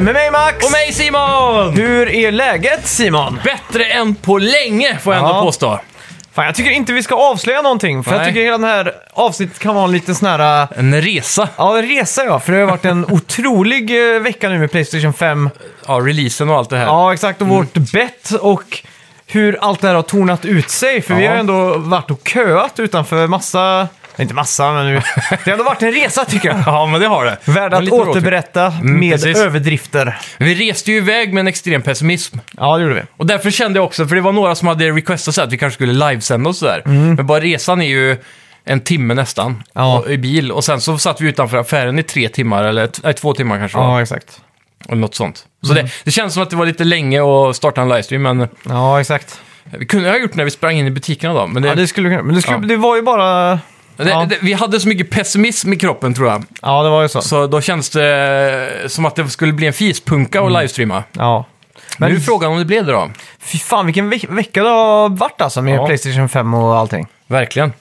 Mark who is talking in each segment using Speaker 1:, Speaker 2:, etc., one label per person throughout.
Speaker 1: Med mig Max!
Speaker 2: Och mig Simon!
Speaker 1: Hur är läget Simon?
Speaker 2: Bättre än på länge får jag ändå
Speaker 1: Ja.
Speaker 2: påstå.
Speaker 1: Fan, jag tycker inte vi ska avslöja någonting, för jag
Speaker 2: Nej.
Speaker 1: tycker hela det här avsnittet kan vara en liten sån här... äh,
Speaker 2: En resa.
Speaker 1: Ja, en resa ja, för det har varit en otrolig eh, vecka nu med Playstation Mm. 5.
Speaker 2: Ja, releasen och allt det här.
Speaker 1: Ja, exakt. Och vårt bett och hur allt det här har tornat ut sig. För vi
Speaker 2: Ja.
Speaker 1: har ju ändå varit och köat utanför massa... Inte massa, men vi- det har ändå varit en resa tycker jag.
Speaker 2: Ja, men det har det.
Speaker 1: Värd
Speaker 2: Men
Speaker 1: att
Speaker 2: lite råtryck.
Speaker 1: återberätta med
Speaker 2: precis.
Speaker 1: överdrifter.
Speaker 2: Vi reste ju iväg med en extrem pessimism.
Speaker 1: Ja, det gjorde vi.
Speaker 2: Och därför kände jag också, för det var några som hade requestat så här att vi kanske skulle livesända och sådär. Men bara resan är ju en timme nästan
Speaker 1: Mm. Ja.
Speaker 2: och- i bil. Och sen så satt vi utanför affären i tre timmar, eller t- nej, två timmar kanske.
Speaker 1: Ja, Mm. exakt.
Speaker 2: Eller något sånt. Så det, det känns som att det var lite länge att starta en livestream, men
Speaker 1: Ja, exakt.
Speaker 2: vi kunde ha gjort det när vi sprang in i butikerna då. Men det,
Speaker 1: Ja, det skulle kunna... Men det, skulle,
Speaker 2: Ja.
Speaker 1: det var ju bara...
Speaker 2: det,
Speaker 1: ja.
Speaker 2: det, vi hade så mycket pessimism i kroppen tror jag.
Speaker 1: Ja, det var ju så.
Speaker 2: Så då känns det eh, som att det skulle bli en fispunka och livestreama.
Speaker 1: Ja.
Speaker 2: Men
Speaker 1: Mm. Men
Speaker 2: nu är frågan om det blev det då.
Speaker 1: fy fan vilken ve vecka det har varit alltså med
Speaker 2: Ja.
Speaker 1: Playstation 5 och allting.
Speaker 2: Verkligen.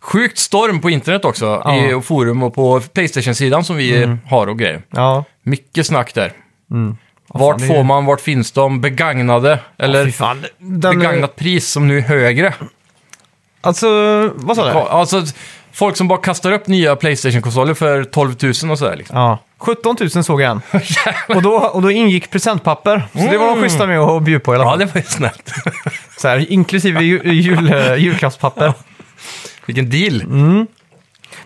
Speaker 2: Sjukt storm på internet också,
Speaker 1: Ja. Mm.
Speaker 2: i och forum och på Playstation-sidan som vi har och grejer.
Speaker 1: Ja.
Speaker 2: Mycket snack där.
Speaker 1: Mm. Vad
Speaker 2: Vart
Speaker 1: fan, det är-
Speaker 2: får man, vart finns de, begagnade eller
Speaker 1: Fy fan. Den,
Speaker 2: begagnat pris som nu är högre.
Speaker 1: Alltså, vad sa du?
Speaker 2: Ja, Alltså, folk som bara kastar upp nya Playstation-konsoler för 12 000 och sådär. Liksom.
Speaker 1: Ja. 17 000 såg jag en. och, då, och då ingick presentpapper. Så det var de schyssta med att bjuda på i alla
Speaker 2: Mm.
Speaker 1: fall.
Speaker 2: Ja, det var ju snällt.
Speaker 1: Så här, inklusive ju, jul, eh, julklappspapper.
Speaker 2: Vilken deal.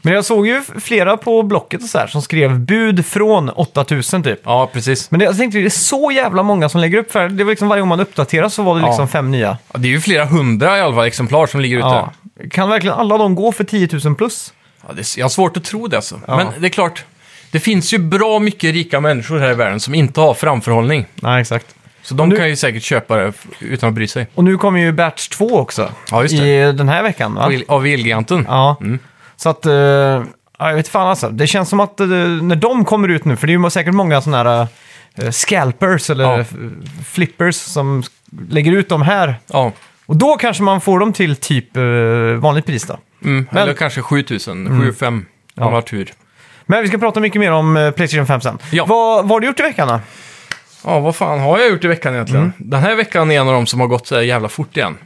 Speaker 1: Men jag såg ju flera på Blocket och så här som skrev bud från 8 000 typ.
Speaker 2: Ja, precis.
Speaker 1: Men det, jag tänkte, det är så jävla många som lägger upp för det var liksom varje gång man uppdaterar så var det
Speaker 2: Ja.
Speaker 1: liksom fem nya.
Speaker 2: Ja, Det är ju flera hundra i alla fall exemplar som ligger ute.
Speaker 1: Ja. Kan verkligen alla de gå för 10 000 plus?
Speaker 2: Ja, det, jag har svårt att tro det alltså.
Speaker 1: Ja.
Speaker 2: Men det är klart, det finns ju bra mycket rika människor här i världen som inte har framförhållning.
Speaker 1: Nej, exakt.
Speaker 2: Så de
Speaker 1: nu-
Speaker 2: kan ju säkert köpa det f- utan att bry sig.
Speaker 1: Och nu kommer ju Batch 2 också.
Speaker 2: Ja, just Mm.
Speaker 1: I eh, den här veckan, va?
Speaker 2: Av el- Av Elgiganten.
Speaker 1: Ja. Så att... eh, ja, jag vet fan alltså. Det känns som att eh, när de kommer ut nu, för det är ju säkert många sådana här eh, scalpers eller
Speaker 2: Ja.
Speaker 1: f- flippers som s- lägger ut dem här.
Speaker 2: Ja.
Speaker 1: Och då kanske man får dem till typ eh, vanligt pris då.
Speaker 2: Mm.
Speaker 1: Men- Mm.
Speaker 2: Eller kanske 7000, 7500 om
Speaker 1: Ja.
Speaker 2: man har tur.
Speaker 1: Men vi ska prata mycket mer om eh, Playstation 5 sen.
Speaker 2: Ja.
Speaker 1: Vad, vad har du gjort i veckan då?
Speaker 2: Ja, vad fan har jag gjort i veckan egentligen?
Speaker 1: Mm.
Speaker 2: Den här veckan är en av dem som har gått så här jävla fort igen.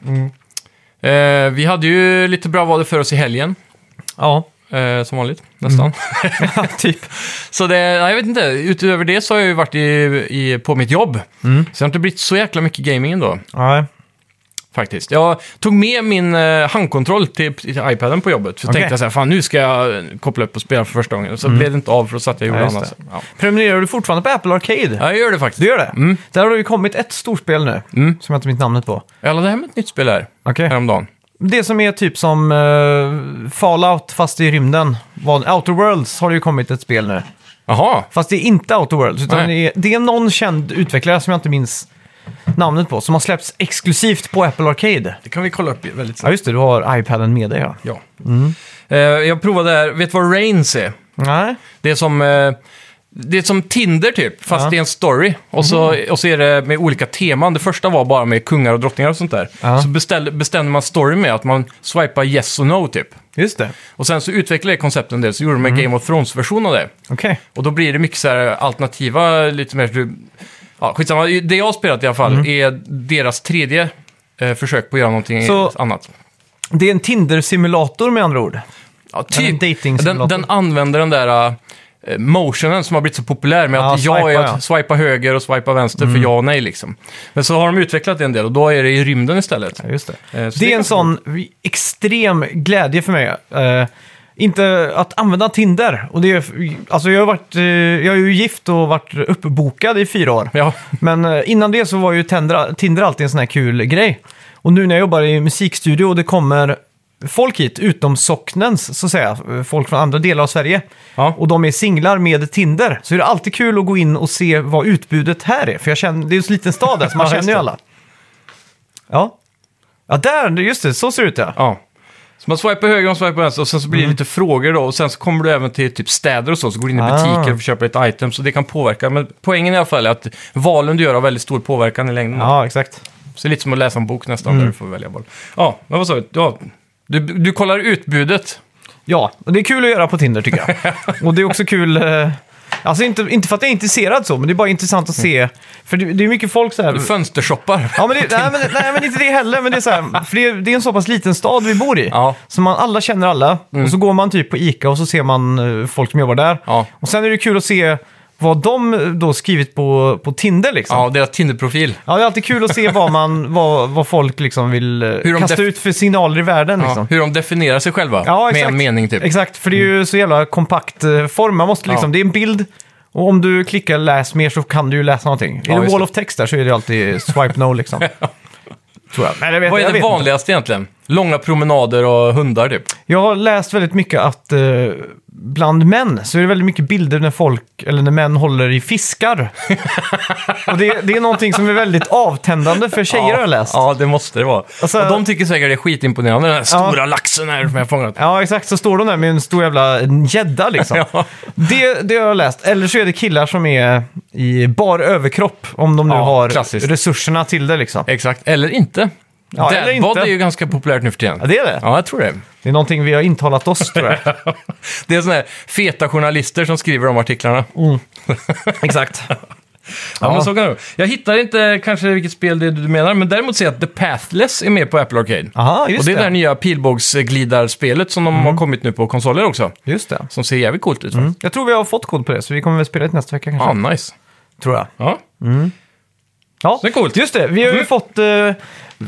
Speaker 2: Eh, vi hade ju lite bra vad det för oss i helgen,
Speaker 1: Ja,
Speaker 2: eh, som vanligt, nästan.
Speaker 1: typ.
Speaker 2: Så det, nej, jag vet inte, utöver det så har jag ju varit i, i, på mitt jobb. Så det har inte blivit så jäkla mycket gaming ändå.
Speaker 1: Nej.
Speaker 2: faktiskt. Jag tog med min eh, handkontroll till, till iPaden på jobbet. Så
Speaker 1: Okej.
Speaker 2: tänkte jag så här, fan nu ska jag koppla upp och spela för första gången. Så blev det inte av för då satt jag och
Speaker 1: Ja,
Speaker 2: gjorde
Speaker 1: just
Speaker 2: annat. Mm. Ja.
Speaker 1: Prenumererar du fortfarande på Apple Arcade?
Speaker 2: ja, jag gör det faktiskt.
Speaker 1: Du gör det? Där har det ju kommit ett storspel nu, som jag inte minns namnet på.
Speaker 2: Jag laddade hem ett nytt spel här
Speaker 1: Mm. Okej.
Speaker 2: häromdagen.
Speaker 1: Det som är typ som eh, Fallout fast i rymden. Vad- Outer Worlds har det ju kommit ett spel nu.
Speaker 2: Jaha,
Speaker 1: Fast det är inte Outer Worlds, utan det
Speaker 2: Nej.
Speaker 1: är, det är någon känd utvecklare som jag inte minns namnet på, som har släppts exklusivt på Apple Arcade.
Speaker 2: det kan vi kolla upp väldigt
Speaker 1: Ja,
Speaker 2: snabbt.
Speaker 1: just det, du har iPaden med dig ja.
Speaker 2: Ja. Eh, jag provade här, vet du vad Rains är?
Speaker 1: Nej,
Speaker 2: Det är som, eh, det är som Tinder typ, fast
Speaker 1: Ja. Mhm.
Speaker 2: det är en story. Och så, och så är det med olika teman. Det första var bara med kungar och drottningar och sånt där.
Speaker 1: Ja.
Speaker 2: Så beställ, bestämde man story med att man swipar yes och no typ.
Speaker 1: just det.
Speaker 2: Och sen så utvecklade jag konceptet en del, så gjorde de en
Speaker 1: Mhm.
Speaker 2: Game of Thrones-version av det.
Speaker 1: Okej.
Speaker 2: Och då blir det mycket så här alternativa, lite mer... du- Ja, skitsamma. Det jag har spelat i alla
Speaker 1: Mhm.
Speaker 2: fall är deras tredje eh, försök på att göra någonting
Speaker 1: Så-
Speaker 2: annat.
Speaker 1: Det är en Tinder-simulator med andra ord.
Speaker 2: Ja, typ.
Speaker 1: Eller en dating-simulator.
Speaker 2: den, den använder den där eh, motionen som har blivit så populär med
Speaker 1: Ja,
Speaker 2: att jag är
Speaker 1: swipa,
Speaker 2: att
Speaker 1: ja. Mm.
Speaker 2: swipa höger och swipa vänster för ja och nej liksom. Men så har de utvecklat det en del och då är det i rymden istället.
Speaker 1: Ja, just det.
Speaker 2: Eh, så
Speaker 1: det
Speaker 2: det
Speaker 1: är
Speaker 2: är
Speaker 1: en sån extrem glädje för mig. Eh, inte att använda Tinder. Och det är, alltså jag, har varit, eh, jag är ju gift och varit uppbokad i fyra år.
Speaker 2: Ja,
Speaker 1: Men eh, innan det så var ju Tinder, Tinder alltid en sån här kul grej. Och nu när jag jobbar i musikstudio och det kommer folk hit, utom socknens, så att säga, eh, folk från andra delar av Sverige,
Speaker 2: Ja.
Speaker 1: och de är singlar med Tinder, så är det alltid kul att gå in och se vad utbudet här är. För jag känner, det är ju en så liten stad där, så man
Speaker 2: Ja, just
Speaker 1: känner ju
Speaker 2: det.
Speaker 1: alla. Ja. Ja, där, just det, så ser det ut ja.
Speaker 2: ja. Så man swipar höger och swipar vänster och sen så blir det lite frågor då och sen så kommer du även till typ städer och så, så går du in i
Speaker 1: Mm. Ah.
Speaker 2: butiker och köper lite items så det kan påverka. Men poängen i alla fall är att valen du gör har väldigt stor påverkan i längden.
Speaker 1: Ja, Mm. exakt.
Speaker 2: Så det är lite som att läsa en bok nästan, där du får välja val. Ja, men vad sa du? Ja, du, du kollar utbudet.
Speaker 1: Ja, och det är kul att göra på Tinder tycker jag. och det är också kul eh, Alltså inte, inte för att jag är intresserad så, men det är bara intressant att se. För det, det är mycket folk så här...
Speaker 2: Du fönstershoppar.
Speaker 1: Ja, men det, nej, men, nej, men inte det heller. Men det är, så här, för det, är- det är en så pass liten stad vi bor i.
Speaker 2: Ja. Mm.
Speaker 1: Så man, alla känner alla. Och så går man typ på Ica och så ser man eh, folk som jobbar där.
Speaker 2: Ja.
Speaker 1: Och sen är det kul att se vad de eh, då skrivit på, på Tinder liksom. Ja.
Speaker 2: Ja, deras Tinder-profil.
Speaker 1: det är alltid kul att se vad, man, vad, vad folk liksom vill eh,
Speaker 2: de
Speaker 1: kasta
Speaker 2: def-
Speaker 1: ut för signaler i världen.
Speaker 2: Ja,
Speaker 1: Liksom.
Speaker 2: hur de definierar sig själva.
Speaker 1: Ja,
Speaker 2: med
Speaker 1: exakt.
Speaker 2: en mening typ.
Speaker 1: Exakt, för det är ju så jävla kompakt eh, form. Man måste liksom,
Speaker 2: Ja.
Speaker 1: det är en bild och om du klickar läs mer så kan du ju läsa någonting.
Speaker 2: Ja,
Speaker 1: är det
Speaker 2: just
Speaker 1: wall
Speaker 2: det.
Speaker 1: of text där så är det alltid swipe no liksom. Tror jag. Nej, jag vet,
Speaker 2: Vad
Speaker 1: jag
Speaker 2: är det
Speaker 1: vet inte.
Speaker 2: vanligaste egentligen? Långa promenader och hundar typ.
Speaker 1: Jag har läst väldigt mycket att eh, bland män så är det väldigt mycket bilder när folk, eller när män håller i fiskar. och det, det är någonting som är väldigt avtändande för tjejer har jag läst. Ja.
Speaker 2: Ja, det måste det vara.
Speaker 1: Alltså-
Speaker 2: och de tycker säkert det är skitimponerande, den här stora laxen här som jag har fångat.
Speaker 1: exakt. Så står de där med en stor jävla en gädda liksom.
Speaker 2: Ja.
Speaker 1: det, det har jag läst. Eller så är det killar som är i bar överkropp, om de nu
Speaker 2: Ja,
Speaker 1: har
Speaker 2: klassiskt.
Speaker 1: resurserna till det liksom.
Speaker 2: Exakt, eller inte.
Speaker 1: Ja, eller
Speaker 2: Dadbod
Speaker 1: inte.
Speaker 2: är ju ganska populärt nu för tiden.
Speaker 1: Ja, det är det.
Speaker 2: Ja, jag tror det.
Speaker 1: Det är någonting vi har intalat oss tror jag.
Speaker 2: Det är såna här feta journalister som skriver de artiklarna.
Speaker 1: Mm. Exakt.
Speaker 2: Ja,
Speaker 1: Ja.
Speaker 2: men så kan det vara. Jag hittar inte kanske vilket spel det är du menar, men däremot ser jag att The Pathless är med på Apple Arcade.
Speaker 1: Aha,
Speaker 2: och
Speaker 1: just
Speaker 2: det är det här
Speaker 1: det. Mm.
Speaker 2: nya pilbågsglidarspelet som de har kommit nu på konsoler också.
Speaker 1: Just det.
Speaker 2: Som ser jävligt coolt ut. Mm.
Speaker 1: Jag tror vi har fått kod på det, så vi kommer väl spela det nästa vecka kanske.
Speaker 2: Ja, nice.
Speaker 1: Tror jag.
Speaker 2: Ja.
Speaker 1: Ja,
Speaker 2: Det är coolt.
Speaker 1: just det. Vi har ju
Speaker 2: Mm.
Speaker 1: fått... eh,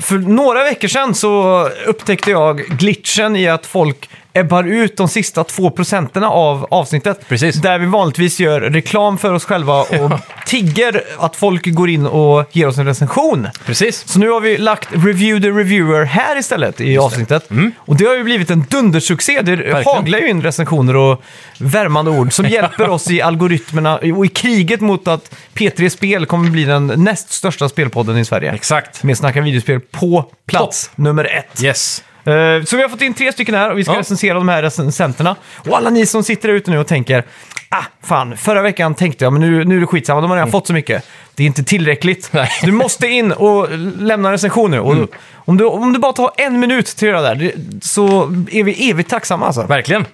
Speaker 1: För några veckor sedan så upptäckte jag glitchen i att folk ebbar ut de sista två procenten av avsnittet.
Speaker 2: Precis.
Speaker 1: Där vi vanligtvis gör reklam för oss själva och tigger att folk går in och ger oss en recension.
Speaker 2: Precis.
Speaker 1: Så nu har vi lagt Review the Reviewer här istället i avsnittet. Och det har ju blivit en dundersuccé. Det haglar ju in recensioner och värmande ord som hjälper oss i algoritmerna och i kriget mot att P3 Spel kommer bli den näst största spelpodden i Sverige.
Speaker 2: Exakt.
Speaker 1: Med Snacka videospel på plats nummer ett.
Speaker 2: Yes.
Speaker 1: Eh, Så vi har fått in tre stycken här och vi ska
Speaker 2: Ja.
Speaker 1: recensera de här recensenterna. Och alla ni som sitter där ute nu och tänker Ah, fan, förra veckan tänkte jag men nu, nu är det skitsamma, de har redan fått så mycket. Det är inte tillräckligt.
Speaker 2: Nej.
Speaker 1: Du måste in och lämna en recension nu. Och om, du, om du bara tar en minut till att göra det där det- så är vi evigt tacksamma alltså.
Speaker 2: Verkligen.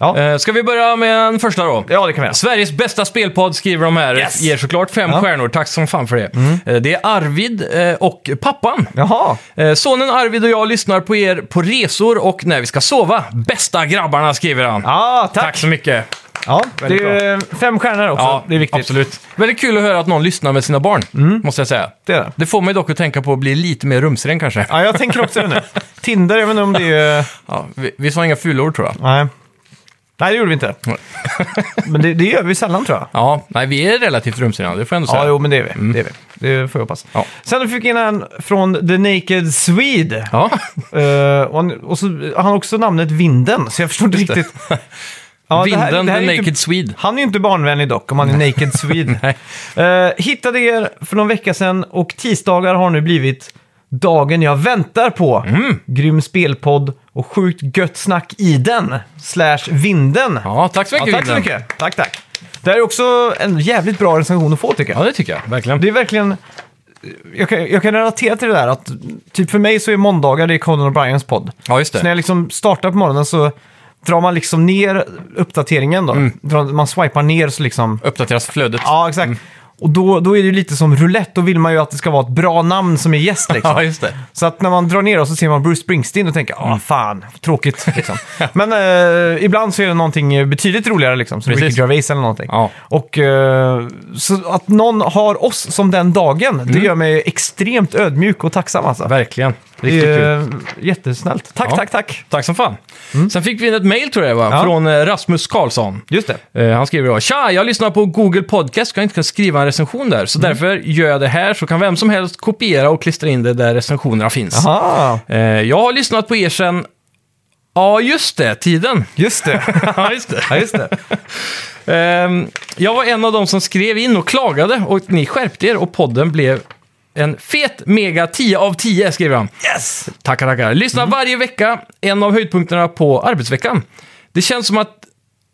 Speaker 1: Ja.
Speaker 2: Eh, ska vi börja med den första då?
Speaker 1: Ja, det kan vi göra.
Speaker 2: Sveriges bästa spelpodd skriver de här.
Speaker 1: Yes.
Speaker 2: Ger såklart fem
Speaker 1: Ja. Mm.
Speaker 2: stjärnor. Tack som fan för det. Eh, Det är Arvid eh, och pappan.
Speaker 1: Jaha,
Speaker 2: Eh, Sonen Arvid och jag lyssnar på er på resor och när vi ska sova. Bästa grabbarna, skriver han.
Speaker 1: ah, tack.
Speaker 2: Tack så mycket.
Speaker 1: Ja, det
Speaker 2: Väldigt
Speaker 1: är eh, fem stjärnor också, det är viktigt.
Speaker 2: Absolut. Väldigt kul att höra att någon lyssnar med sina barn,
Speaker 1: Mm.
Speaker 2: måste jag säga.
Speaker 1: Det är det.
Speaker 2: får mig dock att tänka på att bli lite mer rumsren kanske.
Speaker 1: Ja, jag tänker också det nu. Tinder, jag vet inte om det är...
Speaker 2: Ja, vi, vi sa inga fulord tror jag.
Speaker 1: Nej. Nej, det gjorde vi inte. Men det, det gör vi sällan tror jag.
Speaker 2: Ja, nej, vi är relativt rumsrena, det får jag ändå säga.
Speaker 1: Ja, jo, men det är vi. Det, är vi. det får jag hoppas.
Speaker 2: Mm. Ja.
Speaker 1: Sen fick vi in en från The Naked Swede.
Speaker 2: Ja.
Speaker 1: Eh, och han, och så, han har också namnet Vinden, så jag förstår inte riktigt. Ja, det här-
Speaker 2: Vinden,
Speaker 1: det här är
Speaker 2: the
Speaker 1: ju typ-
Speaker 2: naked
Speaker 1: inte,
Speaker 2: Swede.
Speaker 1: Han är ju inte barnvänlig dock, om han är Naked Swede.
Speaker 2: Nej.
Speaker 1: Eh, hittade er för någon vecka sedan och tisdagar har nu blivit dagen jag väntar på.
Speaker 2: Mm.
Speaker 1: Grym spelpodd och sjukt gött snack i den. Slash vinden.
Speaker 2: Ja, tack så
Speaker 1: Ja,
Speaker 2: mycket.
Speaker 1: tack så
Speaker 2: Vinden.
Speaker 1: mycket. Tack, tack. Det här är också en jävligt bra recension att få tycker jag.
Speaker 2: Ja, det tycker jag. Verkligen.
Speaker 1: Det är verkligen... Jag kan, jag kan relatera till det där att typ för mig så är måndagar det är Conan O'Briens podd.
Speaker 2: Ja, just
Speaker 1: Så när
Speaker 2: det.
Speaker 1: jag liksom startar på morgonen så drar man liksom ner uppdateringen då.
Speaker 2: Mm.
Speaker 1: Drar, man swipar ner så liksom...
Speaker 2: Uppdateras flödet.
Speaker 1: Ja, exakt.
Speaker 2: Mm.
Speaker 1: Och då, då är det ju lite som roulette, då vill man ju att det ska vara ett bra namn som är gäst liksom.
Speaker 2: Ja, just det.
Speaker 1: Så att när man drar ner och så ser man Bruce Springsteen och tänker
Speaker 2: Mm.
Speaker 1: ah fan, tråkigt. Liksom. Men eh, ibland så är det någonting betydligt roligare, liksom, som
Speaker 2: Precis.
Speaker 1: Ricky Gervais eller någonting.
Speaker 2: Ja.
Speaker 1: Och eh, så att någon har oss som den dagen,
Speaker 2: Mm.
Speaker 1: det gör mig extremt ödmjuk och tacksam. Alltså.
Speaker 2: Verkligen.
Speaker 1: Det
Speaker 2: Riktigt kul.
Speaker 1: är jättesnällt. Tack,
Speaker 2: Ja.
Speaker 1: tack, tack.
Speaker 2: Tack som fan. Sen fick vi in ett mail tror jag va?
Speaker 1: Mm. Ja.
Speaker 2: från eh, Rasmus Karlsson.
Speaker 1: Just det.
Speaker 2: Eh, Han skriver då, Tja, jag lyssnar på Google Podcast, ska inte kunna skriva en recension där.
Speaker 1: Mm.
Speaker 2: Så därför gör jag det här, så kan vem som helst kopiera och klistra in det där recensionerna finns.
Speaker 1: Aha,
Speaker 2: Eh, Jag har lyssnat på er sen, ja just det, tiden.
Speaker 1: just det.
Speaker 2: ja, just det.
Speaker 1: Ja, just det.
Speaker 2: Ehm, Jag var en av dem som skrev in och klagade och ni skärpte er och podden blev en fet mega 10 av 10, skriver han.
Speaker 1: Yes!
Speaker 2: Tackar, tackar. Lyssna
Speaker 1: Mm.
Speaker 2: varje vecka, en av höjdpunkterna på arbetsveckan. Det känns som att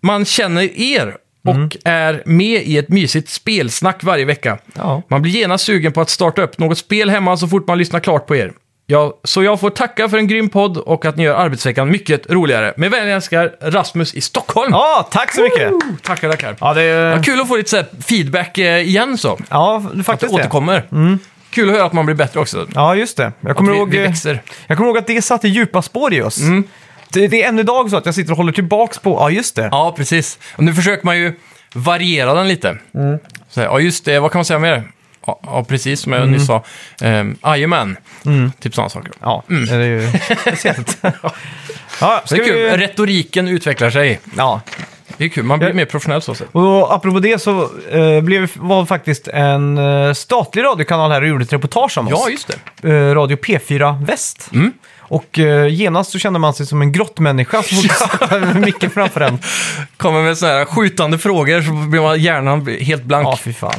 Speaker 2: man känner er och
Speaker 1: Mm.
Speaker 2: är med i ett mysigt spelsnack varje vecka.
Speaker 1: Ja.
Speaker 2: Man blir genast sugen på att starta upp något spel hemma så fort man lyssnar klart på er. Ja, så jag får tacka för en grym podd och att ni gör arbetsveckan mycket roligare. Med vänliga älskar Rasmus i Stockholm.
Speaker 1: Ja, tack så mycket!
Speaker 2: Tackar, tackar.
Speaker 1: Ja, det
Speaker 2: Vad
Speaker 1: är...
Speaker 2: kul att få lite så här feedback eh, igen så.
Speaker 1: Ja,
Speaker 2: Att det
Speaker 1: faktiskt det. Mm.
Speaker 2: återkommer. Kul att höra att man blir bättre också.
Speaker 1: Ja, just det. Jag kommer,
Speaker 2: vi-
Speaker 1: ihåg,
Speaker 2: vi
Speaker 1: eh,
Speaker 2: växer.
Speaker 1: jag kommer ihåg att det satte djupa spår i oss.
Speaker 2: Mm.
Speaker 1: Det, det är än idag så att jag sitter och håller tillbaks på, ja just det.
Speaker 2: Ja, precis. Och nu försöker man ju variera den lite. Så här, ja, just det. Vad kan man säga mer? Ja, ja precis som jag nyss sa. Ehm, Jajamän. Typ sådana saker.
Speaker 1: Ja, det är ju speciellt. ja, ska
Speaker 2: det är kul.
Speaker 1: vi...
Speaker 2: Retoriken utvecklar sig.
Speaker 1: Ja.
Speaker 2: Det är kul. Man blir mer professionell så sett.
Speaker 1: Och apropå det så eh, blev, var faktiskt en eh, statlig radiokanal här och gjorde ett reportage om
Speaker 2: Ja, Mm.
Speaker 1: oss.
Speaker 2: just det.
Speaker 1: Eh, Radio P4 Väst. Och eh, genast så kände man sig som en grottmänniska som satt med micken framför en.
Speaker 2: Kommer med sådana här skjutande frågor så blir man hjärnan helt blank.
Speaker 1: Ja, fy fan.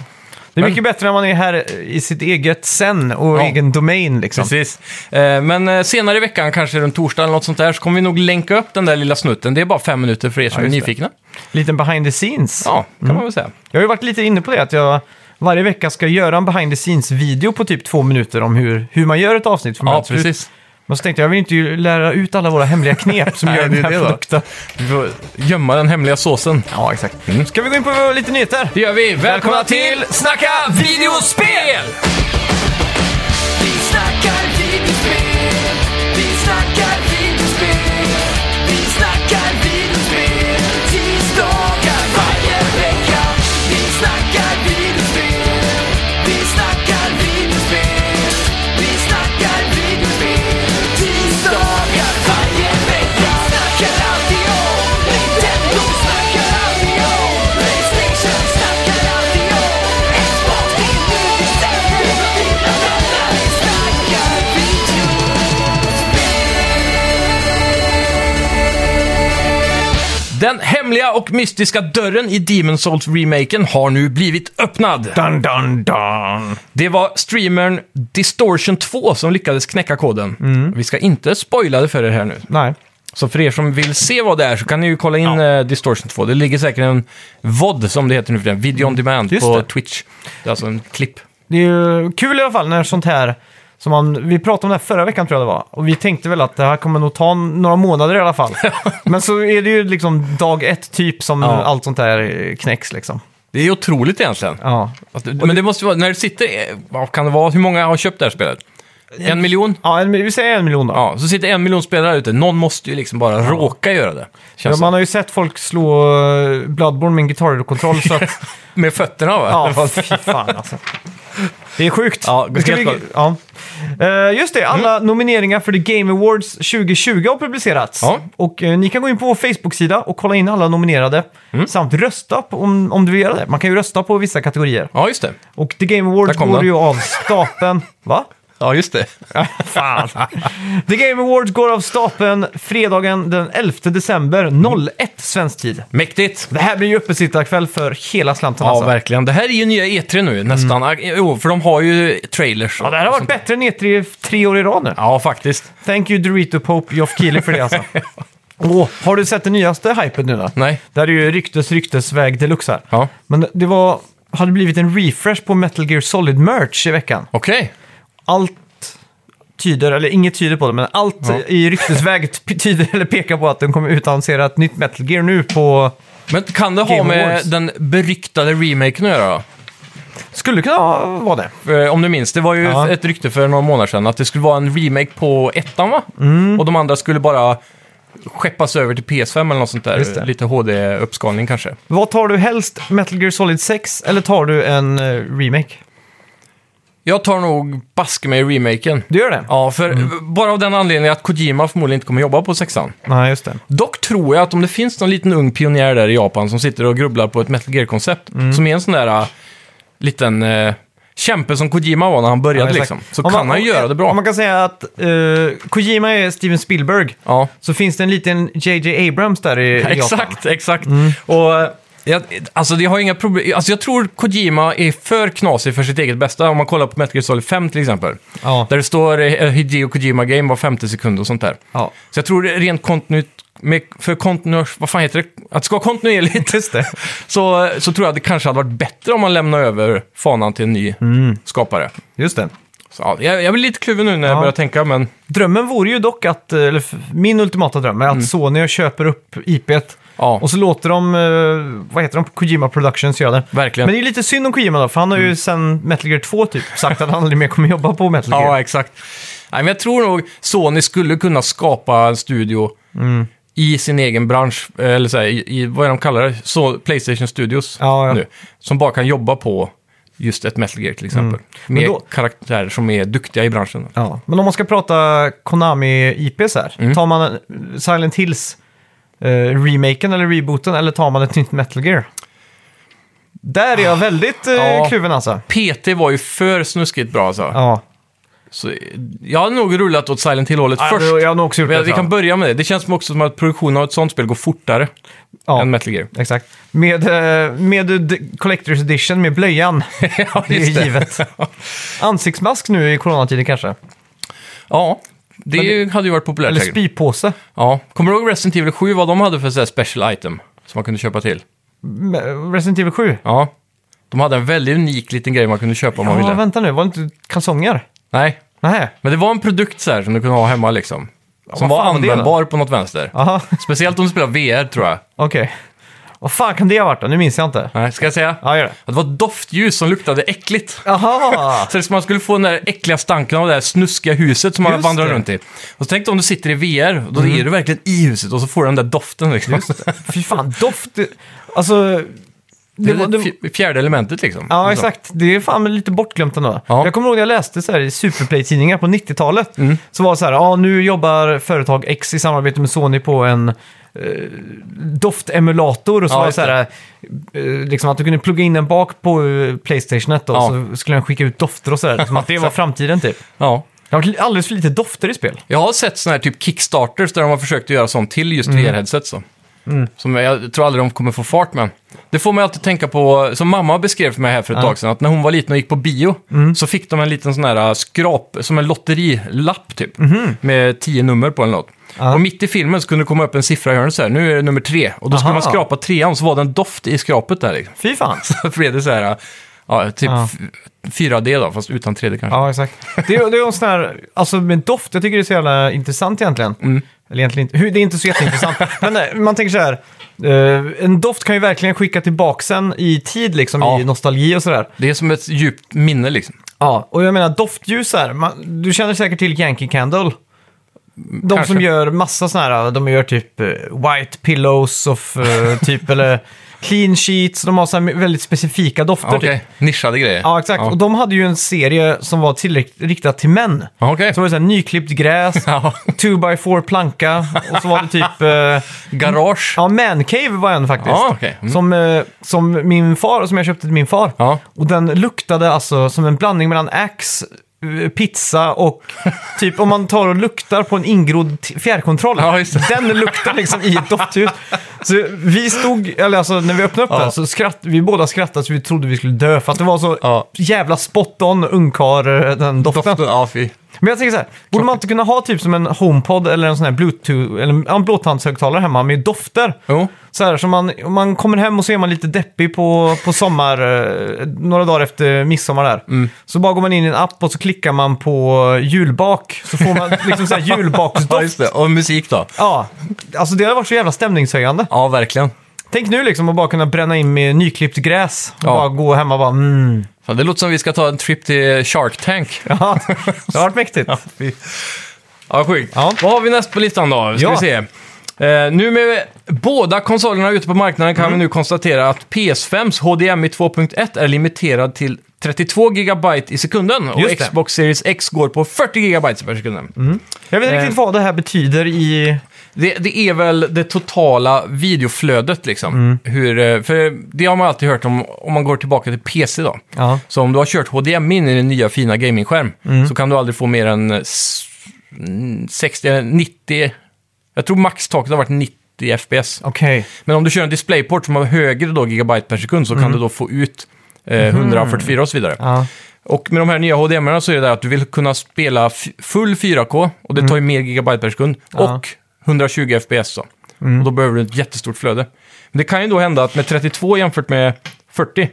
Speaker 1: Det är
Speaker 2: Men-
Speaker 1: mycket bättre när man är här i sitt eget sen och
Speaker 2: Ja.
Speaker 1: egen domain liksom.
Speaker 2: Precis. Eh, Men eh, senare i veckan, kanske runt torsdag eller något sånt där, så kommer vi nog länka upp den där lilla snutten. Det är bara fem minuter för er som är
Speaker 1: just det.
Speaker 2: nyfikna. Mm.
Speaker 1: Liten behind the scenes.
Speaker 2: Ja, kan man väl säga.
Speaker 1: Jag har ju varit lite inne på det, att jag varje vecka ska göra en behind the scenes-video på typ två minuter om hur, hur man gör ett avsnitt. För
Speaker 2: Ja,
Speaker 1: att-
Speaker 2: precis.
Speaker 1: Men så tänkte jag, jag vill inte ju lära ut alla våra hemliga knep som
Speaker 2: Nej,
Speaker 1: gör
Speaker 2: det är
Speaker 1: den här
Speaker 2: det då.
Speaker 1: produkten.
Speaker 2: Vi får gömma den hemliga såsen. Mm.
Speaker 1: Ja, exakt. Ska vi gå in på lite nyheter?
Speaker 2: Det gör vi. Välkomna till Snacka videospel!
Speaker 3: Vi snackar videospel, vi snackar videospel, vi snackar videospel, tisdagar varje vecka. Vi snackar videospel, vi snackar videospel, vi snackar videospel, tisdagar varje vecka. Snackar alltid om Nintendo, snackar alltid om Playstation, snackar alltid om Xbox, det är nu vi sänder, vi pratar, vi snackar video.
Speaker 2: Den hemliga och mystiska dörren i Demon's Souls-remaken har nu blivit öppnad.
Speaker 1: Dun, dun, dun.
Speaker 2: Det var streamern Distortion 2 som lyckades knäcka koden. Vi ska inte spoila det för er här nu.
Speaker 1: Nej.
Speaker 2: Så för er som vill se vad det är så kan ni ju kolla in eh, Distortion 2. Det ligger säkert en VOD som det heter nu för den, Video on Demand
Speaker 1: Just
Speaker 2: på
Speaker 1: det.
Speaker 2: Twitch. Det är alltså en klipp.
Speaker 1: Det är ju kul i alla fall när sånt här, som man, vi pratade om det här förra veckan tror jag det var, och vi tänkte väl att det här kommer nog ta n- några månader i alla fall. Men så är det ju liksom dag ett typ som
Speaker 2: Ja.
Speaker 1: allt sånt här eh, knäcks liksom.
Speaker 2: Det är otroligt egentligen.
Speaker 1: Ja.
Speaker 2: Att- Men det måste vara, när det sitter, eh, vad kan det vara, hur många har köpt det här spelet? En miljon?
Speaker 1: Ja, en, vi säger en miljon då.
Speaker 2: Ja, så sitter en miljon spelare ute. Någon måste ju liksom bara råka göra det.
Speaker 1: Ja,
Speaker 2: Känns
Speaker 1: man har ju sett folk slå eh, Bloodborne med en gitarrkontroll så att...
Speaker 2: det. Med fötterna va?
Speaker 1: Ja, fy fan alltså. Det är sjukt.
Speaker 2: Ja,
Speaker 1: Det ska
Speaker 2: helt
Speaker 1: vi- ja. Eh, just det, alla
Speaker 2: Mm.
Speaker 1: nomineringar för The Game Awards 2020 har publicerats.
Speaker 2: Ja.
Speaker 1: Och eh, ni kan gå in på vår Facebook-sida och kolla in alla nominerade.
Speaker 2: Mm.
Speaker 1: Samt rösta på, om, om du vill göra det. Man kan ju rösta på vissa kategorier.
Speaker 2: Ja, just det.
Speaker 1: Och The Game
Speaker 2: Där
Speaker 1: Awards
Speaker 2: kom
Speaker 1: går
Speaker 2: den.
Speaker 1: ju av stapeln... Va?
Speaker 2: Ja, just det.
Speaker 1: Fan. The Game Awards går av stapeln fredagen den 11 december 01 svensk tid.
Speaker 2: Mäktigt.
Speaker 1: Det här blir ju uppesittarkväll för hela slanten
Speaker 2: Ja,
Speaker 1: alltså.
Speaker 2: verkligen. Det här är ju nya E3 nu, nästan. Mm. Jo, för de har ju trailers.
Speaker 1: Ja, det här har varit bättre än E3 tre år i rad nu.
Speaker 2: Ja, faktiskt.
Speaker 1: Thank you Dorito Pope Joff Keely för det alltså. Åh, har du sett den nyaste hypen nu då?
Speaker 2: Nej.
Speaker 1: Det här är ju ryktes ryktesväg deluxe här.
Speaker 2: Ja.
Speaker 1: Men det var, hade blivit en refresh på Metal Gear Solid merch i veckan.
Speaker 2: Okej.
Speaker 1: Allt tyder, eller inget tyder på det, men allt i ryktesväg t- tyder eller pekar på att den kommer utannonsera ett nytt Metal Gear nu på...
Speaker 2: Men kan det ha
Speaker 1: Game
Speaker 2: med
Speaker 1: Awards.
Speaker 2: den beryktade remaken att göra
Speaker 1: Skulle kunna vara det.
Speaker 2: då? Eh, Om du minns, det var ju
Speaker 1: Ja.
Speaker 2: ett rykte för några månader sedan att det skulle vara en remake på ettan va? Och de andra skulle bara skeppas över till PS5 eller något sånt
Speaker 1: Just
Speaker 2: där.
Speaker 1: det.
Speaker 2: Lite HD-uppskalning kanske.
Speaker 1: Vad tar du helst, Metal Gear Solid 6 eller tar du en eh, remake?
Speaker 2: Jag tar nog baske mig remaken.
Speaker 1: Du gör det?
Speaker 2: Ja, för
Speaker 1: Mm.
Speaker 2: bara av den anledningen att Kojima förmodligen inte kommer jobba på sexan.
Speaker 1: Nej, just det.
Speaker 2: Dock tror jag att om det finns någon liten ung pionjär där i Japan som sitter och grubblar på ett Metal Gear-koncept,
Speaker 1: Mm.
Speaker 2: som är en sån där äh, liten äh, kämpe som Kojima var när han började
Speaker 1: Ja, exakt.
Speaker 2: liksom, så
Speaker 1: Om
Speaker 2: kan han ju göra det bra.
Speaker 1: Om man kan säga att eh, Kojima är Steven Spielberg,
Speaker 2: ja.
Speaker 1: så finns det en liten JJ Abrams där i i Japan. Mm.
Speaker 2: Exakt, exakt. Och, eh, jag, alltså, jag, har inga problem. Alltså, jag tror Kojima är för knasig för sitt eget bästa. Om man kollar på Metal Gear Solid 5 till exempel.
Speaker 1: Ja.
Speaker 2: Där det står eh, Hideo Kojima Game var 50 sekund och sånt där.
Speaker 1: Ja.
Speaker 2: Så jag tror det är rent kontinuit, med, för kontinuers, vad fan heter det? Att det ska vara kontinuerligt.
Speaker 1: Just det.
Speaker 2: så,
Speaker 1: Mm.
Speaker 2: så tror jag att det kanske hade varit bättre om man lämnar över fanan till en ny skapare.
Speaker 1: Just det.
Speaker 2: Så, ja, jag, jag blir lite kluven nu när jag
Speaker 1: Ja.
Speaker 2: börjar tänka, men
Speaker 1: Drömmen vore ju dock att, eh, eller f- min ultimata dröm är att Sony köper upp IPet
Speaker 2: Mm. ja,
Speaker 1: och så låter de, eh, vad heter de, Kojima Productions göra det.
Speaker 2: verkligen.
Speaker 1: Men
Speaker 2: Mm.
Speaker 1: det är ju lite synd om Kojima då, för han har ju sen Metal Gear 2 typ sagt att han aldrig mer kommer jobba på Metal Gear.
Speaker 2: Ja, exakt. Nej, men jag tror nog Sony skulle kunna skapa en studio
Speaker 1: Mm.
Speaker 2: i sin egen bransch, eller så här, i, i, vad är de kallar det? Så, Playstation Studios
Speaker 1: Ja, ja.
Speaker 2: nu. Som bara kan jobba på just ett Metal Gear till exempel.
Speaker 1: Mm. Men
Speaker 2: Med
Speaker 1: då-
Speaker 2: karaktärer som är duktiga i branschen.
Speaker 1: Ja, men om man ska prata Konami-IPs här, tar man Silent Hills eh, remaken eller rebooten eller tar man ett nytt Metal Gear? Där är jag väldigt eh,
Speaker 2: Ja.
Speaker 1: kluven alltså.
Speaker 2: PT var ju för snuskigt bra alltså.
Speaker 1: Ja,
Speaker 2: Så, eh, jag hade nog rullat åt Silent Hill-hållet
Speaker 1: Ja,
Speaker 2: först.
Speaker 1: det- jag har nog också gjort
Speaker 2: Men
Speaker 1: det.
Speaker 2: vi
Speaker 1: tror
Speaker 2: kan
Speaker 1: jag.
Speaker 2: börja med det. Det känns som också som att produktionen av ett sånt spel går fortare än
Speaker 1: ja,
Speaker 2: Metal Gear.
Speaker 1: exakt. Med, eh, med eh, d- Collector's Edition med blöjan.
Speaker 2: ja,
Speaker 1: Det är
Speaker 2: just
Speaker 1: ju givet. Ansiktsmask nu i coronatiden kanske.
Speaker 2: Ja, det,
Speaker 1: Men det-
Speaker 2: hade ju varit populärt
Speaker 1: Eller
Speaker 2: säkert.
Speaker 1: spypåse.
Speaker 2: Ja, kommer du ihåg Resident Evil 7, vad de hade för så här special item som man kunde köpa till?
Speaker 1: M- Resident Evil 7.
Speaker 2: Ja. De hade en väldigt unik liten grej man kunde köpa om man
Speaker 1: Ja,
Speaker 2: ville.
Speaker 1: vänta nu, var det inte kalsonger?
Speaker 2: Nej,
Speaker 1: Nej.
Speaker 2: men det var en produkt så här som du kunde ha hemma liksom.
Speaker 1: vad
Speaker 2: Som var
Speaker 1: fan var det då?
Speaker 2: användbar på något vänster.
Speaker 1: Jaha,
Speaker 2: Speciellt om du spelar VR tror jag.
Speaker 1: okej. Vad fan kan det ha varit då? Nu minns jag inte.
Speaker 2: Nej, ska jag säga?
Speaker 1: Ja, gör det.
Speaker 2: Att det var doftljus som luktade äckligt.
Speaker 1: Jaha!
Speaker 2: Så det är som man skulle få den där äckliga stanken av det här snuskiga huset som man
Speaker 1: Just
Speaker 2: vandrar
Speaker 1: det. Mm.
Speaker 2: runt i. Och så tänk dig om du sitter i VR, då är du verkligen i huset och så får du den där doften liksom.
Speaker 1: Fy fan, doft... Alltså... Det var, det,
Speaker 2: det, fj- fjärde elementet liksom.
Speaker 1: ja,
Speaker 2: Liksom.
Speaker 1: exakt. Det är fan lite bortglömt ändå.
Speaker 2: Ja. Mm.
Speaker 1: Jag kommer ihåg när jag läste så här i Superplay-tidningar på 90-talet. Så var det så här, ja nu jobbar företag X i samarbete med Sony på en eh, doftemulator. Och så
Speaker 2: Ja,
Speaker 1: var det
Speaker 2: just
Speaker 1: så här, eh, liksom att du kunde plugga in den bak på eh, Playstationet då,
Speaker 2: Ja.
Speaker 1: så skulle den skicka ut dofter och sådär. Som att det var framtiden typ.
Speaker 2: Ja.
Speaker 1: Det har varit alldeles för lite dofter i spel.
Speaker 2: Jag har sett såna här typ kickstarters där de har försökt att göra sånt till just
Speaker 1: Mm.
Speaker 2: VR-headsets. då. Som jag tror aldrig de kommer få fart med. Det får mig alltid tänka på, som mamma beskrev för mig här för ett tag sedan, att när hon var liten och gick på bio
Speaker 1: Mm.
Speaker 2: så fick de en liten sån här äh, skrap, som en lotterilapp typ,
Speaker 1: Mhm.
Speaker 2: med tio nummer på eller något. Och mitt i filmen så kunde det komma upp en siffra i hörnet så här, nu är det nummer tre. Och då skulle
Speaker 1: Aha.
Speaker 2: man skrapa trean och så var det en doft i skrapet där liksom.
Speaker 1: Fy fan.
Speaker 2: Så blev det så här, ja, typ
Speaker 1: Ja.
Speaker 2: f- 4D då, fast utan 3D kanske.
Speaker 1: Ja, exakt. Det är, det är en sån här, alltså med doft, jag tycker det är så jävla intressant egentligen.
Speaker 2: Mm.
Speaker 1: Eller egentligen inte, hur- det är inte så jätteintressant. Men nej, man tänker så här, eh, en doft kan ju verkligen skicka tillbaka en i tid liksom,
Speaker 2: Ja.
Speaker 1: i nostalgi och sådär.
Speaker 2: Det är som ett djupt minne liksom.
Speaker 1: Ja, och jag menar doftljus här, man, du känner säkert till Yankee Candle. De
Speaker 2: kanske.
Speaker 1: som gör massa såna här, de gör typ eh, white pillows of eh, typ, eller clean sheets, de har så här väldigt specifika dofter.
Speaker 2: Okej,
Speaker 1: Typ.
Speaker 2: nischade grejer.
Speaker 1: Ja, exakt. Och de hade ju en serie som var tillräckligt riktad till män.
Speaker 2: Ja, Okej.
Speaker 1: Så var det så här nyklippt gräs,
Speaker 2: Ja.
Speaker 1: 2x4 planka och så var det typ... Eh,
Speaker 2: Garage.
Speaker 1: ja, mancave var en faktiskt.
Speaker 2: Ja, okej. Mm.
Speaker 1: som, eh, som min far, som jag köpte till min far.
Speaker 2: Ja.
Speaker 1: Och den luktade alltså som en blandning mellan Axe, eh, pizza och typ om man tar och luktar på en ingrodd t- fjärrkontroll.
Speaker 2: Ja, just det.
Speaker 1: Den luktar liksom i ett doftljus. Så vi stod, eller alltså när vi öppnade upp
Speaker 2: Ja.
Speaker 1: den så skratt, vi båda skrattade så vi trodde vi skulle dö för att det var så
Speaker 2: Ja.
Speaker 1: jävla spot on ungkar eh, den doften.
Speaker 2: ja, fy.
Speaker 1: Men jag tänker så här, borde man inte kunna ha typ som en HomePod eller en sån här Bluetooth, eller ja, en blåtandshögtalare hemma med dofter?
Speaker 2: Jo.
Speaker 1: Så här, så man, om man kommer hem och så är man lite deppig på, på sommar, eh, några dagar efter midsommar där.
Speaker 2: Mm.
Speaker 1: Så bara går man in i en app och så klickar man på julbak, så får man liksom så här
Speaker 2: Ja,
Speaker 1: julbaksdoft.
Speaker 2: just det. Och musik då.
Speaker 1: Ja, alltså det har varit så jävla stämningshöjande.
Speaker 2: Ja, verkligen.
Speaker 1: Tänk nu liksom att bara kunna bränna in med nyklippt gräs och
Speaker 2: Ja.
Speaker 1: bara gå hem och bara mm.
Speaker 2: Fan, det låter som vi ska ta en trip till Shark Tank.
Speaker 1: Ja, det har varit mäktigt.
Speaker 2: Ja, sjukt.
Speaker 1: Ja.
Speaker 2: Vad har vi näst på listan då? Ska
Speaker 1: Ja.
Speaker 2: vi se. Eh, nu med båda konsolerna ute på marknaden
Speaker 1: Mm.
Speaker 2: kan vi nu konstatera att PS5s HDMI 2.1 är limiterad till 32 GB i sekunden och
Speaker 1: Just det.
Speaker 2: Xbox Series X går på 40 GB per sekunden.
Speaker 1: Jag vet inte
Speaker 2: Eh.
Speaker 1: riktigt vad det här betyder i...
Speaker 2: Det, det är väl det totala videoflödet liksom. Hur, eh, för det har man alltid hört om, om man går tillbaka till PC då.
Speaker 1: Ja.
Speaker 2: Så om du har kört HDMI in i din nya fina gamingskärm så kan du aldrig få mer än eh, s- mm, 60, eller 90, jag tror maxtaket har varit 90 FPS.
Speaker 1: Okej.
Speaker 2: Men om du kör en DisplayPort som har högre då gigabyte per sekund så kan du då få ut eh, 144 och så vidare.
Speaker 1: Ja.
Speaker 2: Och med de här nya HDMI så är det där att du vill kunna spela f- full 4K och det tar ju mer gigabyte per sekund
Speaker 1: Mm. Ja. Mm.
Speaker 2: och 120 FPS. Då. Och då behöver du ett jättestort flöde. Men det kan ju då hända att med 32 jämfört med 40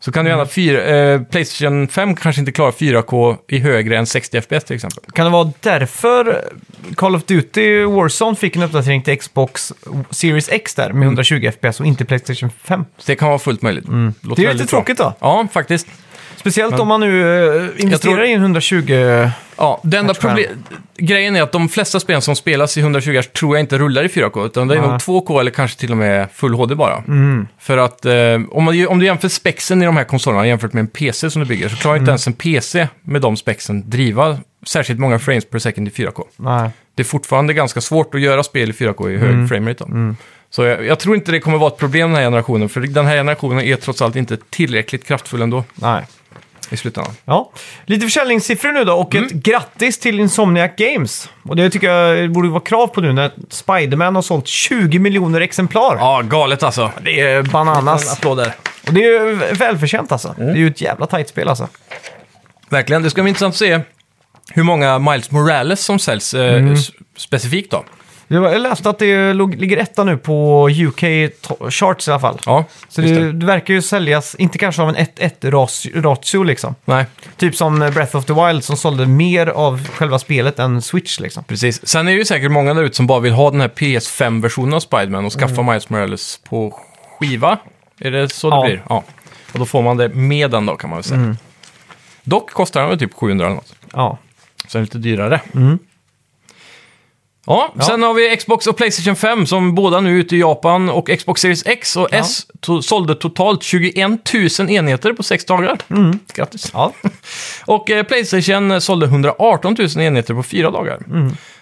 Speaker 2: Så kan du gärna
Speaker 1: Mm.
Speaker 2: fyra, eh, Playstation 5 kanske inte klarar 4K i högre än 60 FPS till exempel.
Speaker 1: Kan det vara därför Call of Duty Warzone fick en uppdatering till Xbox Series X där med 120 FPS och inte Playstation 5?
Speaker 2: Så Mm. det kan vara fullt möjligt. Låter
Speaker 1: Mm. Det är ju lite
Speaker 2: väldigt bra.
Speaker 1: tråkigt då.
Speaker 2: Ja, faktiskt.
Speaker 1: Speciellt om man nu eh, investerar
Speaker 2: tror-
Speaker 1: i en 120...
Speaker 2: Ja, det enda
Speaker 1: Jag tror
Speaker 2: proble- grejen är att de flesta spel som spelas i 120 Hz tror jag inte rullar i 4K, utan det är
Speaker 1: Nej. Mm.
Speaker 2: nog 2K eller kanske till och med full HD bara. För att eh, om, man, om du jämför spexen i de här konsolerna jämfört med en PC som du bygger, så klarar inte ens en PC med de spexen driva särskilt många frames per second i 4K.
Speaker 1: Nej.
Speaker 2: Det är fortfarande ganska svårt att göra spel i 4K i hög framerate. då. Så jag, jag tror inte det kommer vara ett problem den här generationen, för den här generationen är trots allt inte tillräckligt kraftfull ändå
Speaker 1: Nej.
Speaker 2: i slutändan.
Speaker 1: Ja. Lite försäljningssiffror nu då och ett
Speaker 2: Mm.
Speaker 1: grattis till Insomniac Games. Och det tycker jag borde vara krav på nu när Spiderman har sålt 20 miljoner exemplar.
Speaker 2: Ja, galet alltså.
Speaker 1: Det är bananas.
Speaker 2: Applåder.
Speaker 1: Och det är ju välförtjänt alltså.
Speaker 2: Mm.
Speaker 1: Det är ju ett jävla tajt spel alltså.
Speaker 2: Verkligen, det ska bli intressant att se hur många Miles Morales som säljs eh, s- specifikt då.
Speaker 1: Det var- Jag läste att det låg- ligger etta nu på UK to- charts i alla fall.
Speaker 2: Ja,
Speaker 1: Så
Speaker 2: just
Speaker 1: det, det verkar ju säljas, inte kanske av en 1-1-ratio liksom.
Speaker 2: Nej,
Speaker 1: Typ som Breath of the Wild som sålde mer av själva spelet än Switch liksom.
Speaker 2: precis. Sen är det ju säkert många där ute som bara vill ha den här PS5-versionen av Spiderman och skaffa Miles Morales på skiva. Är det så det
Speaker 1: Ja.
Speaker 2: blir? Ja. Och då får man det med den då kan man väl säga. Dock kostar den väl typ 700 eller något.
Speaker 1: Ja.
Speaker 2: Så den är lite dyrare. Ja, sen har vi Xbox och Playstation 5 som båda nu är ute i Japan och Xbox Series X och S to- sålde totalt 21 000 enheter på sex dagar. Grattis.
Speaker 1: ja.
Speaker 2: Och eh, Playstation sålde 118 000 enheter på fyra dagar.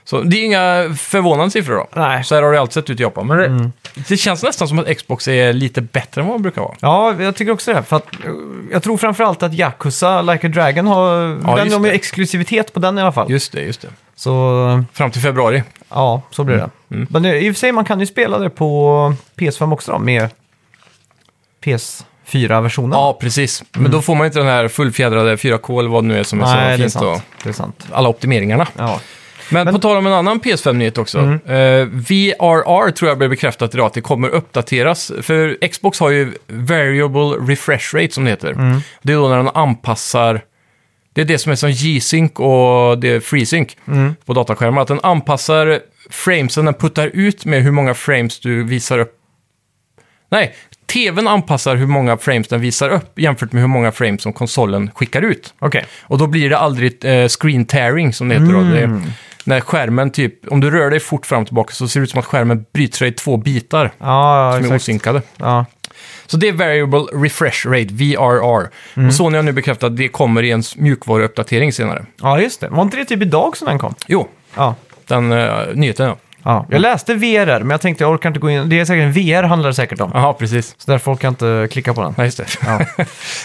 Speaker 2: Så det är inga förvånande siffror då.
Speaker 1: Mm. Nej. Mm.
Speaker 2: Så här har det alltid sett ut i Japan. Men det, det känns nästan som att Xbox är lite bättre än vad de brukar vara.
Speaker 1: Ja, jag tycker också det. För att, eh, jag tror framförallt att Yakuza, Like a Dragon, har, den
Speaker 2: just
Speaker 1: har ju
Speaker 2: det.
Speaker 1: exklusivitet på den i alla fall.
Speaker 2: Just det, just det.
Speaker 1: Så
Speaker 2: Fram till februari.
Speaker 1: ja, så blir
Speaker 2: Mm,
Speaker 1: det. Men det- i och för sig, man kan ju spela det på PS5 också då, med PS4-versionen.
Speaker 2: Ja, precis. Men då får man inte den här fullfjädrade 4K eller vad det nu är som är
Speaker 1: Mm. Nej,
Speaker 2: så
Speaker 1: det är
Speaker 2: fint då.
Speaker 1: sant. Det är sant.
Speaker 2: alla optimeringarna.
Speaker 1: Ja.
Speaker 2: Men, på tal om en annan PS5-nyhet också. Eh, VRR tror jag blev bekräftat idag att det kommer uppdateras. För Xbox har ju Variable Refresh Rate som det heter. Det är då när den anpassar... Det är det som är som G-Sync och det är FreeSync på dataskärmar. Att den anpassar framesen, den puttar ut med hur många frames du visar upp. Nej, TVn anpassar hur många frames den visar upp jämfört med hur många frames som konsolen skickar ut.
Speaker 1: Okej.
Speaker 2: Och då blir det aldrig eh, screen tearing som det heter. Då. Det
Speaker 1: Mm.
Speaker 2: är när skärmen typ, om du rör dig fort fram och tillbaka så ser det ut som att skärmen bryter sig i två bitar
Speaker 1: Ja, ja,
Speaker 2: som är
Speaker 1: exakt.
Speaker 2: osynkade.
Speaker 1: Ja.
Speaker 2: Så det är Variable Refresh Rate, VRR.
Speaker 1: Mm.
Speaker 2: Och Sony har nu bekräftat att det kommer i en s- mjukvaruuppdatering senare.
Speaker 1: ja, just det. Var inte det typ idag som den kom?
Speaker 2: Jo,
Speaker 1: Ja.
Speaker 2: den eh, nyheten ja.
Speaker 1: ja. Jag läste VRR, men jag tänkte jag orkar inte gå in. Det är säkert en VR handlar det säkert om.
Speaker 2: Jaha, precis.
Speaker 1: Så därför orkar jag inte klicka på den.
Speaker 2: Ja, just det.
Speaker 1: Ja.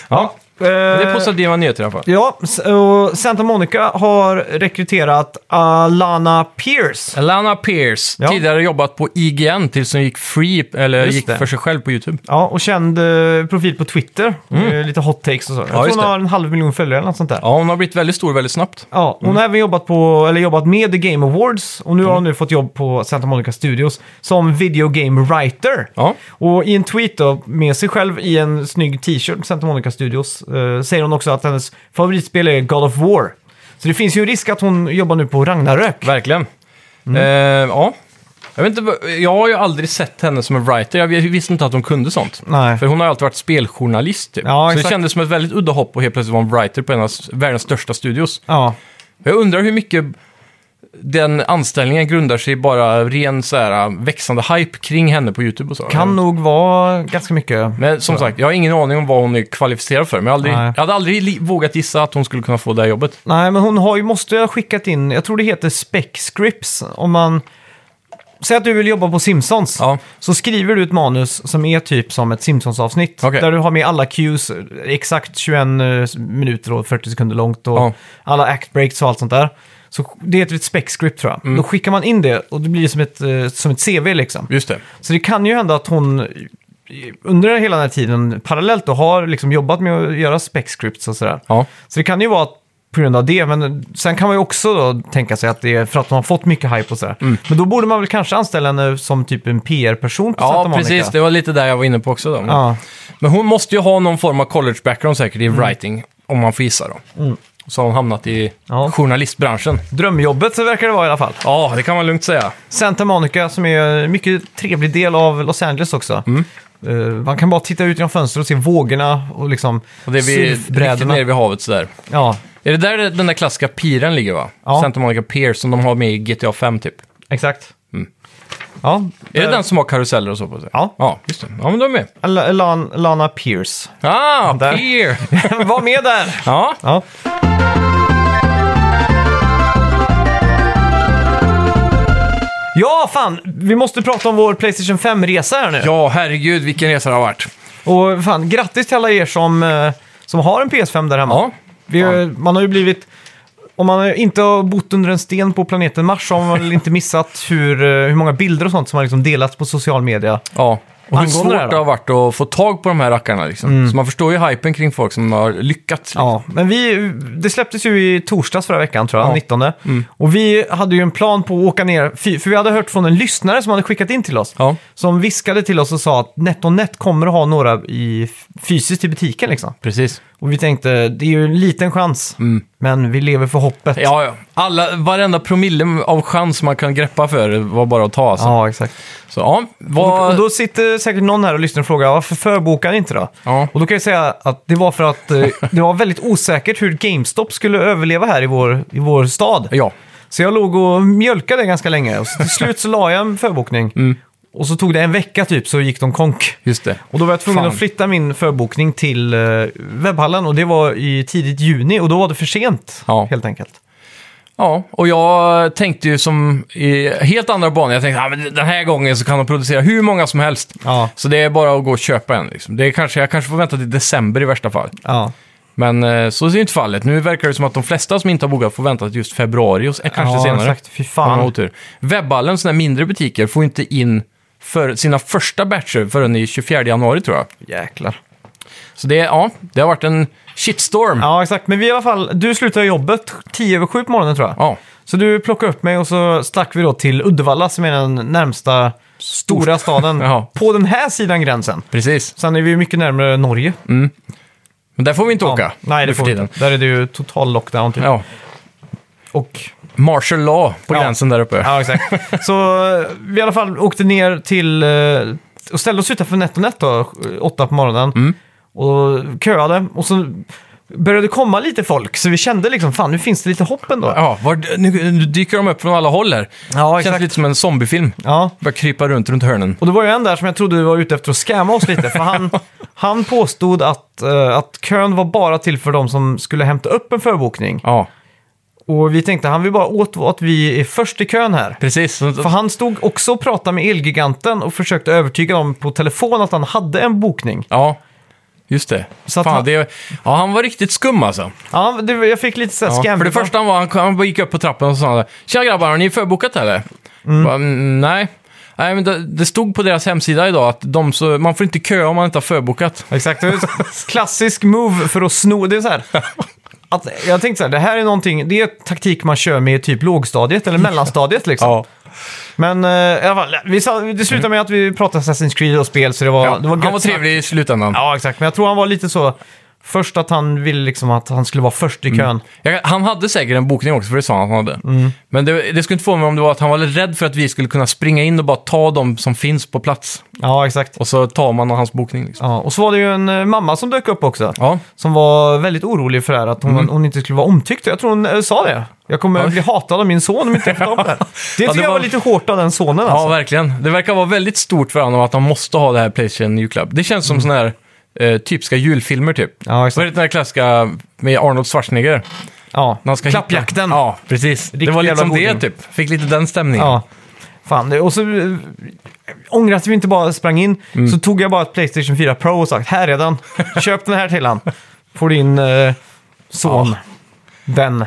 Speaker 2: ja. Det är
Speaker 1: Eh,
Speaker 2: positiva nyheter i alla fall.
Speaker 1: Ja, s- och Santa Monica har rekryterat Alana Pierce.
Speaker 2: Alana Pierce,
Speaker 1: Ja.
Speaker 2: tidigare jobbat på IGN tills hon gick free, eller
Speaker 1: Just
Speaker 2: gick
Speaker 1: det.
Speaker 2: för sig själv på YouTube.
Speaker 1: Ja, och känd eh, profil på Twitter. Eh, Lite hot takes och så. Jag tror
Speaker 2: Mm. just
Speaker 1: hon
Speaker 2: det.
Speaker 1: har en halv miljon följare eller något sånt där. Ja.
Speaker 2: Ja, hon har blivit väldigt stor väldigt snabbt.
Speaker 1: hon har även jobbat, på, eller jobbat med The Game Awards och nu har hon nu fått jobb på Santa Monica Studios som video game writer.
Speaker 2: Ja.
Speaker 1: Och i en tweet då, med sig själv i en snygg t-shirt på Santa Monica Studios, eh, säger hon också att hennes favoritspel är God of War. Så det finns ju en risk att hon jobbar nu på Ragnarök.
Speaker 2: Verkligen.
Speaker 1: Mm.
Speaker 2: Eh, ja. Jag, vet inte, vad- jag har ju aldrig sett henne som en writer. Jag visste inte att hon kunde sånt.
Speaker 1: Nej.
Speaker 2: För hon har ju alltid varit speljournalist. Typ.
Speaker 1: Ja,
Speaker 2: så det
Speaker 1: exakt.
Speaker 2: kändes som ett väldigt udda hopp och helt plötsligt vara en writer på en av s- världens största studios.
Speaker 1: Ja,
Speaker 2: Jag undrar hur mycket den anställningen grundar sig i bara ren så här, äh, växande hype kring henne på YouTube och så.
Speaker 1: kan nog vara ganska mycket.
Speaker 2: Men som sagt, jag har ingen aning om vad hon är kvalificerad för. Men jag, har aldrig,
Speaker 1: Nej.
Speaker 2: jag hade aldrig li- vågat gissa att hon skulle kunna få det här jobbet.
Speaker 1: Nej, men hon har ju, måste ha skickat in, jag tror det heter spec scripts. Om man, säg att du vill jobba på Simpsons.
Speaker 2: Ja.
Speaker 1: Så skriver du ett manus som är typ som ett Simpsons-avsnitt.
Speaker 2: Okej.
Speaker 1: Där du har med alla cues, exakt 21 minuter och 40 sekunder långt. Och
Speaker 2: Ja.
Speaker 1: alla act breaks och allt sånt där. Så det heter ett spec script tror jag.
Speaker 2: Mm.
Speaker 1: Då skickar man in det och det blir som ett, eh, som ett CV liksom.
Speaker 2: Just det.
Speaker 1: Så det kan ju hända att hon i- under hela den här tiden parallellt då har liksom jobbat med att göra spec scripts och sådär.
Speaker 2: Ja.
Speaker 1: Så det kan ju vara att på grund av det, men sen kan man ju också då tänka sig att det är för att de har fått mycket hype och sådär.
Speaker 2: Mm.
Speaker 1: Men då borde man väl kanske anställa henne som typ en PR-person på Santa
Speaker 2: Ja,
Speaker 1: Monica.
Speaker 2: precis. Det var lite där jag var inne på också. Då.
Speaker 1: Ja,
Speaker 2: Men hon måste ju ha någon form av college-background säkert i
Speaker 1: Mm.
Speaker 2: writing, om man får gissa då. Så har hon hamnat i
Speaker 1: Ja.
Speaker 2: journalistbranschen.
Speaker 1: Drömjobbet så verkar det vara i alla fall.
Speaker 2: Ja, det kan man lugnt säga.
Speaker 1: Santa Monica som är en mycket trevlig del av Los Angeles också.
Speaker 2: Mm.
Speaker 1: Eh, man kan bara titta ut genom fönstret och se vågorna och liksom
Speaker 2: Och det är vid, riktigt
Speaker 1: surfbrädorna.
Speaker 2: nere vid havet sådär.
Speaker 1: Ja,
Speaker 2: Är det där den där klassiska piren ligger va?
Speaker 1: Ja.
Speaker 2: Santa Monica Pier som de har med i GTA 5 typ.
Speaker 1: exakt. Ja,
Speaker 2: Är
Speaker 1: eh,
Speaker 2: det den som har karuseller och så på sig?
Speaker 1: Ja.
Speaker 2: Ja, just det. Ja, men de är med.
Speaker 1: La- Lan- Lana Pierce.
Speaker 2: Ah,
Speaker 1: Där.
Speaker 2: Pier!
Speaker 1: Var med där!
Speaker 2: Ja,
Speaker 1: Ja. Ja, fan! Vi måste prata om vår Playstation 5-resa här nu.
Speaker 2: ja herregud vilken resa det har varit.
Speaker 1: Och fan, grattis till alla er som, eh, som har en PS5 där hemma.
Speaker 2: Ja.
Speaker 1: Vi, har- Man har ju blivit... Om man inte har bott under en sten på planeten Mars så har man väl inte missat hur, eh, hur många bilder och sånt som har liksom delats på social media.
Speaker 2: Ja. Och hur
Speaker 1: Angående
Speaker 2: svårt
Speaker 1: det här då? Mm.
Speaker 2: det har varit att få tag på de här rackarna liksom. Så man förstår ju hypen kring folk som har lyckats. liksom.
Speaker 1: Ja, men vi, det släpptes ju i torsdags förra veckan tror jag,
Speaker 2: Ja. Mm.
Speaker 1: 19. Och vi hade ju en plan på att åka ner, fy- för vi hade hört från en lyssnare som hade skickat in till oss.
Speaker 2: Ja.
Speaker 1: Som viskade till oss och sa att NetOnNet kommer att ha några i, fysiskt i butiken liksom.
Speaker 2: Precis.
Speaker 1: Och vi tänkte, det är ju en liten chans, men vi lever för hoppet.
Speaker 2: Mm. Ja, ja. Alla, varenda promille av chans man kan greppa för var bara att ta alltså.
Speaker 1: Ja, exakt.
Speaker 2: Så ja,
Speaker 1: Och,
Speaker 2: vad...
Speaker 1: och då sitter säkert någon här och lyssnar och frågar varför förbokar ni inte då?
Speaker 2: Ja.
Speaker 1: Och då kan jag säga att det var för att eh, det var väldigt osäkert hur GameStop skulle överleva här i vår, i vår stad.
Speaker 2: ja.
Speaker 1: Så jag låg och mjölkade ganska länge och så till slut så la jag en förbokning.
Speaker 2: Mm.
Speaker 1: Och så tog det en vecka typ så gick de konk.
Speaker 2: Just det.
Speaker 1: Och då var jag tvungen
Speaker 2: Fan.
Speaker 1: att flytta min förbokning till eh, webbhallen och det var i tidigt juni och då var det för sent
Speaker 2: Ja.
Speaker 1: helt enkelt.
Speaker 2: Ja, och jag tänkte ju som i helt andra banor. Jag tänkte att ah, men den här gången så kan de producera hur många som helst.
Speaker 1: Ja.
Speaker 2: Så det är bara att gå och köpa en. Liksom. Det är kanske, jag kanske får vänta till december i värsta fall.
Speaker 1: Ja.
Speaker 2: Men eh, så ser ju inte fallet. Nu verkar det som att de flesta som inte har bokat får vänta till just februari och s- eh, kanske
Speaker 1: ja,
Speaker 2: senare.
Speaker 1: Exakt. Fy
Speaker 2: Om man har
Speaker 1: fan.
Speaker 2: otur. Webhallen, sådana här mindre butiker, får inte in för sina första batcher förrän i 24 januari tror jag.
Speaker 1: Jäklar.
Speaker 2: Så det, är- ja, det har varit en shitstorm.
Speaker 1: Ja, exakt. Men vi i alla fall, du slutade jobbet 10 över 7 på morgonen tror jag.
Speaker 2: Ja.
Speaker 1: Så du plockade upp mig och så stack vi då till Uddevalla som är den närmsta stora staden
Speaker 2: Ja.
Speaker 1: på den här sidan gränsen.
Speaker 2: precis.
Speaker 1: Sen är vi ju mycket närmare Norge.
Speaker 2: Men där får vi inte
Speaker 1: Ja.
Speaker 2: åka.
Speaker 1: Nej, det
Speaker 2: nu för
Speaker 1: får vi
Speaker 2: tiden.
Speaker 1: inte. Där är det ju total lockdown typ.
Speaker 2: Ja.
Speaker 1: Och,
Speaker 2: Martial law på
Speaker 1: Ja.
Speaker 2: gränsen där uppe.
Speaker 1: ja, exakt. så eh, vi i alla fall åkte ner till eh, och ställde oss utanför NetOnNet då, eh, åtta på morgonen.
Speaker 2: Mm.
Speaker 1: Och köade. Och så började det komma lite folk, så vi kände liksom fan nu finns det lite hopp ändå.
Speaker 2: Ja, var, nu, nu dyker de upp från alla håll här.
Speaker 1: Ja,
Speaker 2: Känns
Speaker 1: exakt.
Speaker 2: lite som en zombiefilm.
Speaker 1: Ja.
Speaker 2: Bara krypa runt runt hörnen.
Speaker 1: Och det var ju en där som jag trodde var ute efter att skämma oss lite, för han, han påstod att, eh, att kön var bara till för de som skulle hämta upp en förbokning.
Speaker 2: Ja,
Speaker 1: Och vi tänkte, han vill bara åt att vi är först i kön här.
Speaker 2: precis.
Speaker 1: För han stod också och pratade med Elgiganten och försökte övertyga dem på telefon att han hade en bokning.
Speaker 2: Ja, just det.
Speaker 1: Så att
Speaker 2: Fan,
Speaker 1: han-
Speaker 2: det. Ja, han var riktigt skum alltså.
Speaker 1: Ja, det, jag fick lite såhär
Speaker 2: Ja,
Speaker 1: skam.
Speaker 2: för det första han var, han, han gick upp på trappen och sa Tja grabbar, har ni förbokat eller? Bara, "Mm, nej. Nej, men det, det stod på deras hemsida idag att de så, man får inte köa om man inte har förbokat.
Speaker 1: Exakt, det är en klassisk move för att sno. Det är så här. Att jag tänkte så här, det här är någonting, det är taktik man kör med i typ lågstadiet eller mellanstadiet liksom. Men eh, i alla fall, vi sa, det slutade med att vi pratade Assassin's Creed och spel, så det var,
Speaker 2: Ja,
Speaker 1: det var gött
Speaker 2: han var
Speaker 1: snack.
Speaker 2: trevlig i slutändan.
Speaker 1: Ja, exakt. Men jag tror han var lite så, först att han ville liksom att han skulle vara först
Speaker 2: Mm.
Speaker 1: i kön.
Speaker 2: Jag, han hade säkert en bokning också, för det sa han att han hade.
Speaker 1: Mm.
Speaker 2: Men det, det skulle inte få mig om det var att han var rädd för att vi skulle kunna springa in och bara ta de som finns på plats.
Speaker 1: Ja, exakt.
Speaker 2: Och så tar man hans bokning. Liksom.
Speaker 1: Ja, och så var det ju en eh, mamma som dök upp också.
Speaker 2: Ja.
Speaker 1: Som var väldigt orolig för det här, att
Speaker 2: Mm.
Speaker 1: hon, hon inte skulle vara omtyckt. Jag tror hon eh, sa det. Jag kommer
Speaker 2: Ja.
Speaker 1: bli hatad av min son om inte jag får ta upp det här. Det tycker
Speaker 2: det
Speaker 1: jag
Speaker 2: var-
Speaker 1: var lite hårt av den sonen alltså.
Speaker 2: ja, verkligen. Det verkar vara väldigt stort för honom att han måste ha det här Playstation julklapp. Det känns som sån här eh, typiska julfilmer typ.
Speaker 1: Mm. Ja,
Speaker 2: Vad är
Speaker 1: exakt.
Speaker 2: det den här klassiska med Arnold Schwarzenegger?
Speaker 1: Ja.
Speaker 2: När han ska hitta-
Speaker 1: Klappjakten.
Speaker 2: Ja, precis. det
Speaker 1: Riktig
Speaker 2: var lite
Speaker 1: jävla
Speaker 2: som det
Speaker 1: goding.
Speaker 2: typ. Fick lite den stämningen.
Speaker 1: Ja. Fan, det- och så eh, ångrar att vi inte bara sprang in.
Speaker 2: Mm.
Speaker 1: Så tog jag bara ett Playstation 4 Pro och sagt, här är den. Köp den här till han. Får din eh, son. Den.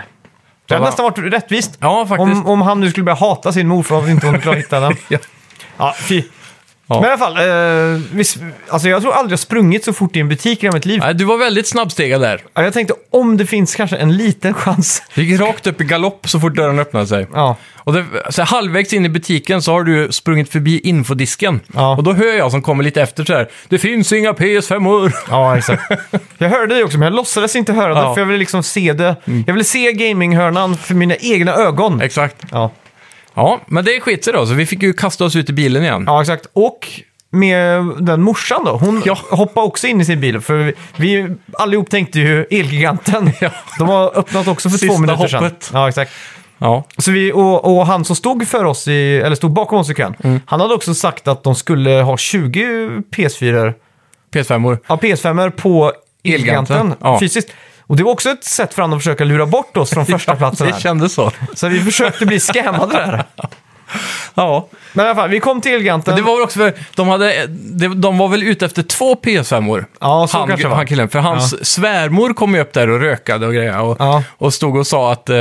Speaker 1: Det hade
Speaker 2: Ja.
Speaker 1: nästan varit rättvist.
Speaker 2: Ja, faktiskt.
Speaker 1: Om, om han nu skulle börja hata sin mor för att inte hon klarade att hitta den.
Speaker 2: Ja.
Speaker 1: Ja, fy.
Speaker 2: Ja.
Speaker 1: Men i alla fall, eh, visst, alltså jag tror aldrig jag sprungit så fort i en butik i hela mitt liv.
Speaker 2: Nej, du var väldigt snabbstegad där.
Speaker 1: Ja, Jag tänkte om det finns kanske en liten chans.
Speaker 2: Du gick rakt upp i galopp så fort dörren öppnade sig.
Speaker 1: Ja,
Speaker 2: Och det, så här, halvvägs in i butiken så har du sprungit förbi infodisken.
Speaker 1: Ja.
Speaker 2: Och då hör jag som kommer lite efter så här. Det finns inga PS5-or.
Speaker 1: ja exakt. jag hörde det också, men jag låtsades inte höra det,
Speaker 2: Ja. Mm.
Speaker 1: för jag ville liksom se det. Jag ville se gaminghörnan för mina egna ögon.
Speaker 2: Exakt.
Speaker 1: Ja.
Speaker 2: Ja, men det skit sig då. Så vi fick ju kasta oss ut i bilen igen.
Speaker 1: ja, exakt. Och med den morsan då, hon
Speaker 2: Ja.
Speaker 1: hoppade också in i sin bil. För vi, vi allihop tänkte ju Elgiganten.
Speaker 2: Ja.
Speaker 1: De har öppnat också för två
Speaker 2: Sista
Speaker 1: minuter sedan.
Speaker 2: hoppet.
Speaker 1: Ja, exakt.
Speaker 2: Ja.
Speaker 1: Så vi, och, och han som stod för oss, i, eller stod bakom oss i kön,
Speaker 2: Mm.
Speaker 1: han hade också sagt att de skulle ha 20 PS4,
Speaker 2: PS5-or.
Speaker 1: ja, PS5 på
Speaker 2: Elgiganten,
Speaker 1: Elgiganten
Speaker 2: ja.
Speaker 1: fysiskt. Och det var också ett sätt för honom att försöka lura bort oss från första platsen
Speaker 2: Det
Speaker 1: här.
Speaker 2: kändes så.
Speaker 1: Så vi försökte bli scammade där.
Speaker 2: Ja.
Speaker 1: Men i alla fall, vi kom till Elgiganten.
Speaker 2: Det var väl också för, de, hade, de, de var väl ute efter två PS5-or.
Speaker 1: Ja, så
Speaker 2: han,
Speaker 1: kanske det var.
Speaker 2: han killen. För hans svärmor kom ju upp där och rökade och grejer. Och,
Speaker 1: Ja.
Speaker 2: och stod och sa att eh,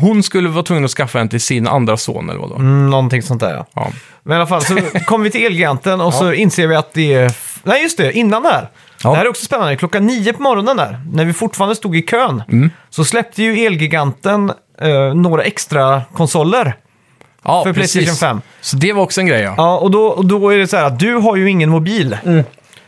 Speaker 2: hon skulle vara tvungen att skaffa en till sin andra son eller vad då.
Speaker 1: Mm, någonting sånt där ja.
Speaker 2: Ja.
Speaker 1: Men i alla fall så kom vi till Elgiganten och så inser vi att det är... Nej, just det, innan där.
Speaker 2: Ja.
Speaker 1: Det här är också spännande. Klockan nio på morgonen där, när vi fortfarande stod i kön,
Speaker 2: Mm.
Speaker 1: så släppte ju Elgiganten eh, några extra konsoler.
Speaker 2: Ja,
Speaker 1: För
Speaker 2: precis.
Speaker 1: PlayStation 5.
Speaker 2: Så det var också en grej ja.
Speaker 1: Ja, och då, och då är det så här att du har ju ingen mobil.
Speaker 2: Mm.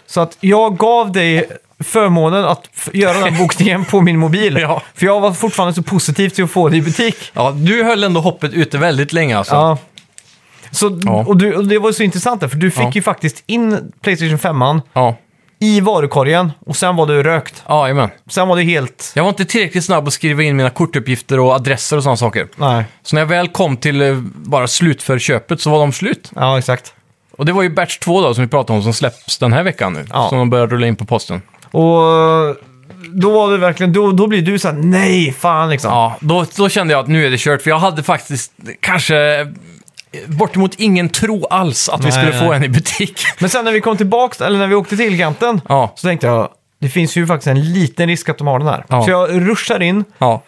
Speaker 1: Så att jag gav dig förmånen att f- göra den här bokningen på min mobil.
Speaker 2: Ja.
Speaker 1: För jag var fortfarande så positiv till att få det i butik.
Speaker 2: ja. Du höll ändå hoppet ute väldigt länge alltså.
Speaker 1: Ja. Så,
Speaker 2: Ja.
Speaker 1: Och, du, och det var ju så intressant där, för du fick
Speaker 2: Ja.
Speaker 1: ju faktiskt in Playstation 5
Speaker 2: Ja,
Speaker 1: i varukorgen och sen var det rökt.
Speaker 2: ja jajamän.
Speaker 1: Sen var det helt...
Speaker 2: Jag var inte tillräckligt snabb att skriva in mina kortuppgifter och adresser och sådana saker.
Speaker 1: Nej,
Speaker 2: Så när jag väl kom till eh, bara slutför köpet så var de slut.
Speaker 1: ja exakt.
Speaker 2: Och det var ju Batch 2 då, som vi pratade om, som släpps den här veckan nu.
Speaker 1: Ja.
Speaker 2: Som de börjar rulla in på posten.
Speaker 1: Och eh, då var det verkligen, då, då blir du så här, nej, fan liksom.
Speaker 2: Ja, då, då kände jag att nu är det kört, för jag hade faktiskt kanske eh, bortemot ingen tro alls att vi
Speaker 1: Nej,
Speaker 2: skulle få
Speaker 1: nej.
Speaker 2: en i butik.
Speaker 1: Men sen när vi kom tillbaka, eller när vi åkte till Elgiganten,
Speaker 2: Ja.
Speaker 1: så tänkte jag, det finns ju faktiskt en liten risk att de har den här.
Speaker 2: Ja.
Speaker 1: Så jag ruschar in,
Speaker 2: Ja,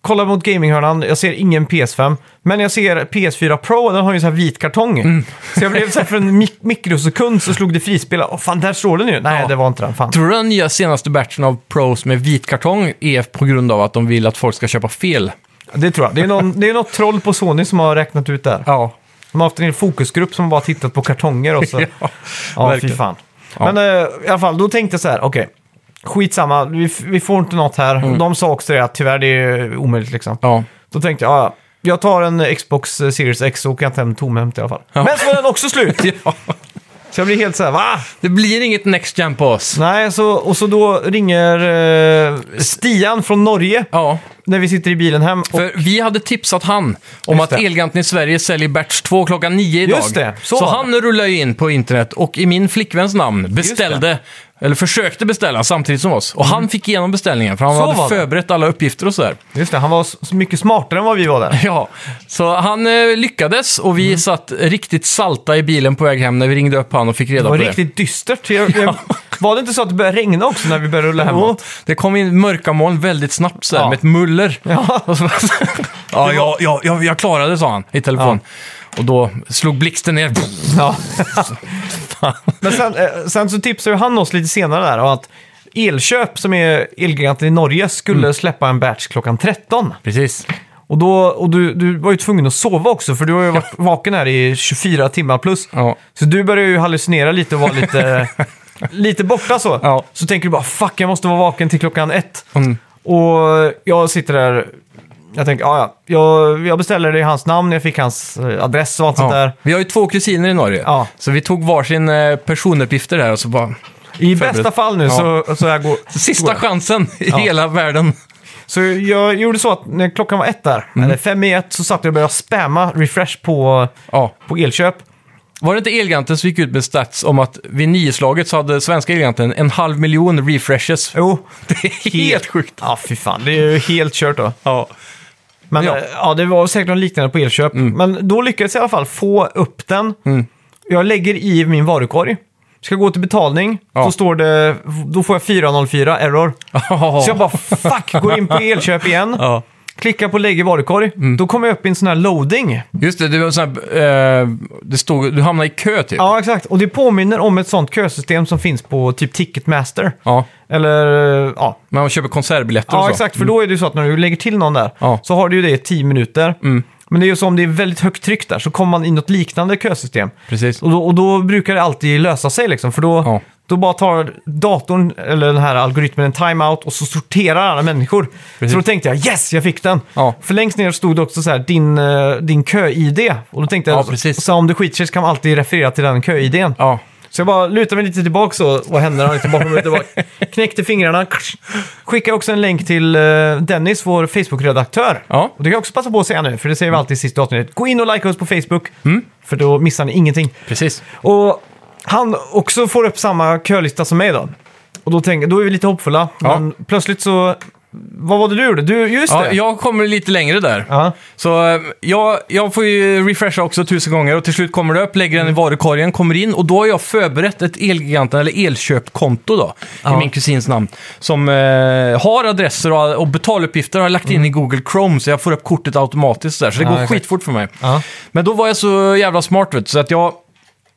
Speaker 1: kollar mot gaminghörnan, jag ser ingen PS5, men jag ser PS4 Pro, den har ju så här vit kartong.
Speaker 2: Mm.
Speaker 1: Så jag blev så här, för en mik- mikrosekund så slog det frispel, åh fan, där står den ju. Nej,
Speaker 2: Ja.
Speaker 1: det var inte den, fan.
Speaker 2: tror du den nya senaste batchen av Pros med vit kartong är på grund av att de vill att folk ska köpa fel?
Speaker 1: Det tror jag. Det är, någon, det är något troll på Sony som har räknat ut det här.
Speaker 2: Ja.
Speaker 1: De har haft en hel fokusgrupp som bara tittat på kartonger och så.
Speaker 2: Ja,
Speaker 1: Ja, fy
Speaker 2: verkligen.
Speaker 1: fan. Men eh, i alla fall, då tänkte jag så här, okej. skitsamma, vi, f- vi får inte något här. De sa också det, att tyvärr det är omöjligt liksom.
Speaker 2: Mm. Ja.
Speaker 1: Då tänkte jag, ja, ja, jag tar en Xbox Series X och åker inte hem tomhänt i alla fall. Men så var den också slut!
Speaker 2: ja.
Speaker 1: Så jag blir helt så här, va?
Speaker 2: Det blir inget next gen på oss.
Speaker 1: Nej, så, och så då ringer eh, Stian från Norge
Speaker 2: Ja,
Speaker 1: när vi sitter i bilen hem. Och,
Speaker 2: för vi hade tipsat han om
Speaker 1: Just
Speaker 2: att
Speaker 1: det.
Speaker 2: Elganten i Sverige säljer Batch 2 klockan 9 idag.
Speaker 1: Just det,
Speaker 2: så
Speaker 1: så var
Speaker 2: han rullade ju in på internet och i min flickväns namn beställde, eller försökte beställa samtidigt som oss. Och han fick igenom beställningen för han
Speaker 1: Mm. Så
Speaker 2: hade
Speaker 1: var det.
Speaker 2: förberett alla uppgifter och sådär.
Speaker 1: just det, han var så så mycket smartare än vad vi var där.
Speaker 2: Ja, så han eh, lyckades och vi
Speaker 1: Mm.
Speaker 2: satt riktigt salta i bilen på väg hem när vi ringde upp han och fick reda
Speaker 1: Det var
Speaker 2: på det.
Speaker 1: riktigt dystert. Jag, jag, var det inte så att det började regna också när vi började rulla
Speaker 2: Jo,
Speaker 1: hemåt?
Speaker 2: det kom in mörka moln väldigt snabbt sådär,
Speaker 1: Ja.
Speaker 2: med ett muller.
Speaker 1: Ja.
Speaker 2: Och så, ja, jag, jag, jag, jag klarade det, sa han i telefon. Och då slog blixten ner.
Speaker 1: Ja. Men sen, eh, sen så tipsade ju han oss lite senare där om att Elköp, som är Elgiganten i Norge, skulle
Speaker 2: Mm.
Speaker 1: släppa en batch klockan 13.
Speaker 2: Precis.
Speaker 1: Och, då, och du, du var ju tvungen att sova också, för du har ju varit vaken här i 24 timmar plus.
Speaker 2: Ja.
Speaker 1: Så du började ju hallucinera lite och vara lite, lite borta så.
Speaker 2: Ja.
Speaker 1: Så tänker du bara fuck, jag måste vara vaken till klockan ett.
Speaker 2: Mm.
Speaker 1: Och jag sitter där, jag tänker, "Ja, ja, jag, jag beställer det i hans namn, jag fick hans eh, adress och allt sånt
Speaker 2: Ja.
Speaker 1: där.
Speaker 2: Vi har ju två kusiner i Norge,
Speaker 1: Ja.
Speaker 2: så vi tog varsin eh, personuppgifter där och så bara...
Speaker 1: I
Speaker 2: Förberett.
Speaker 1: bästa fall nu så, så jag går...
Speaker 2: Sista
Speaker 1: går.
Speaker 2: chansen i hela världen.
Speaker 1: Så jag gjorde så att när klockan var ett där,
Speaker 2: Mm.
Speaker 1: eller fem i ett, så satt jag och började spamma refresh på,
Speaker 2: Ja.
Speaker 1: på elköp.
Speaker 2: Var det inte Elganten som gick ut med stats om att vid nioslaget så hade svenska Elganten en halv miljon refreshes?
Speaker 1: Jo,
Speaker 2: Det är helt sjukt.
Speaker 1: Ja, fy fan. Det är ju helt kört då.
Speaker 2: Ja.
Speaker 1: Men
Speaker 2: Ja. Mm.
Speaker 1: ja, ja det var säkert något liknande på elköp. Men då lyckades jag i alla fall få upp den. Jag lägger i min varukorg. Ska gå till betalning,
Speaker 2: Ja.
Speaker 1: så står det, då får jag 404 error. Så jag bara fuck, går in på elköp igen.
Speaker 2: Ja.
Speaker 1: klickar på lägg i varukorg,
Speaker 2: Mm.
Speaker 1: då kommer jag upp i en sån här loading.
Speaker 2: Just det, det, var en sån här, eh, det stod, du hamnade i kö typ.
Speaker 1: Ja, exakt. Och det påminner om ett sånt kösystem som finns på typ Ticketmaster.
Speaker 2: Ja.
Speaker 1: Eller, eh, ja.
Speaker 2: Men man köper konsertbiljetter och
Speaker 1: Ja,
Speaker 2: så. Mm.
Speaker 1: exakt. För då är det ju så att när du lägger till någon där
Speaker 2: Ja. Mm.
Speaker 1: så har du ju det i 10 minuter. Men det är ju så om det är väldigt högt tryck där så kommer man i något liknande kösystem.
Speaker 2: Precis.
Speaker 1: Och då, och då brukar det alltid lösa sig liksom, för då,
Speaker 2: Ja.
Speaker 1: då bara tar datorn, eller den här algoritmen, en timeout och så sorterar alla människor.
Speaker 2: Precis.
Speaker 1: Så då tänkte jag yes, jag fick den!
Speaker 2: Ja.
Speaker 1: För längst ner stod det också så här, din, eh, din kö-id. Och då tänkte jag,
Speaker 2: Ja, precis.
Speaker 1: så om det skiter sig så kan man alltid referera till den kö-idén.
Speaker 2: Ja.
Speaker 1: Så jag bara lutar mig lite tillbaka så, och händerna lite bakom mig tillbaka. Knäckte fingrarna. Skickade också en länk till eh, Dennis, vår Facebook-redaktör.
Speaker 2: Ja.
Speaker 1: Och det kan jag också passa på att säga nu, för det säger vi alltid i sista avsnittet. Gå in och like oss på Facebook,
Speaker 2: Mm.
Speaker 1: för då missar ni ingenting.
Speaker 2: Precis.
Speaker 1: Och han också får upp samma kölista som mig då. Och då, tänker, då är vi lite hoppfulla.
Speaker 2: Ja.
Speaker 1: Men plötsligt så... Vad var det du gjorde? Du, just
Speaker 2: Ja,
Speaker 1: det!
Speaker 2: jag kommer lite längre där.
Speaker 1: Ja.
Speaker 2: Så eh, jag, jag får ju refresha också tusen gånger och till slut kommer det upp, lägger den i varukorgen, kommer in och då har jag förberett ett Elgiganten eller Elköp-konto då, i min kusins namn. Som eh, har adresser och, och betaluppgifter har jag lagt in i Google Chrome så jag får upp kortet automatiskt där. Så det
Speaker 1: Mm. Ja,
Speaker 2: går
Speaker 1: exakt.
Speaker 2: skitfort för mig.
Speaker 1: Ja.
Speaker 2: Men då var jag så jävla smart vet du, så att jag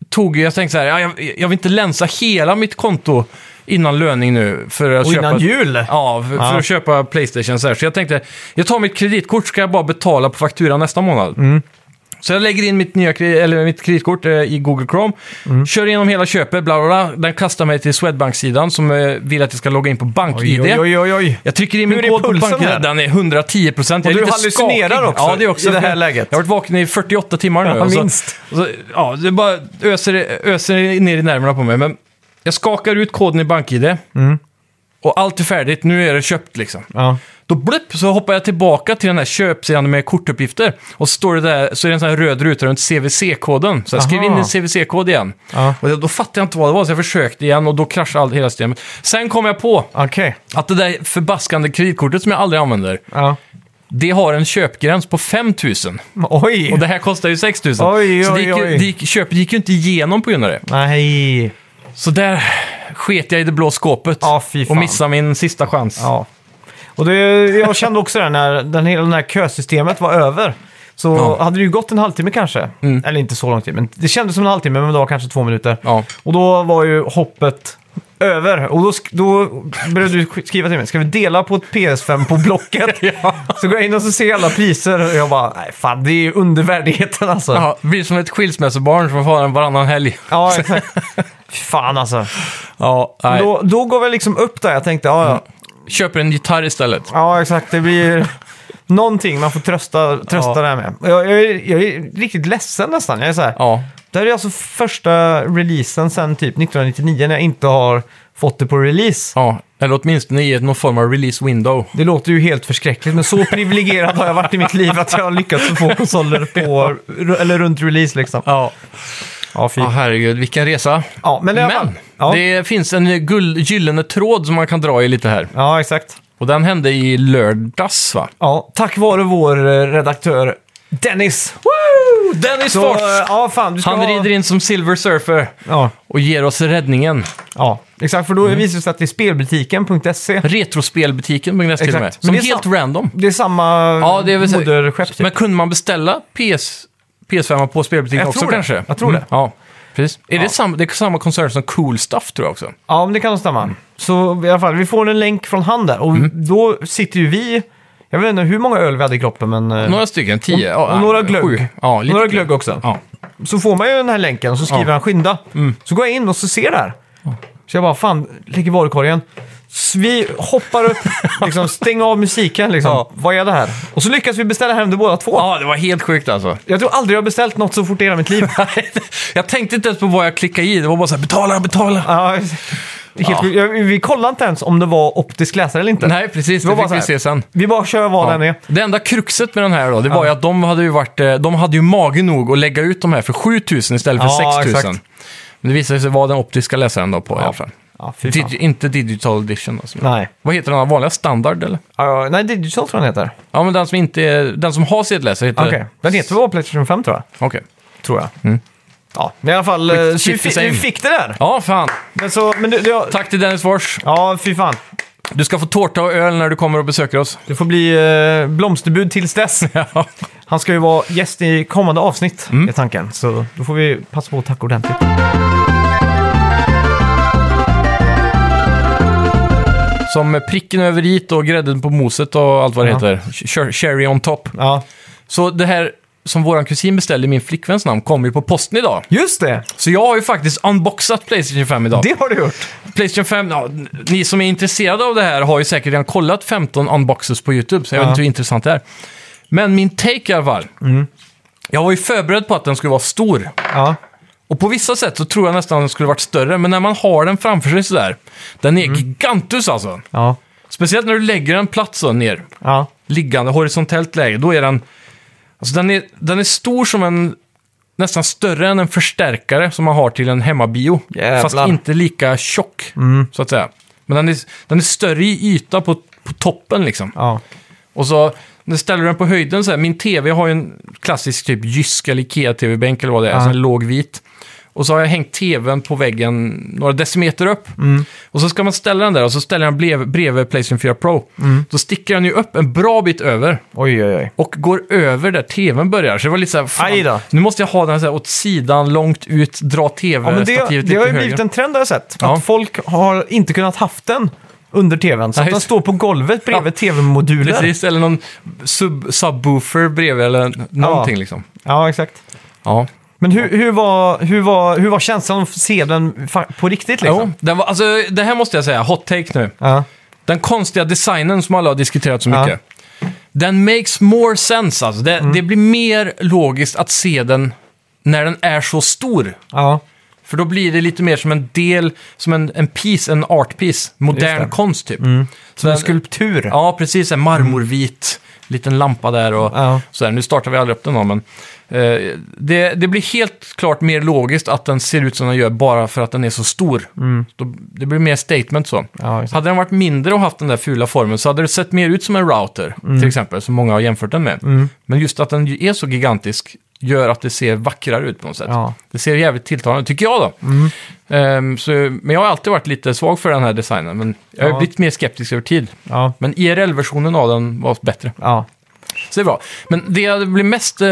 Speaker 2: tog, jag tänkte så här, ja, jag, jag vill inte länsa hela mitt konto innan löning nu. För att
Speaker 1: Och
Speaker 2: köpa
Speaker 1: innan jul!
Speaker 2: Ja, för, för att köpa Playstation så här. Så jag tänkte, jag tar mitt kreditkort ska jag bara betala på fakturan nästa månad.
Speaker 1: Mm.
Speaker 2: Så jag lägger in mitt, nya, kre- eller mitt kreditkort eh, i Google Chrome,
Speaker 1: Mm.
Speaker 2: kör igenom hela köpet, bla bla bla. Den kastar mig till Swedbank-sidan som eh, vill att jag ska logga in på BankID.
Speaker 1: Oj, oj, oj, oj.
Speaker 2: Jag trycker in
Speaker 1: Hur
Speaker 2: min
Speaker 1: är
Speaker 2: kod på
Speaker 1: pulsen
Speaker 2: banken.
Speaker 1: här?
Speaker 2: Den är 110 procent.
Speaker 1: Och du hallucinerar också
Speaker 2: Ja, det är också.
Speaker 1: i det här läget.
Speaker 2: Jag har varit vaken i 48 timmar nu.
Speaker 1: Ja,
Speaker 2: och så-
Speaker 1: minst.
Speaker 2: och så, ja, det bara öser, öser ner i nerverna på mig. Men jag skakar ut koden i BankID. Och allt är färdigt. Nu är det köpt liksom.
Speaker 1: Ja.
Speaker 2: Då blipp, så hoppar jag tillbaka till den här köpsidan med kortuppgifter. Och så står det där, så är det en sån här röd ruta runt CVC-koden. Så jag skriver in
Speaker 1: Aha.
Speaker 2: din CVC-kod igen.
Speaker 1: Ja.
Speaker 2: Och då fattade jag inte vad det var, så jag försökte igen och då kraschade allt, hela systemet. Sen kom jag på
Speaker 1: Okej.
Speaker 2: att det där förbaskande kreditkortet som jag aldrig använder,
Speaker 1: Ja.
Speaker 2: det har en köpgräns på 5000.
Speaker 1: Oj!
Speaker 2: Och det här kostar ju 6000.
Speaker 1: Oj,
Speaker 2: så det
Speaker 1: oj,
Speaker 2: gick ju,
Speaker 1: oj.
Speaker 2: det gick, köpet gick ju inte igenom på grund av det.
Speaker 1: Nej.
Speaker 2: Så där sket jag i det blå skåpet
Speaker 1: Ja, fy fan.
Speaker 2: och missade min sista chans.
Speaker 1: Ja. Och det, jag kände också det när den, hela det här kösystemet var över. Så
Speaker 2: Ja. Mm.
Speaker 1: hade det ju gått en halvtimme kanske. Eller inte så lång tid, men det kändes som en halvtimme, men det var kanske två minuter.
Speaker 2: Ja.
Speaker 1: Och då var ju hoppet över. Och då, sk- då började du sk- skriva till mig, ska vi dela på ett PS5 på Blocket? Så går jag in och så ser jag alla priser och jag bara, nej fan, det är ju undervärdigheten alltså. Ja,
Speaker 2: Ja, det blir som ett skilsmässobarn som får ha den varannan helg.
Speaker 1: exakt. Fy fan alltså.
Speaker 2: Ja, nej.
Speaker 1: Då, då gav jag liksom upp där, jag tänkte, ja, ja.
Speaker 2: Köper en gitarr istället.
Speaker 1: Ja, exakt. Det blir någonting man får trösta, trösta
Speaker 2: Ja.
Speaker 1: det här med. Jag, jag, är, jag är riktigt ledsen nästan. Jag är så här,
Speaker 2: Ja,
Speaker 1: Det här är alltså första releasen sedan typ 1999 när jag inte har fått det på release.
Speaker 2: ja. Eller åtminstone i ett- någon form av release window.
Speaker 1: Det låter ju helt förskräckligt, men så privilegierad har jag varit i mitt liv att jag har lyckats få konsoler på, eller runt release liksom.
Speaker 2: Ja,
Speaker 1: Ja, fy.
Speaker 2: ja herregud, vilken resa.
Speaker 1: Ja, men i alla fall.
Speaker 2: Men
Speaker 1: Ja,
Speaker 2: det finns en gull, gyllene tråd som man kan dra i lite här.
Speaker 1: ja exakt.
Speaker 2: Och den hände i lördags va?
Speaker 1: Ja, tack vare vår eh, redaktör Dennis.
Speaker 2: Woo! Dennis
Speaker 1: Så,
Speaker 2: Fors!
Speaker 1: eh, ja, fan, du ska
Speaker 2: Han
Speaker 1: ha-
Speaker 2: rider in som Silver Surfer
Speaker 1: Ja,
Speaker 2: och ger oss räddningen.
Speaker 1: ja, exakt. För då
Speaker 2: Mm.
Speaker 1: visar det sig att det är spelbutiken.se.
Speaker 2: Retrospelbutiken.se till och med.
Speaker 1: Exakt. Men
Speaker 2: Som
Speaker 1: det är
Speaker 2: helt
Speaker 1: sam-
Speaker 2: random.
Speaker 1: Det är samma
Speaker 2: Ja, det är väl så-
Speaker 1: moderskepp typ.
Speaker 2: Men kunde man beställa PS, PS5 på spelbutiken
Speaker 1: Jag
Speaker 2: också
Speaker 1: tror det.
Speaker 2: kanske?
Speaker 1: Jag tror
Speaker 2: Mm,
Speaker 1: det.
Speaker 2: Ja, precis. Är det, samma, det är samma koncern som Cool Stuff tror jag också.
Speaker 1: Ja, men det kan nog stämma.
Speaker 2: Mm.
Speaker 1: Så i alla fall, vi får en länk från han där och då sitter ju vi, jag vet inte hur många öl vi hade i kroppen, men eh,
Speaker 2: Några stycken, tio.
Speaker 1: och
Speaker 2: ja,
Speaker 1: några glögg.
Speaker 2: sju. Ja, lite
Speaker 1: Några glögg också.
Speaker 2: Ja.
Speaker 1: så får man ju den här länken och så skriver
Speaker 2: Ja. Mm.
Speaker 1: han skynda. Så går jag in och så ser det här. Så jag bara, fan, lägg i varukorgen. Så vi hoppar upp, liksom, stäng av musiken, liksom.
Speaker 2: Ja.
Speaker 1: vad är det här? Och så lyckas vi beställa hem det båda två.
Speaker 2: ja, det var helt sjukt alltså.
Speaker 1: Jag tror aldrig jag har beställt något så fort i hela mitt liv.
Speaker 2: jag tänkte inte ens på vad jag klickade i. Det var bara så här, betala, betala.
Speaker 1: Ja, det är helt
Speaker 2: Ja.
Speaker 1: sjukt. Jag- Vi kollade inte ens om det var optisk läsare eller inte.
Speaker 2: Nej, precis. Det,
Speaker 1: var bara
Speaker 2: fick vi
Speaker 1: så här.
Speaker 2: se sen.
Speaker 1: Vi bara kör vad
Speaker 2: Ja.
Speaker 1: den är.
Speaker 2: Det enda kruxet med den här då, det var ju att de hade ju, varit, eh, de hade ju mage nog att lägga ut de här för 7000 istället för
Speaker 1: Ja,
Speaker 2: 6000.
Speaker 1: exakt.
Speaker 2: Men det visade sig vara den optiska läsaren då på i alla fall.
Speaker 1: Ja, fy fan.
Speaker 2: Digi- inte digital edition. Alltså.
Speaker 1: Nej.
Speaker 2: Vad heter den här vanliga? Standard eller?
Speaker 1: Ja, nej, Digital tror jag den heter.
Speaker 2: Ja, men den som, inte är, den som har CD-läsare heter...
Speaker 1: Okej. Den heter väl Playstation 5 tror jag.
Speaker 2: Okej.
Speaker 1: Tror jag. Ja, men i alla fall. eh,
Speaker 2: Mm. Skit-
Speaker 1: så
Speaker 2: shit
Speaker 1: vi,
Speaker 2: the
Speaker 1: fi-
Speaker 2: same.
Speaker 1: vi fick det där.
Speaker 2: Ja, fan.
Speaker 1: Men så, men du, du,
Speaker 2: Tack till Dennis Fors.
Speaker 1: ja, fy fan.
Speaker 2: Du ska få tårta och öl när du kommer och besöker oss.
Speaker 1: Det får bli eh, blomsterbud tills dess.
Speaker 2: Ja.
Speaker 1: Han ska ju vara gäst i kommande avsnitt,
Speaker 2: Mm.
Speaker 1: är tanken. Så då får vi passa på att tacka ordentligt.
Speaker 2: Som pricken över it och grädden på moset och allt vad det
Speaker 1: Ja.
Speaker 2: heter. Cher- Cherry on top.
Speaker 1: Ja,
Speaker 2: Så det här som våran kusin beställde i min flickväns namn kommer ju på posten idag.
Speaker 1: just det!
Speaker 2: Så jag har ju faktiskt unboxat Playstation 5 idag.
Speaker 1: Det har du gjort.
Speaker 2: Playstation 5, ja, n- ni som är intresserade av det här har ju säkert redan kollat 15 unboxes på YouTube, så jag
Speaker 1: Ja. Mm.
Speaker 2: vet inte hur intressant det är. Men min take i alla fall. Jag var ju förberedd på att den skulle vara stor.
Speaker 1: Ja,
Speaker 2: Och på vissa sätt så tror jag nästan att den skulle varit större, men när man har den framför sig sådär. Den
Speaker 1: Mm.
Speaker 2: är gigantus alltså.
Speaker 1: ja,
Speaker 2: Speciellt när du lägger den platt så ner,
Speaker 1: ja.
Speaker 2: liggande horisontellt läge, då är den... Alltså den är, den är stor som en... Nästan större än en förstärkare som man har till en hemmabio.
Speaker 1: Jävlar.
Speaker 2: Fast inte lika tjock, så att säga. Men den är, den är större i yta på, på toppen liksom.
Speaker 1: ja.
Speaker 2: Och så när ställer du den på höjden så här, min tv har ju en klassisk typ Jysk eller Ikea-tv-bänk eller vad det är,
Speaker 1: Ja.
Speaker 2: alltså en låg vit. Och så har jag hängt tvn på väggen några decimeter upp.
Speaker 1: Mm.
Speaker 2: Och så ska man ställa den där och så ställer jag den blev- bredvid Playstation 4 Pro.
Speaker 1: Mm.
Speaker 2: Då sticker den ju upp en bra bit över
Speaker 1: Oj, oj, oj.
Speaker 2: och går över där tvn börjar. Så det var lite så här,
Speaker 1: Aj då.
Speaker 2: fan, nu måste jag ha den så här åt sidan, långt ut, dra
Speaker 1: Ja, men det,
Speaker 2: tv-stativet
Speaker 1: det har
Speaker 2: lite
Speaker 1: ju blivit
Speaker 2: högre.
Speaker 1: en trend har jag sett. Att
Speaker 2: Ja.
Speaker 1: folk har inte kunnat haft den under tvn. Så
Speaker 2: Nej,
Speaker 1: att den
Speaker 2: just-
Speaker 1: står på golvet bredvid tv-moduler.
Speaker 2: Precis, eller någon sub- subwoofer bredvid eller någonting
Speaker 1: Ja.
Speaker 2: liksom.
Speaker 1: Ja, exakt.
Speaker 2: Ja,
Speaker 1: Men hur, hur, var, hur, var, hur var känslan att se den fa- på riktigt liksom?
Speaker 2: Jo, den var, alltså, det här måste jag säga, hot take nu.
Speaker 1: Ja.
Speaker 2: Den konstiga designen som alla har diskuterat så
Speaker 1: Ja. Mm.
Speaker 2: mycket. Den makes more sense alltså. Det, det blir mer logiskt att se den när den är så stor.
Speaker 1: Ja.
Speaker 2: För då blir det lite mer som en del, som en, en piece, en art piece.
Speaker 1: Just
Speaker 2: Modern
Speaker 1: det. Mm.
Speaker 2: konst typ.
Speaker 1: Som en
Speaker 2: Den-
Speaker 1: skulptur.
Speaker 2: Ja, precis. En marmorvit liten lampa där och
Speaker 1: Ja.
Speaker 2: sådär. Nu startar vi aldrig upp den då, men eh, det, det blir helt klart mer logiskt att den ser ut som den gör bara för att den är så stor.
Speaker 1: Mm.
Speaker 2: Då, det blir mer statement så.
Speaker 1: Ja, exakt.
Speaker 2: hade den varit mindre och haft den där fula formen så hade det sett mer ut som en router,
Speaker 1: Mm.
Speaker 2: till exempel, som många har jämfört den med. Men just att den ju är så gigantisk gör att det ser vackrare ut på något sätt.
Speaker 1: Ja. Mm.
Speaker 2: Det ser jävligt tilltalande ut, tycker jag då. Ehm, så, men jag har alltid varit lite svag för den här designen, men jag har
Speaker 1: Ja.
Speaker 2: blivit mer skeptisk över tid.
Speaker 1: Ja.
Speaker 2: Men IRL-versionen av den var bättre.
Speaker 1: Ja.
Speaker 2: Så det är bra. Men det jag blev mest eh,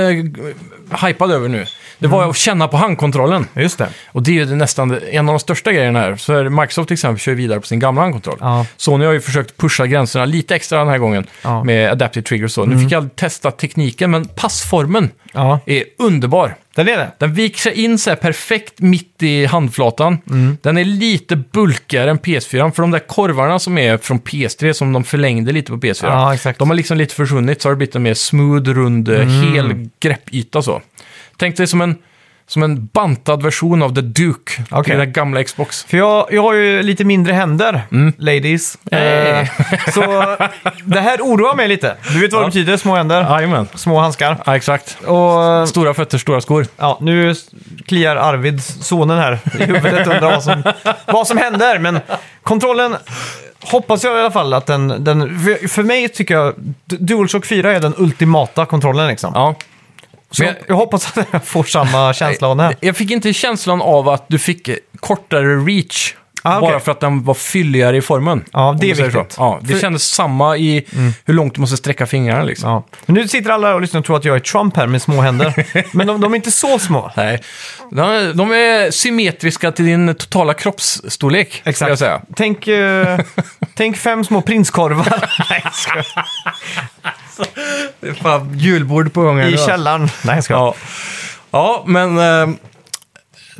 Speaker 2: hypad över nu, det var
Speaker 1: Mm.
Speaker 2: att känna på handkontrollen.
Speaker 1: Just det.
Speaker 2: Och det är ju det nästan en av de största grejerna här. För Microsoft till exempel kör ju vidare på sin gamla handkontroll.
Speaker 1: Ja.
Speaker 2: Sony har ju försökt pusha gränserna lite extra den här gången
Speaker 1: Ja. Mm.
Speaker 2: med Adaptive Trigger och så. Nu fick jag testa tekniken, men passformen
Speaker 1: Ja.
Speaker 2: är underbar.
Speaker 1: Den är det.
Speaker 2: Den viker sig in så här perfekt mitt i handflatan.
Speaker 1: Mm.
Speaker 2: Den är lite bulkigare än PS4, för de där korvarna som är från PS3 som de förlängde lite på PS4.
Speaker 1: Ja, exakt. Mm.
Speaker 2: De har liksom lite försvunnit, så har det blivit en mer smooth, rund, eh, hel greppyta så. Tänk dig som en, som en bantad version av The Duke,
Speaker 1: Okej.
Speaker 2: okay. den där gamla Xbox.
Speaker 1: För jag, jag har ju lite mindre händer,
Speaker 2: Mm.
Speaker 1: ladies.
Speaker 2: Hey.
Speaker 1: Eh, så det här oroar mig lite. Du vet vad det
Speaker 2: Ja.
Speaker 1: betyder, små händer,
Speaker 2: Jajamän.
Speaker 1: små handskar.
Speaker 2: Ja, exakt.
Speaker 1: Och
Speaker 2: Stora fötter, stora skor.
Speaker 1: ja, nu s- kliar Arvid, sonen här, i huvudet och undrar vad som, vad som händer. Men kontrollen hoppas jag i alla fall att den... den för, för mig tycker jag D- DualShock 4 är den ultimata kontrollen liksom.
Speaker 2: Ja.
Speaker 1: så
Speaker 2: men-
Speaker 1: jag, jag hoppas att jag får samma känsla av den här.
Speaker 2: Eh, Jag fick inte känslan av att du fick eh, kortare reach.
Speaker 1: Ah, okej.
Speaker 2: Bara för att den var fylligare i formen.
Speaker 1: Ja,
Speaker 2: om
Speaker 1: det är
Speaker 2: du säger
Speaker 1: viktigt.
Speaker 2: Så. Ja, det
Speaker 1: För- Mm.
Speaker 2: kändes samma i hur långt du måste sträcka fingrarna. Liksom.
Speaker 1: Ja. Men nu sitter alla och lyssnar och tror att jag är Trump här med små händer. Men de, de är inte så små.
Speaker 2: Nej. De, de är symmetriska till din totala kroppsstorlek. skulle Jag
Speaker 1: Exakt.
Speaker 2: säga.
Speaker 1: Tänk, eh, tänk fem små prinskorvar Nej, jag skojar.
Speaker 2: Det är fan julbord på alltså. gång.
Speaker 1: i källaren. Nej, jag skojar.
Speaker 2: Ja. ja, men... eh,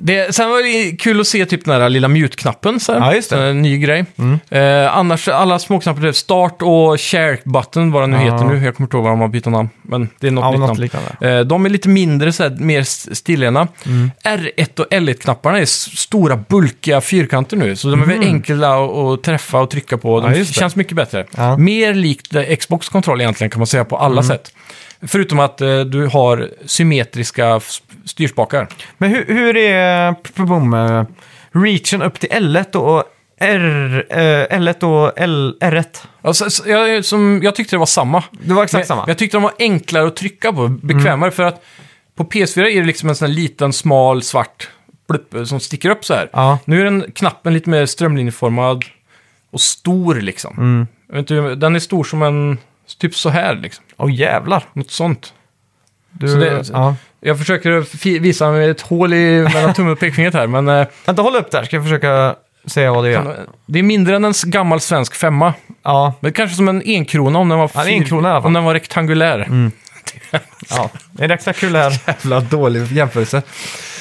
Speaker 2: Det, sen var det kul att se typ den där lilla mute-knappen. Så här.
Speaker 1: Ja, just det. Mm.
Speaker 2: En ny grej. Eh, annars, alla småknappar, typ start och share button, vad den nu
Speaker 1: Ja.
Speaker 2: heter nu. Jag kommer inte ihåg vad de har bytt namn, men det är något
Speaker 1: Ja,
Speaker 2: nytt
Speaker 1: något
Speaker 2: namn.
Speaker 1: liknande. Mm.
Speaker 2: Eh, de är lite mindre, så här, mer s- stilrena. R1 och L1-knapparna är s- stora, bulkiga fyrkanter nu, så de är väl enkla att, att träffa och trycka på. De
Speaker 1: Mm. Ja, just det.
Speaker 2: känns mycket bättre.
Speaker 1: Ja. Mm.
Speaker 2: Mer likt eh, Xbox kontroll egentligen, kan man säga, på alla sätt. Förutom att eh, du har symmetriska f- styrspakar.
Speaker 1: Men hur, hur är p- p- boom, eh, reachen upp till L1 och R, eh, L1 och L, R1?
Speaker 2: Alltså, s- jag, som, jag tyckte det var samma.
Speaker 1: Det var exakt
Speaker 2: Men-
Speaker 1: samma. Mm.
Speaker 2: men Jag tyckte de var enklare att trycka på, bekvämare. För att på PS4 är det liksom en sån här liten, smal, svart plupp som sticker upp så här.
Speaker 1: Ja.
Speaker 2: Nu är den knappen lite mer strömlinjeformad. och stor liksom.
Speaker 1: Mm.
Speaker 2: Jag vet inte, hur- den är stor som en, typ så här liksom.
Speaker 1: Åh jävlar.
Speaker 2: Något sånt.
Speaker 1: Du,
Speaker 2: Så det-
Speaker 1: ja.
Speaker 2: Jag försöker fi- visa med ett hål i mellan tummen och pekfingret här, men eh,
Speaker 1: Vänta, håll upp där. Ska jag försöka säga vad det är.
Speaker 2: det är mindre än en s- gammal svensk femma.
Speaker 1: Ja,
Speaker 2: Men kanske som en enkrona om den var,
Speaker 1: Ja, det är
Speaker 2: fyr-
Speaker 1: enkrona i alla fall.
Speaker 2: om den var rektangulär.
Speaker 1: ja. Det är rätt kul här.
Speaker 2: Jävla dålig jämförelse.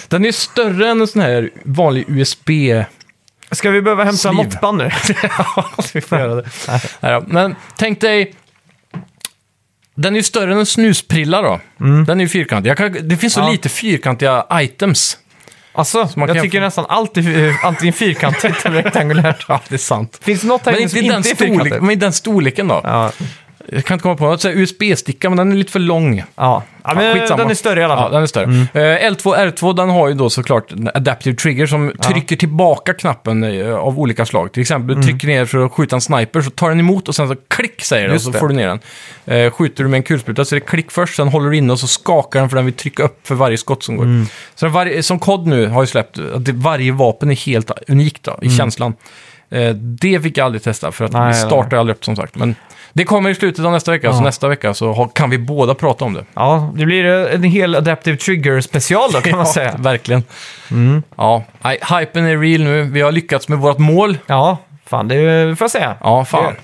Speaker 2: Den är större än en sån här vanlig USB.
Speaker 1: Ska vi behöva hämta
Speaker 2: Sleeve.
Speaker 1: måttband nu?
Speaker 2: Ja, vi får göra det. Nej då. Men tänk dig... Den är ju större än en snusprilla då. Den är ju fyrkantig. Jag kan, det finns så
Speaker 1: Ja.
Speaker 2: lite fyrkantiga items.
Speaker 1: Alltså,
Speaker 2: man
Speaker 1: jag
Speaker 2: kan-
Speaker 1: tycker nästan allt är eh, antingen fyrkantigt eller rektangulärt.
Speaker 2: Ja, det är sant.
Speaker 1: Finns det något här
Speaker 2: Men
Speaker 1: inne
Speaker 2: inte,
Speaker 1: som inte
Speaker 2: i
Speaker 1: är
Speaker 2: den storlek,
Speaker 1: fyrkantigt?
Speaker 2: men i den storleken då.
Speaker 1: Ja,
Speaker 2: Jag kan inte komma på något. Så här USB-sticka, men den är lite för lång.
Speaker 1: ja. ja men
Speaker 2: skitsamma.
Speaker 1: den är större i alla
Speaker 2: Ja,
Speaker 1: fall. Mm.
Speaker 2: den är större. Eh, L2 R2 den har ju då såklart en adaptive trigger som trycker tillbaka knappen eh, av olika slag. Till exempel
Speaker 1: Mm.
Speaker 2: du trycker ner för att skjuta en sniper så tar den emot och sen så klick säger det och
Speaker 1: Just
Speaker 2: så
Speaker 1: det.
Speaker 2: får du ner den. Eh, Skjuter du med en kulspruta så är det klick först, sen håller du inne och så skakar den för den vill trycka upp för varje skott som går.
Speaker 1: Mm.
Speaker 2: Så den varje, som kod nu har ju släppt att det, varje vapen är helt unikt då, i känslan. Eh, Det fick jag aldrig testa för att
Speaker 1: Mm. Nej,
Speaker 2: vi
Speaker 1: nej.
Speaker 2: startar aldrig upp som sagt. Men det kommer i slutet av nästa vecka, så nästa vecka så har- kan vi båda prata om det.
Speaker 1: Ja, det blir eh, en hel Adaptive Trigger-special då kan man
Speaker 2: Ja,
Speaker 1: säga.
Speaker 2: Verkligen.
Speaker 1: Mm.
Speaker 2: Ja, nej, hypen är real nu. Vi har lyckats med vårt mål.
Speaker 1: Ja, fan det får jag säga.
Speaker 2: Ja, fan.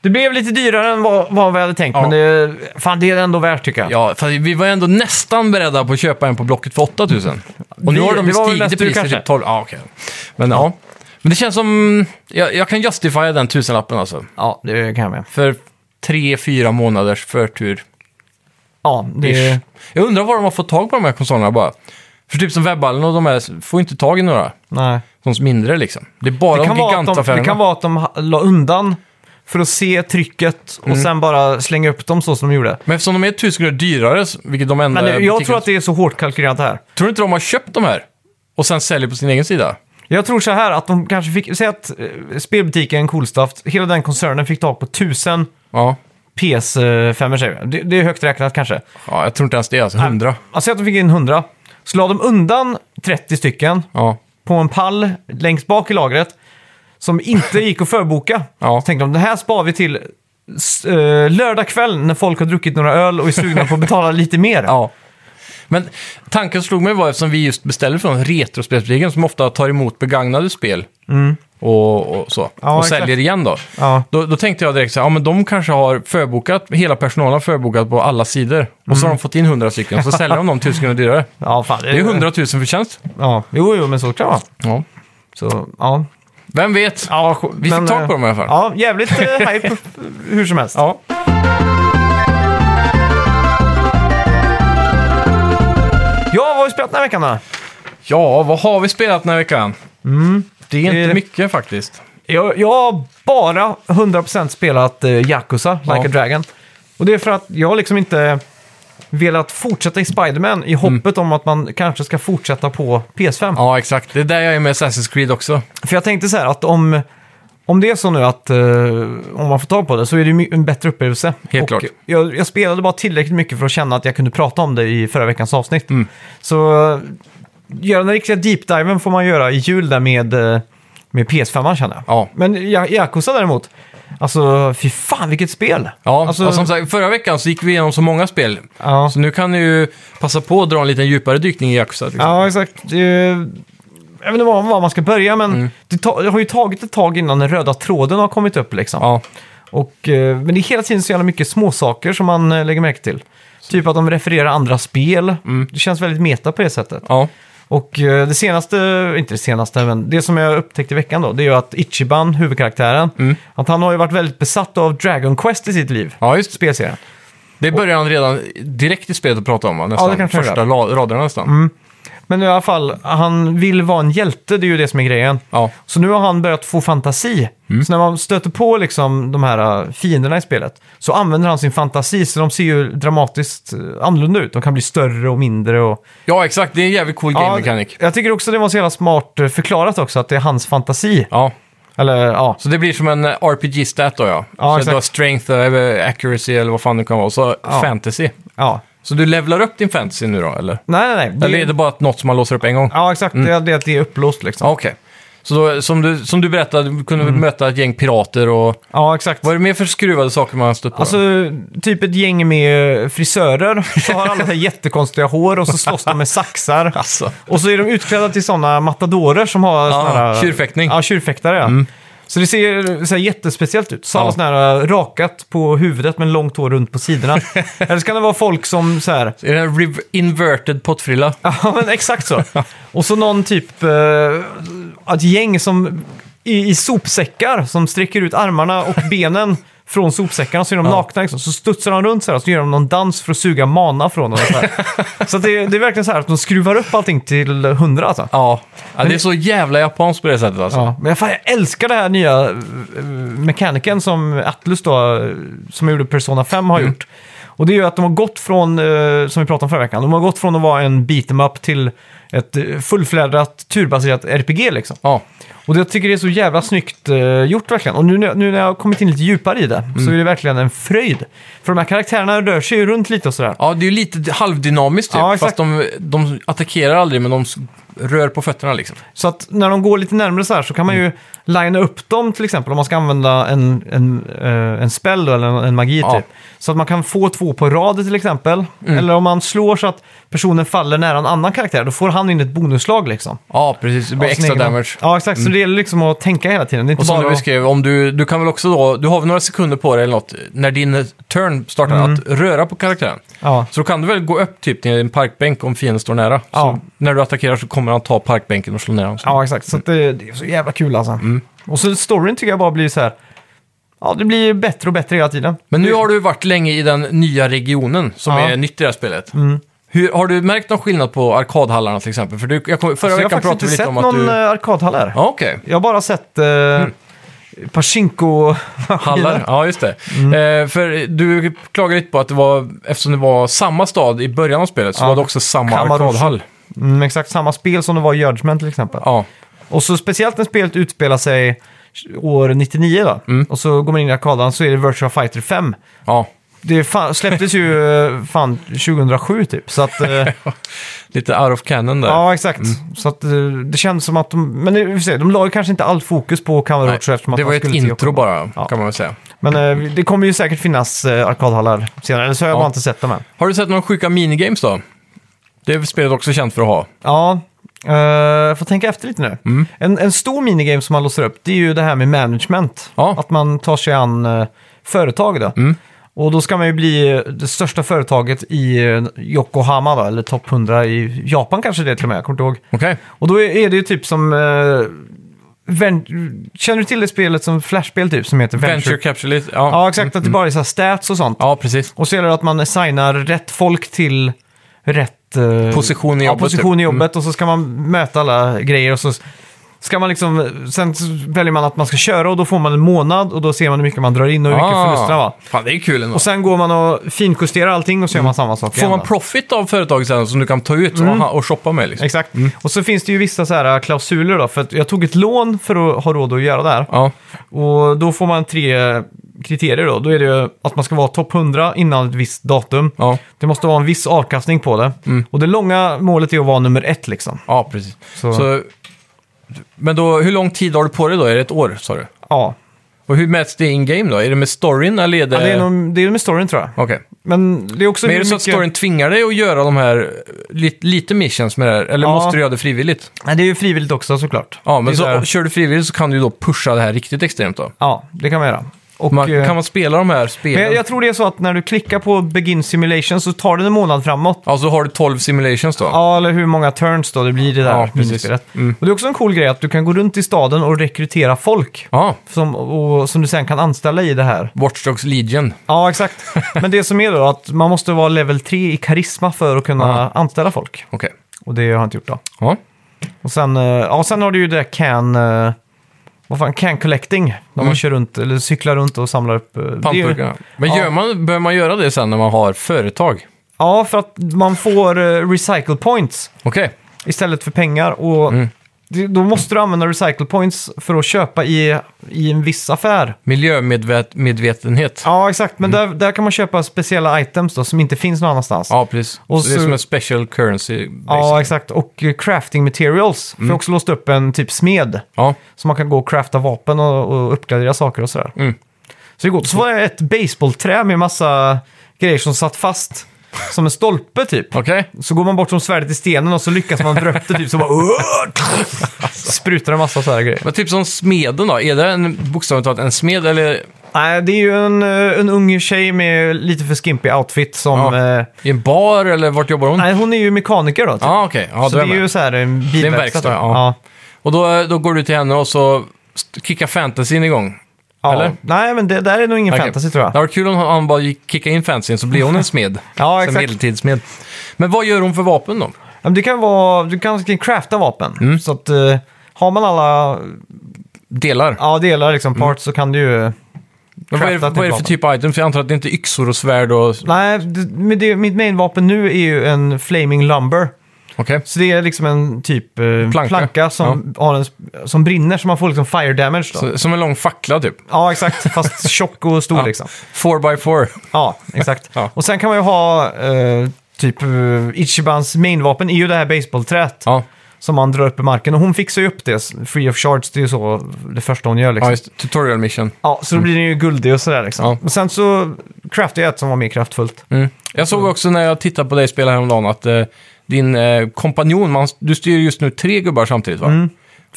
Speaker 1: Det blev lite dyrare än vad, vad vi hade tänkt,
Speaker 2: Ja.
Speaker 1: men det, fan det är ändå värt tycker jag.
Speaker 2: Ja, fan, vi var ändå nästan beredda på att köpa en på Blocket för 8000. Och nu
Speaker 1: Det-
Speaker 2: har de
Speaker 1: det
Speaker 2: ju
Speaker 1: var väl
Speaker 2: stigit i
Speaker 1: nästan du
Speaker 2: pris till
Speaker 1: kanske.
Speaker 2: typ 12. Ja, okej. Men ja. Men det känns som... Jag, jag kan justifiera den tusenlappen alltså.
Speaker 1: Ja, det kan jag med.
Speaker 2: För tre, fyra månaders förtur.
Speaker 1: Ja, det
Speaker 2: Ish. Jag undrar var de har fått tag på de här konsolerna bara. För typ som webballen och de här får ju inte tag i några.
Speaker 1: Nej.
Speaker 2: De som mindre liksom. Det är bara
Speaker 1: Det kan,
Speaker 2: de
Speaker 1: vara att de,
Speaker 2: gigantaffärerna.
Speaker 1: det kan vara att de ha- la undan för att se trycket och
Speaker 2: Mm.
Speaker 1: sen bara slänga upp dem så som de gjorde.
Speaker 2: Men eftersom de är tusen kronor dyrare, vilket de enda
Speaker 1: Men eh, jag
Speaker 2: butikerna-
Speaker 1: tror att det är så hårt kalkylerat här.
Speaker 2: Tror du inte de har köpt de här? Och sen säljer på sin egen sida?
Speaker 1: Jag tror så här att de kanske fick, säg att eh, spelbutiken Coolstuff, hela den koncernen fick tag på 1000
Speaker 2: Ja.
Speaker 1: PS5 eh, säger vi. det, det är högt räknat kanske.
Speaker 2: ja jag tror inte ens det, alltså. Hundra.
Speaker 1: Alltså säg att de fick in 100. Så la de undan 30 stycken
Speaker 2: Ja.
Speaker 1: på en pall längst bak i lagret som inte gick att förboka.
Speaker 2: Ja.
Speaker 1: Så tänkte de, det här spar vi till s- eh, lördag kväll när folk har druckit några öl och är sugna på att betala lite mer.
Speaker 2: ja. Men tanken slog mig var, eftersom vi just beställer från Retrospelsbutiken som ofta tar emot begagnade spel och, och så,
Speaker 1: Ja,
Speaker 2: och
Speaker 1: exakt.
Speaker 2: säljer igen då.
Speaker 1: Ja.
Speaker 2: då. Då tänkte jag direkt så här, ja men de kanske har förbokat, hela personalen har förbokat på alla sidor. Och så har de fått in 100 stycken, så säljer de dem tusen kronor dyrare.
Speaker 1: Ja, fan,
Speaker 2: Mm. Det är 100 000 förtjänst.
Speaker 1: Ja, jo, jo, men så kan det vara.
Speaker 2: Ja.
Speaker 1: Så, ja.
Speaker 2: Vem vet?
Speaker 1: ja
Speaker 2: Vi fick tag på dem i alla fall.
Speaker 1: Ja, jävligt eh, hype hur som helst.
Speaker 2: Ja.
Speaker 1: Ja, vad har vi spelat den här veckan då?
Speaker 2: Ja, vad har vi spelat den här veckan? Mm. Det är
Speaker 1: Det
Speaker 2: inte
Speaker 1: är-
Speaker 2: mycket faktiskt.
Speaker 1: Jag, jag har bara 100% spelat eh, Yakuza, Like
Speaker 2: Ja.
Speaker 1: a Dragon. Och det är för att jag har liksom inte velat fortsätta i Spiderman i hoppet om att man kanske ska fortsätta på PS5.
Speaker 2: Ja, exakt. Det är där jag är med Assassin's Creed också.
Speaker 1: För jag tänkte så här att om, om det är så nu att eh, om man får tag på det så är det ju my- en bättre upplevelse.
Speaker 2: Helt
Speaker 1: och
Speaker 2: klart.
Speaker 1: Jag, jag spelade bara tillräckligt mycket för att känna att jag kunde prata om det i förra veckans avsnitt.
Speaker 2: Mm.
Speaker 1: Så eh, göra den riktiga deep diven får man göra i jul där med, eh, med PS5 känner jag.
Speaker 2: Ja.
Speaker 1: Men Ja- Yakuza däremot, alltså fy fan vilket spel!
Speaker 2: Ja,
Speaker 1: alltså,
Speaker 2: och som sagt, förra veckan så gick vi igenom så många spel.
Speaker 1: ja.
Speaker 2: Så nu kan ni ju passa på att dra en lite djupare dykning i Yakuza. Liksom.
Speaker 1: ja exakt. Det, jag vet inte var, var man ska börja men
Speaker 2: Mm.
Speaker 1: det, ta, det har ju tagit ett tag innan den röda tråden har kommit upp liksom.
Speaker 2: Ja.
Speaker 1: Och, eh, men det är hela tiden så jävla mycket småsaker som man eh, lägger märke till. Typ att de refererar andra spel. Det känns väldigt meta på det sättet.
Speaker 2: ja.
Speaker 1: Och eh, det senaste, inte det senaste, men det som jag upptäckte i veckan då, det är ju att Ichiban, huvudkaraktären, att han har ju varit väldigt besatt av Dragon Quest i sitt liv.
Speaker 2: Ja, just det.
Speaker 1: Spelserien.
Speaker 2: Det börjar han redan direkt i spelet att prata om, va?
Speaker 1: Ja, det
Speaker 2: nästan.
Speaker 1: kanske jag
Speaker 2: Första la- raderna nästan.
Speaker 1: Men i alla fall, han vill vara en hjälte, det är ju det som är grejen.
Speaker 2: Ja.
Speaker 1: Så nu har han börjat få fantasi.
Speaker 2: Mm.
Speaker 1: Så när man stöter på liksom de här äh, fienderna i spelet så använder han sin fantasi så de ser ju dramatiskt äh, annorlunda ut. De kan bli större och mindre. Och...
Speaker 2: ja, exakt. Det är en jävligt cool game mechanic.
Speaker 1: jag tycker också det var så jävla smart äh, förklarat också att det är hans fantasi.
Speaker 2: Ja.
Speaker 1: Eller ja,
Speaker 2: Så det blir som en eh, RPG-stat då, ja.
Speaker 1: Ja,
Speaker 2: så
Speaker 1: exakt.
Speaker 2: du har strength, eh, accuracy eller vad fan det kan vara. Och så fantasy.
Speaker 1: ja.
Speaker 2: Så du levlar upp din fantasy nu då, eller?
Speaker 1: Nej, nej, nej.
Speaker 2: Eller är det bara något som man låser upp en gång?
Speaker 1: Ja, exakt. Det, är- det är att det är upplåst liksom.
Speaker 2: Mm. Ja, Okej. Så då, som, du, som du berättade, du kunde
Speaker 1: Mm.
Speaker 2: möta ett gäng pirater och...
Speaker 1: Ja, exakt.
Speaker 2: Vad är det mer för skruvade saker man stött på? då?
Speaker 1: Alltså, typ ett gäng med frisörer. Så har alla så här jättekonstiga hår och så slåss de med saxar.
Speaker 2: Alltså.
Speaker 1: Och så är de utklädda till sådana matadorer som har såna här...
Speaker 2: tjurfäktning. Mm.
Speaker 1: Ja, tjurfäktare. ja. Så det ser så här jättespeciellt ut. Så har
Speaker 2: Ja.
Speaker 1: alla sådana här rakat på huvudet men långt hår runt på sidorna. Eller så kan det vara folk som så här...
Speaker 2: Är det en rev- inverted pottfrilla?
Speaker 1: Ja, men exakt så. Och så någon typ... Eh, ett gäng som i, i sopsäckar som sträcker ut armarna och benen från sopsäckarna så är de nakna. Liksom. Så studsar de runt så här och så gör de någon dans för att suga mana från dem. Så, här. så att det, det är verkligen så här att de skruvar upp allting till hundra alltså.
Speaker 2: Ja. ja det är så jävla japanskt på det sättet alltså.
Speaker 1: Ja, men fan, jag älskar det här nya eh, mekaniken som Atlus då, eh, som gjorde Persona 5 har gjort. Och det är ju att de har gått från, eh, som vi pratade om förra veckan, de har gått från att vara en beat em up till ett eh, fullfjädrat turbaserat RPG liksom.
Speaker 2: Ja.
Speaker 1: Och det- jag tycker det är så jävla snyggt eh, gjort verkligen. Och nu, när- nu när jag har kommit in lite djupare i det så är det verkligen en fröjd. För de här karaktärerna rör sig ju runt lite och sådär.
Speaker 2: Ja, det är ju lite halvdynamiskt typ.
Speaker 1: Ja,
Speaker 2: fast
Speaker 1: exakt.
Speaker 2: de, de attackerar aldrig, men de s- rör på fötterna liksom.
Speaker 1: Så att när de går lite närmare så här så kan man
Speaker 2: Mm.
Speaker 1: ju linea upp dem till exempel om man ska använda en, en, eh, en spell då, eller en, en magi
Speaker 2: Ja. Mm.
Speaker 1: typ. Så att man kan få två på rad till exempel. Eller om man slår så att personen faller nära en annan karaktär, då får han in ett bonuslag liksom.
Speaker 2: Ja, precis. Det blir
Speaker 1: Av sin
Speaker 2: extra
Speaker 1: egen-
Speaker 2: damage. Mm.
Speaker 1: Ja, exakt. Så det gäller liksom att tänka hela tiden. Det är inte
Speaker 2: Och som
Speaker 1: bara
Speaker 2: du
Speaker 1: att...
Speaker 2: beskrev, om du, du kan väl också då, du har väl några sekunder på dig eller något, när din turn startar,
Speaker 1: Mm.
Speaker 2: att röra på karaktären.
Speaker 1: Ja.
Speaker 2: Så då kan du väl gå upp typ till en parkbänk om fienden står nära.
Speaker 1: Ja.
Speaker 2: Så när du attackerar så kommer han ta parkbänken och slå ner honom.
Speaker 1: ja, exakt. Så att det, det är så jävla kul alltså.
Speaker 2: Mm.
Speaker 1: Och så storyn tycker jag bara blir så här... Ja, det blir bättre och bättre hela tiden.
Speaker 2: Men nu har du varit länge i den nya regionen som
Speaker 1: Ja. Mm.
Speaker 2: är nytt i det här spelet. Hur, har du märkt någon skillnad på arkadhallarna till exempel? För du, jag kom, förra
Speaker 1: Så Alltså, jag har
Speaker 2: veckan
Speaker 1: faktiskt
Speaker 2: pratade
Speaker 1: inte
Speaker 2: vi lite
Speaker 1: sett
Speaker 2: om att
Speaker 1: någon
Speaker 2: du...
Speaker 1: eh, arkadhall här.
Speaker 2: Ja, okej.
Speaker 1: Jag har bara sett eh,
Speaker 2: Hallar,
Speaker 1: Pachinko-hallar.
Speaker 2: Mm. ja just det.
Speaker 1: Mm.
Speaker 2: Eh, för du klagade lite på att det var, eftersom det var samma stad i början av spelet, så
Speaker 1: Ja.
Speaker 2: var det också samma
Speaker 1: Kamarusha.
Speaker 2: arkadhall.
Speaker 1: Mm, exakt samma spel som det var i Judgment till exempel.
Speaker 2: Ja.
Speaker 1: Och så speciellt när spelet utspelar sig år 99 då.
Speaker 2: Mm.
Speaker 1: Och så går man in i arkadan så är det Virtua Fighter 5.
Speaker 2: ja,
Speaker 1: Det fan, släpptes ju eh, fan 2007 typ. Så att, eh,
Speaker 2: lite out of cannon där.
Speaker 1: ja exakt.
Speaker 2: Mm.
Speaker 1: Så att eh, det känns som att de, men i och för sig, de la ju kanske inte allt fokus på Kamarotcho
Speaker 2: Nej,
Speaker 1: eftersom att
Speaker 2: det
Speaker 1: man
Speaker 2: var ju ett
Speaker 1: skulle till
Speaker 2: intro
Speaker 1: Japan.
Speaker 2: bara,
Speaker 1: Ja.
Speaker 2: kan man väl säga.
Speaker 1: Men eh, det kommer ju säkert finnas eh, arkadhallar senare, eller så har jag
Speaker 2: Ja.
Speaker 1: bara inte sett dem än.
Speaker 2: Har du sett några sjuka minigames då? Det är spelet också känt för att ha.
Speaker 1: Ja, uh, får tänka efter lite nu.
Speaker 2: Mm.
Speaker 1: En, en stor minigame som man låser upp, det är ju det här med management.
Speaker 2: Ja. Mm.
Speaker 1: Att man tar sig an eh, företag då. Och då ska man ju bli eh, det största företaget i eh, Yokohama, då, eller topp 100 i Japan kanske det är till och med, jag kommer inte ihåg.
Speaker 2: Okej.
Speaker 1: Och då är är det ju typ som... eh, ven- Känner du till det spelet som flashspel typ, som heter Venture?
Speaker 2: Venture Mm. Capture List. Ja.
Speaker 1: Ja, exakt. Att det bara är så här stats och sånt.
Speaker 2: ja, precis.
Speaker 1: Och så gäller det att man assignar rätt folk till rätt eh,
Speaker 2: Position i jobbet,
Speaker 1: Ja, position
Speaker 2: typ.
Speaker 1: i jobbet och så ska man möta alla grejer och så ska man liksom, sen så väljer man att man ska köra och då får man en månad och då ser man hur mycket man drar in och hur
Speaker 2: Ah.
Speaker 1: mycket förlusterna var.
Speaker 2: Fan, det är kul ändå.
Speaker 1: Och sen går man och finjusterar allting och så gör man samma sak
Speaker 2: Mm. Får
Speaker 1: igen.
Speaker 2: man
Speaker 1: då.
Speaker 2: profit av företaget sen som du kan ta ut och, och shoppa med liksom?
Speaker 1: Exakt. Och så finns det ju vissa så här eh, klausuler då, för att jag tog ett lån för att ha råd att göra det här.
Speaker 2: Ja.
Speaker 1: Och då får man tre kriterier då. Då är det ju att man ska vara topp 100 innan ett visst datum.
Speaker 2: Ja.
Speaker 1: Det måste vara en viss avkastning på det.
Speaker 2: Mm.
Speaker 1: Och det långa målet är att vara nummer ett liksom.
Speaker 2: ja, precis.
Speaker 1: Så-
Speaker 2: Så, men då, hur lång tid har du på dig då? Är det ett år, sa du?
Speaker 1: Ja,
Speaker 2: Och hur mäts det in-game då? Är det med storyn eller är det...
Speaker 1: ja det, är nog, det är med storyn tror jag.
Speaker 2: Okej.
Speaker 1: Men det är också
Speaker 2: Men är
Speaker 1: hur
Speaker 2: det så att storyn tvingar dig att göra de här lite, lite missions med det här? Eller
Speaker 1: Ja.
Speaker 2: måste du göra det frivilligt?
Speaker 1: Nej, det är ju frivilligt också såklart.
Speaker 2: Ja, men
Speaker 1: det är
Speaker 2: så,
Speaker 1: där-
Speaker 2: kör du frivilligt så kan du ju då pusha det här riktigt extremt då.
Speaker 1: Ja, det kan man göra. Och,
Speaker 2: Man,
Speaker 1: eh,
Speaker 2: kan man spela de här
Speaker 1: men
Speaker 2: spelen?
Speaker 1: jag, jag tror det är så att när du klickar på Begin Simulation så tar det en månad framåt.
Speaker 2: Ja, så har du 12 simulations då?
Speaker 1: Ja, eller hur många turns då det blir i det
Speaker 2: Ja,
Speaker 1: där
Speaker 2: precis. Mm.
Speaker 1: minispelet. Och det är också en cool grej att du kan gå runt i staden och rekrytera folk.
Speaker 2: Ja,
Speaker 1: Som, och, som du sen kan anställa i det här.
Speaker 2: Watch Dogs Legion.
Speaker 1: Ja, exakt. Men det som är då att man måste vara level 3 i karisma för att kunna
Speaker 2: Ja.
Speaker 1: anställa folk.
Speaker 2: Okej.
Speaker 1: Och det har jag inte gjort då.
Speaker 2: Ja.
Speaker 1: Och sen, eh, ja, sen har du ju det där can... eh, Vad fan, can collecting. När
Speaker 2: Mm.
Speaker 1: man kör runt, eller cyklar runt och samlar upp... eh, det är ju-
Speaker 2: Pantburkarna. Men
Speaker 1: ja.
Speaker 2: gör man, behöver man göra det sen när man har företag?
Speaker 1: Ja, för att man får eh, recycle points
Speaker 2: Okej. Mm.
Speaker 1: istället för pengar. Och det- då måste du använda recycle points för att köpa i, i en viss affär.
Speaker 2: Miljömedvetenhet. Ja, Mm.
Speaker 1: Ja, exakt. Men där, där kan man köpa speciella items då, som inte finns någon annanstans.
Speaker 2: precis.
Speaker 1: Och
Speaker 2: så det är
Speaker 1: så-
Speaker 2: som en special currency.
Speaker 1: Ja,
Speaker 2: basically. Mm.
Speaker 1: exakt. Och eh, crafting materials. För jag har också låst upp en typ smed.
Speaker 2: ja.
Speaker 1: Så man kan gå och crafta vapen och, och uppgradera saker och sådär.
Speaker 2: Mm.
Speaker 1: Så det går. Så var det ett baseballträ med massa grejer som satt fast. Som en stolpe typ.
Speaker 2: Okej.
Speaker 1: Så går man bort som svärdet i stenen och så lyckas man dra upp det typ så bara... sprutar en massa sådana grejer.
Speaker 2: Men typ som smeden då, är det en, bokstavligt talat en smed eller
Speaker 1: Nej, det är ju en, eh, en ung tjej med lite för skimpig outfit som...
Speaker 2: Ja.
Speaker 1: Eh,
Speaker 2: i en bar eller vart jobbar hon?
Speaker 1: nej, hon är ju mekaniker då. Typ.
Speaker 2: Ja, okej. Ja,
Speaker 1: så
Speaker 2: då
Speaker 1: det
Speaker 2: är
Speaker 1: är
Speaker 2: jag med.
Speaker 1: ju så här en bilverkstad. typ.
Speaker 2: verkstad,
Speaker 1: då.
Speaker 2: ja. Och då, då går du till henne och så st- kickar fantasin igång.
Speaker 1: Ja.
Speaker 2: Eller?
Speaker 1: Nej, men det där är nog ingen
Speaker 2: Okej.
Speaker 1: fantasy tror jag.
Speaker 2: Det hade varit kul om han bara gick- kickade in fantasin så blir hon en smed.
Speaker 1: Ja,
Speaker 2: En
Speaker 1: exakt.
Speaker 2: medeltidssmed. Men vad gör hon för vapen då?
Speaker 1: Ja, Men det kan vara, du kan kan crafta vapen.
Speaker 2: Mm.
Speaker 1: Så att eh, har man alla
Speaker 2: Delar?
Speaker 1: ja, delar, liksom parts, så kan du ju...
Speaker 2: Mm. Men vad, är,
Speaker 1: crafta ett
Speaker 2: vad är det för
Speaker 1: vapen.
Speaker 2: typ av item? För jag antar att det inte är yxor och svärd och... Okej.
Speaker 1: Nej, det, men det, mitt mainvapen nu är ju en flaming lumber. Så det är liksom en typ eh,
Speaker 2: Planka.
Speaker 1: planka, som, har en, sp- som brinner, så man får liksom fire damage då.
Speaker 2: Så- Som en lång fackla typ.
Speaker 1: Ja, exakt. Fast tjock och stor
Speaker 2: Ja.
Speaker 1: liksom.
Speaker 2: 4x4.
Speaker 1: Ja, exakt.
Speaker 2: Ja.
Speaker 1: Och sen kan man ju ha eh, typ eh, Ichibans mainvapen är ju det här baseballträet
Speaker 2: Ja,
Speaker 1: som man drar upp i marken. Och hon fixar ju upp det, free of charge, det är ju så det första hon gör liksom.
Speaker 2: ja just, tutorial mission.
Speaker 1: Ja, så då blir den ju guldig och sådär liksom.
Speaker 2: Ja.
Speaker 1: Och sen så craftade jag ett som var mer kraftfullt.
Speaker 2: Mm. Jag såg också när jag tittade på dig spela häromdagen att eh, din eh, kompanjon, man, du styr just nu tre gubbar samtidigt va? Han
Speaker 1: Mm.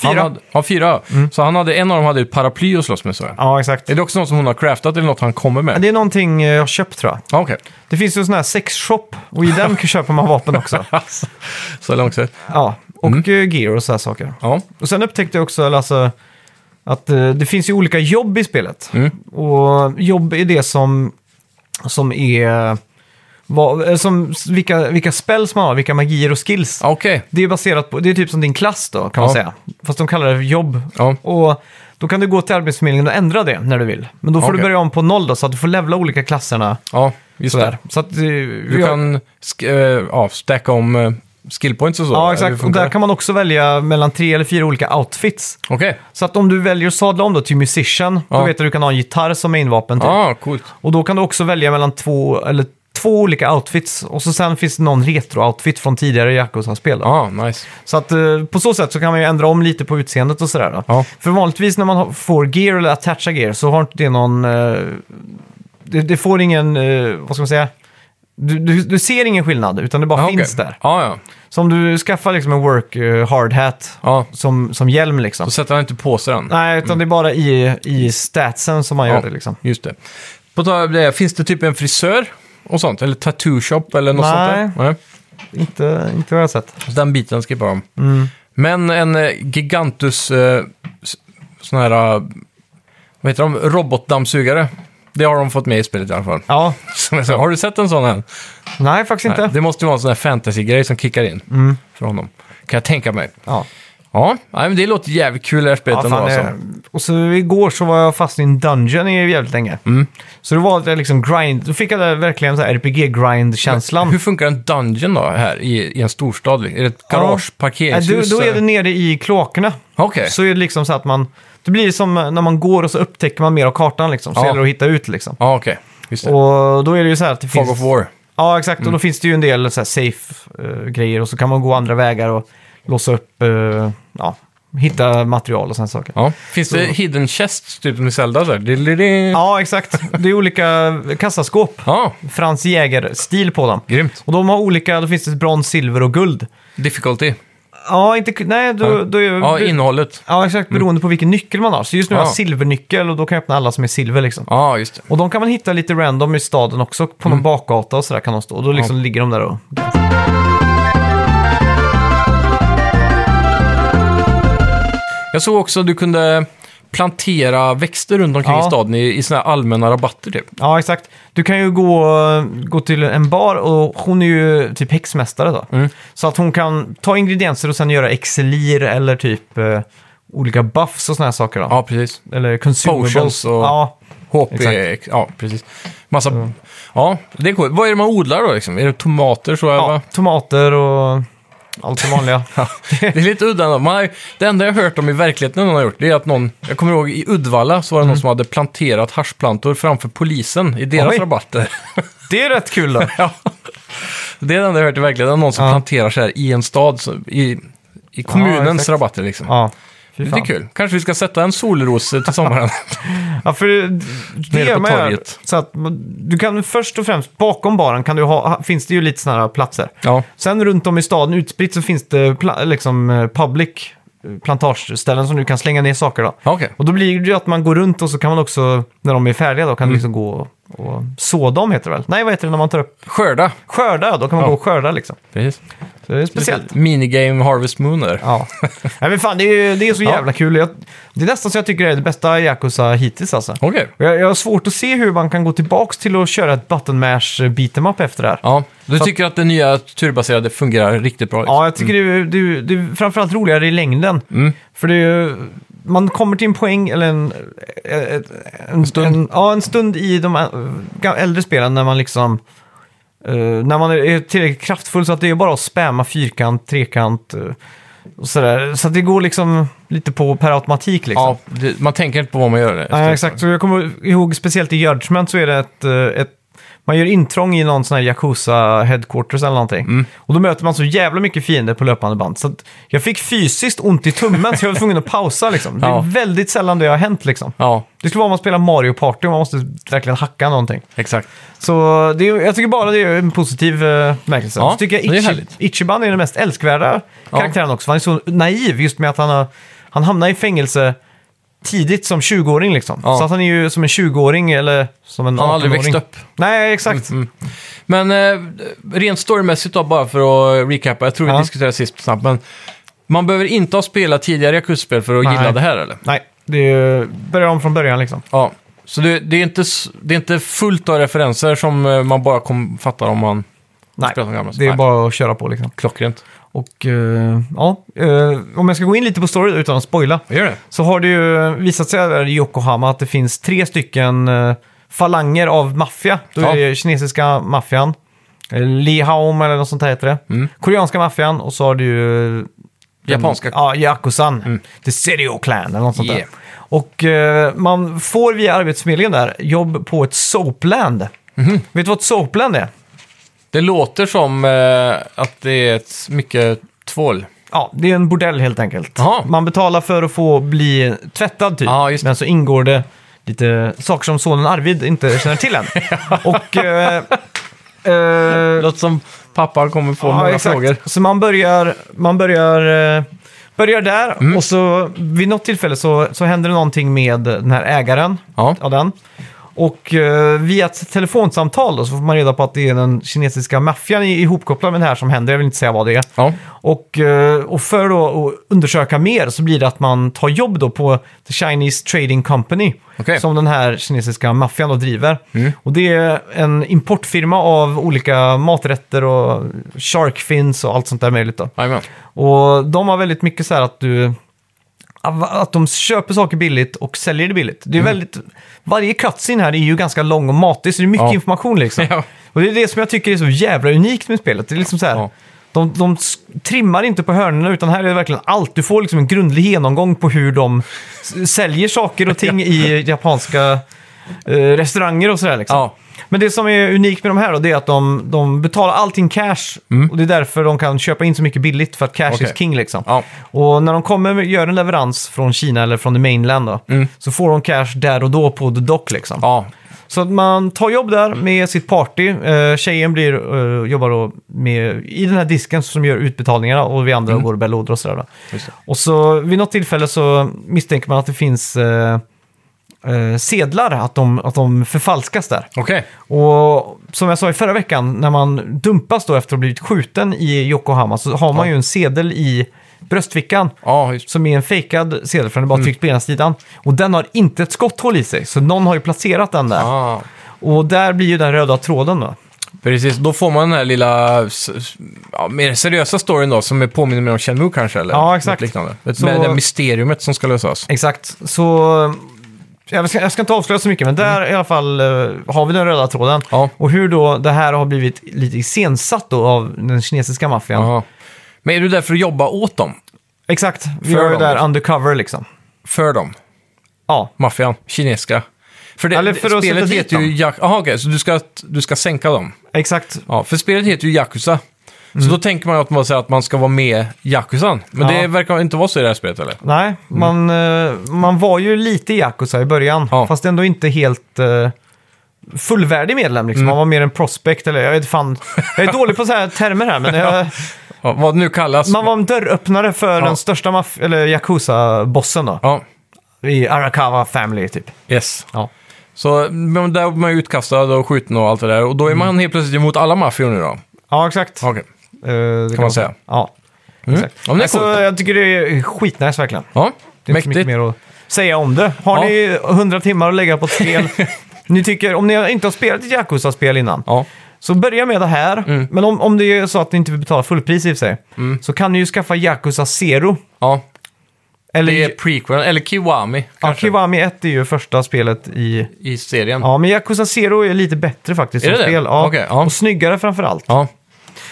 Speaker 1: Fyra. Mm.
Speaker 2: hade, ja, fyra. Så han hade, en av dem hade ett paraply att slåss med så jag.
Speaker 1: Ja, exakt.
Speaker 2: Är det också något som hon har craftat eller något han kommer med?
Speaker 1: Det är någonting eh, jag har köpt tror jag.
Speaker 2: Ja, okej.
Speaker 1: Det finns ju en sån här sexshop och i den kan köpa man vapen också.
Speaker 2: Så långt sett.
Speaker 1: Ja, och
Speaker 2: Mm.
Speaker 1: eh, gear och sådana saker.
Speaker 2: Ja.
Speaker 1: Och sen upptäckte jag också eller alltså, att eh, det finns ju olika jobb i spelet.
Speaker 2: Mm.
Speaker 1: Och jobb är det som, som är... Vad, eh, som, vilka, vilka spells man har, vilka magier och skills.
Speaker 2: Ja, Okej.
Speaker 1: Det är baserat på, det är typ som din klass då, kan
Speaker 2: Ja.
Speaker 1: man säga. Fast de kallar det för jobb.
Speaker 2: Ja.
Speaker 1: Och då kan du gå till Arbetsförmedlingen och ändra det när du vill. Men då får
Speaker 2: Okej.
Speaker 1: du börja om på noll då, så att du får levla olika klasserna.
Speaker 2: Ja, just
Speaker 1: Sådär.
Speaker 2: det.
Speaker 1: Så att, eh,
Speaker 2: Du kan sk- eh, ja, stacka om eh, skillpoints och så.
Speaker 1: Ja,
Speaker 2: Hur
Speaker 1: exakt. Och
Speaker 2: funkar
Speaker 1: där
Speaker 2: det?
Speaker 1: kan man också välja mellan tre eller fyra olika outfits.
Speaker 2: Okej.
Speaker 1: Så att om du väljer att sadla om då till musician,
Speaker 2: Ja.
Speaker 1: då vet du att du kan ha en gitarr som mainvapen. Typ.
Speaker 2: Ja, ah, coolt.
Speaker 1: Och då kan du också välja mellan två, eller två olika outfits. Och så sen finns det någon retro-outfit från tidigare Yakuza-spel. då.
Speaker 2: Ja, ah, nice.
Speaker 1: Så att eh, på så sätt så kan man ju ändra om lite på utseendet och sådär. Då.
Speaker 2: Ja.
Speaker 1: För vanligtvis när man har- får gear eller attacha gear så har inte det någon... eh, det, det får ingen, eh, vad ska man säga? Du, du, du ser ingen skillnad, utan det bara
Speaker 2: Ah, okej.
Speaker 1: finns där.
Speaker 2: Ja, ja.
Speaker 1: Så om du skaffar liksom en work eh, hard hat
Speaker 2: Ja.
Speaker 1: som, som hjälm liksom.
Speaker 2: Då sätter han inte på sig den.
Speaker 1: Nej, utan det är bara i, i statsen som man gör
Speaker 2: Mm. Ja,
Speaker 1: det liksom.
Speaker 2: Just det. På tal om det, finns det typ en frisör och sånt? Eller tattoo shop eller något
Speaker 1: Nej.
Speaker 2: sånt där? Nej.
Speaker 1: Inte, inte vad jag har sett.
Speaker 2: Så den biten skippar de.
Speaker 1: Mm.
Speaker 2: Men en eh, Gigantus eh, s- sån här, eh, vad heter de, robotdammsugare. Det har de fått med i spelet i alla fall.
Speaker 1: Ja,
Speaker 2: Som jag sa, har du sett en sån än?
Speaker 1: nej faktiskt
Speaker 2: Nej,
Speaker 1: inte. Mm.
Speaker 2: det måste ju vara en sån här fantasy-grej som kickar in för honom. Kan jag tänka mig.
Speaker 1: Ja.
Speaker 2: Ja, nej, men det låter jävligt kul det här spelet
Speaker 1: Ja,
Speaker 2: ändå.
Speaker 1: fan,
Speaker 2: Alltså.
Speaker 1: det- Och så igår så var jag fast i en dungeon i jävligt länge.
Speaker 2: Mm.
Speaker 1: Så då var det liksom grind, då fick jag där verkligen så här
Speaker 2: Hur
Speaker 1: RPG-grind-känslan.
Speaker 2: funkar en dungeon då här i, i en storstad? Är det ett garage,
Speaker 1: Nej, då,
Speaker 2: parkeringshus?
Speaker 1: då är det
Speaker 2: eller?
Speaker 1: nere i kloakerna.
Speaker 2: Okej.
Speaker 1: Så är det liksom så att man... Det blir som när man går och så upptäcker man mer av kartan liksom. Så
Speaker 2: Ja.
Speaker 1: gäller det att hitta ut liksom.
Speaker 2: Ja, okej. Just det.
Speaker 1: Och då är det ju så här att det
Speaker 2: Fog
Speaker 1: finns...
Speaker 2: of War. Mm.
Speaker 1: Ja, exakt. Och då finns det ju en del så här safe-grejer och så kan man gå andra vägar och låsa upp, eh, ja, hitta material och sådana saker.
Speaker 2: Ja. Finns det hidden chests, typ som i Zelda? Så här? Dilili.
Speaker 1: Ja, exakt. Det är olika kassaskåp.
Speaker 2: Ja,
Speaker 1: Frans Jäger-stil på dem.
Speaker 2: grymt.
Speaker 1: Och de har olika, då finns det brons, silver och guld.
Speaker 2: Difficulty.
Speaker 1: Mm. Ja, inte, nej, då, då är
Speaker 2: Ja, innehållet.
Speaker 1: Ja, exakt. Beroende på vilken nyckel man har. Så just nu har
Speaker 2: Ja.
Speaker 1: jag silvernyckel och då kan jag öppna alla som är silver liksom.
Speaker 2: Ja, just det.
Speaker 1: Och de kan man hitta lite random i staden också. På
Speaker 2: Mm.
Speaker 1: någon bakgata och sådär kan de stå. Och då liksom ligger de där och...
Speaker 2: Jag såg också att du kunde plantera växter runt omkring
Speaker 1: Ja.
Speaker 2: i staden i, i såna här allmänna rabatter typ.
Speaker 1: Ja, exakt. Du kan ju gå, gå till en bar och hon är ju typ häxmästare då.
Speaker 2: Mm.
Speaker 1: Så att hon kan ta ingredienser och sen göra exelir eller typ eh, olika buffs och sådana här saker då.
Speaker 2: Ja, precis.
Speaker 1: Eller consumables.
Speaker 2: Potions och-
Speaker 1: Ja,
Speaker 2: HP,
Speaker 1: Exakt. Mm.
Speaker 2: ja precis. Massa... Ja, det är coolt. Vad är det man odlar då liksom? Är det tomater så? Ja.
Speaker 1: ja, tomater och Allt det vanliga.
Speaker 2: Det är lite udda ändå. Man har, ju- det enda jag har hört om i verkligheten någon har gjort, det är att någon, jag kommer ihåg i Uddevalla så var det någon som hade planterat haschplantor framför polisen i deras
Speaker 1: Mm. Oj.
Speaker 2: rabatter.
Speaker 1: det är rätt kul då.
Speaker 2: ja. Det är det enda jag har hört i verkligheten, någon som
Speaker 1: Ja.
Speaker 2: planterar så här i en stad, så, i, i kommunens
Speaker 1: exakt.
Speaker 2: rabatter liksom.
Speaker 1: Ja. Fy
Speaker 2: Det är
Speaker 1: fan.
Speaker 2: kul. Kanske vi ska sätta en solros till sommaren.
Speaker 1: Ja, för det- det
Speaker 2: Nere på
Speaker 1: gör man ju.
Speaker 2: torget.
Speaker 1: Så att du kan först och främst, bakom baren kan du ha, finns det ju lite sådana här platser.
Speaker 2: ja.
Speaker 1: Sen runt om i staden utspritt så finns det pla- liksom eh, public eh, plantageställen som du kan slänga ner saker då.
Speaker 2: Okej.
Speaker 1: Och då blir det ju att man går runt och så kan man också, när de är färdiga då, kan
Speaker 2: Mm.
Speaker 1: du liksom gå och så dem heter det väl? Nej, vad heter det när man tar upp?
Speaker 2: Skörda.
Speaker 1: Skörda, ja, då kan man
Speaker 2: Ja.
Speaker 1: gå och skörda liksom.
Speaker 2: Precis.
Speaker 1: Så det är speciellt.
Speaker 2: Minigame Harvest Moon där.
Speaker 1: Ja. Nej men fan, det är, ju- det är så jävla kul. Jag, det är nästan så jag tycker det är det bästa Yakuza hittills alltså.
Speaker 2: Okej.
Speaker 1: Och Jag, jag har svårt att se hur man kan gå tillbaka till att köra ett button mash beat em up efter det här.
Speaker 2: Ja. Du
Speaker 1: Så-
Speaker 2: tycker att det nya turbaserade fungerar riktigt bra? liksom? Mm.
Speaker 1: Ja, jag tycker det, är- det, är- det är framförallt roligare i längden. För det är, ju- man kommer till en poäng, eller en... En, en
Speaker 2: stund.
Speaker 1: En, ja, en stund i de här, eh, gam- äldre spelen när man liksom... eh, när man är tillräckligt kraftfull så att det är bara att spamma fyrkant, trekant eh, och sådär. Så att det går liksom lite på per automatik liksom.
Speaker 2: Ja, det, man tänker inte på vad man gör. efter
Speaker 1: Nej,
Speaker 2: ett
Speaker 1: exakt.
Speaker 2: tag.
Speaker 1: Så jag kommer ihåg speciellt i Judgment så är det ett, eh, ett man gör intrång i någon sån här Yakuza headquarters eller någonting.
Speaker 2: Mm.
Speaker 1: Och då möter man så jävla mycket fiender på löpande band. Så att jag fick fysiskt ont i tummen så jag var tvungen att pausa liksom. Det är
Speaker 2: Ja.
Speaker 1: väldigt sällan det har hänt liksom.
Speaker 2: Ja,
Speaker 1: Det skulle vara om man spelar Mario Party och man måste verkligen hacka någonting.
Speaker 2: exakt.
Speaker 1: Så det är, jag tycker bara det är en positiv eh, bemärkelse.
Speaker 2: Ja,
Speaker 1: så tycker jag
Speaker 2: det är
Speaker 1: Ichi,
Speaker 2: härligt.
Speaker 1: Ichiban är den mest älskvärda karaktären också. för Han är så naiv just med att han, har, han hamnar i fängelse tidigt som 20-åring liksom.
Speaker 2: Ja.
Speaker 1: Så att han är ju som en 20-åring eller som en
Speaker 2: Han har aldrig
Speaker 1: 18-åring.
Speaker 2: växt upp. Mm,
Speaker 1: Nej, exakt.
Speaker 2: Men eh, rent storymässigt då, bara för att recapa. Jag tror vi
Speaker 1: Ja.
Speaker 2: diskuterade sist snabbt, men man behöver inte ha spelat tidigare Yakuza-spel för att
Speaker 1: Nej.
Speaker 2: gilla det här, eller?
Speaker 1: Nej, det är, börjar om från början liksom.
Speaker 2: Ja. Så det, det, är inte, s- det är inte fullt av referenser som eh, man bara kom, fattar om man
Speaker 1: Nej,
Speaker 2: spelar de gamla.
Speaker 1: det är
Speaker 2: Nej.
Speaker 1: bara att köra på liksom.
Speaker 2: Klockrent.
Speaker 1: Och eh, ja, eh, om jag ska gå in lite på story utan att spoila.
Speaker 2: Gör det?
Speaker 1: så har det ju visat sig här i Yokohama att det finns tre stycken eh, falanger av maffia. Då är
Speaker 2: Ja.
Speaker 1: det kinesiska maffian, eh, Li Haom eller något sånt här heter det.
Speaker 2: Mm.
Speaker 1: Koreanska maffian och så har du ju... eh, den-
Speaker 2: Japanska. Mm.
Speaker 1: Ja, Yakuzan. The Serio Clan eller något sånt
Speaker 2: Yeah.
Speaker 1: där. Och eh, man får via Arbetsförmedlingen där jobb på ett soapland.
Speaker 2: Mhm.
Speaker 1: Vet du vad ett soapland är?
Speaker 2: Det låter som eh, att det är ett, mycket tvål.
Speaker 1: Ja, det är en bordell helt enkelt.
Speaker 2: Jaha.
Speaker 1: Man betalar för att få bli tvättad typ.
Speaker 2: Ja, just det.
Speaker 1: Men så ingår det lite saker som sonen Arvid inte känner till än. Och... Eh,
Speaker 2: Det
Speaker 1: eh,
Speaker 2: låter som pappa kommer få
Speaker 1: ja,
Speaker 2: många
Speaker 1: exakt.
Speaker 2: frågor.
Speaker 1: Så man börjar, man börjar, eh, börjar där
Speaker 2: Mm.
Speaker 1: och så vid något tillfälle så, så händer det någonting med den här ägaren
Speaker 2: Ja.
Speaker 1: av den. Och eh, via ett telefonsamtal då, så får man reda på att det är den kinesiska maffian i- ihopkopplad med det här som händer. Jag vill inte säga vad det är.
Speaker 2: Ja.
Speaker 1: Och, eh, och för då att undersöka mer så blir det att man tar jobb då på The Chinese Trading Company.
Speaker 2: Okej.
Speaker 1: Som den här kinesiska maffian då driver. Och det är en importfirma av olika maträtter och sharkfins och allt sånt där möjligt då.
Speaker 2: Jajamän.
Speaker 1: Och de har väldigt mycket så här att du... Att de köper saker billigt och säljer det billigt.
Speaker 2: Mm.
Speaker 1: Det är väldigt... Varje cutscene här är ju ganska lång och matig, så det är mycket
Speaker 2: Ja.
Speaker 1: information liksom.
Speaker 2: Ja.
Speaker 1: Och det är det som jag tycker är så jävla unikt med spelet. Det är liksom så här...
Speaker 2: Ja.
Speaker 1: De, de s- trimmar inte på hörnorna, utan här är det verkligen allt. Du får liksom en grundlig genomgång på hur de s- säljer saker och ting i japanska eh, restauranger och sådär. Liksom.
Speaker 2: Ja.
Speaker 1: Men det som är unikt med de här då, det är att de, de betalar allting cash. Och det är därför de kan köpa in så mycket billigt, för att cash
Speaker 2: Mm. Okej.
Speaker 1: is king liksom.
Speaker 2: Ja.
Speaker 1: Och när de kommer och gör en leverans från Kina eller från the mainland då, så får de cash där och då på the dock liksom.
Speaker 2: Mm. ja.
Speaker 1: Så att man tar jobb där med sitt party. Eh, tjejen blir, eh, jobbar då med, i den här disken som gör utbetalningarna och vi
Speaker 2: Mm.
Speaker 1: andra går och bär lådor och sådär. Då.
Speaker 2: Just det.
Speaker 1: Och så vid något tillfälle så misstänker man att det finns eh, eh, sedlar, att de, att de förfalskas där.
Speaker 2: Okej.
Speaker 1: Och som jag sa i förra veckan, när man dumpas då efter att ha blivit skjuten i Yokohama så har man
Speaker 2: Ja.
Speaker 1: ju en sedel i bröstfickan.
Speaker 2: Ja, just
Speaker 1: Som är en fejkad sedel för den är
Speaker 2: Mm.
Speaker 1: bara tryckt på ena sidan. Och den har inte ett skotthål i sig, så någon har ju placerat den där.
Speaker 2: ah.
Speaker 1: Och där blir ju den röda tråden då.
Speaker 2: Precis, då får man den här lilla, s- s- ja, mer seriösa storyn då, som är påminner mer om Shenmue kanske, eller?
Speaker 1: Ja, exakt.
Speaker 2: något Liknande.
Speaker 1: Så-
Speaker 2: Med det här mysteriumet som ska lösas.
Speaker 1: Exakt, så eh, jag ska, jag ska inte avslöja så mycket, men där i alla fall eh, har vi den röda tråden.
Speaker 2: Mm. Ja.
Speaker 1: Och hur då det här har blivit lite iscensatt då av den kinesiska maffian.
Speaker 2: Jaha. Men är du där för att jobba åt dem?
Speaker 1: Exakt, vi
Speaker 2: För
Speaker 1: var ju
Speaker 2: dem,
Speaker 1: där
Speaker 2: liksom.
Speaker 1: undercover liksom.
Speaker 2: För dem?
Speaker 1: Ja,
Speaker 2: Maffian? Kinesiska? För det,
Speaker 1: Eller för att
Speaker 2: spelet
Speaker 1: sätta dit
Speaker 2: heter ju
Speaker 1: dem.
Speaker 2: Yakuza. Jaha, okej, så du ska, du ska sänka dem?
Speaker 1: exakt.
Speaker 2: Ja, för spelet heter ju Yakuza. Så då tänker man ju att man, säger att man ska vara med Yakuzan. Men
Speaker 1: Mm. Ja.
Speaker 2: det verkar inte vara så i det här spelet, eller?
Speaker 1: Nej, man, eh, man var ju lite i Yakuza i början.
Speaker 2: Ja.
Speaker 1: Fast ändå inte helt eh, fullvärdig medlem.
Speaker 2: Mm.
Speaker 1: Liksom. Man var mer en prospect eller jag vet fan. Jag är dålig på så här termer här. Men jag,
Speaker 2: Ja, vad det nu kallas.
Speaker 1: man var en dörröppnare för
Speaker 2: Ja.
Speaker 1: den största maff- eller Yakuza-bossen då.
Speaker 2: Ja,
Speaker 1: I Arakawa Family typ.
Speaker 2: yes.
Speaker 1: Ja.
Speaker 2: Så men där var man ju utkastad och skjuten och allt det där. Och då är
Speaker 1: Mm.
Speaker 2: man helt plötsligt emot alla maffior nu då?
Speaker 1: Ja, exakt.
Speaker 2: Okej.
Speaker 1: Eh, det kan
Speaker 2: man säga.
Speaker 1: Ja.
Speaker 2: Mm. Ja, men det är
Speaker 1: alltså,
Speaker 2: coolt.
Speaker 1: jag tycker det är skitnice verkligen.
Speaker 2: Ja,
Speaker 1: Det är inte så mycket
Speaker 2: mäktigt.
Speaker 1: mer att säga om det. Har
Speaker 2: Ja.
Speaker 1: ni 100 timmar att lägga på ett spel, ni tycker, om ni inte har spelat ett Yakuza-spel innan,
Speaker 2: Ja.
Speaker 1: så börja med det här.
Speaker 2: Mm.
Speaker 1: Men om, om det är så att ni inte vill betala fullpris i och för sig, så kan ni ju skaffa Yakuza Zero.
Speaker 2: ja,
Speaker 1: Eller
Speaker 2: det är prequel, eller Kiwami
Speaker 1: ja,
Speaker 2: kanske,
Speaker 1: Kiwami 1 är ju första spelet i...
Speaker 2: i serien.
Speaker 1: Ja, men Yakuza Zero är lite bättre faktiskt
Speaker 2: Är
Speaker 1: som
Speaker 2: det det?
Speaker 1: spel. Ja.
Speaker 2: Okej, ja.
Speaker 1: Och snyggare framför allt.
Speaker 2: Ja.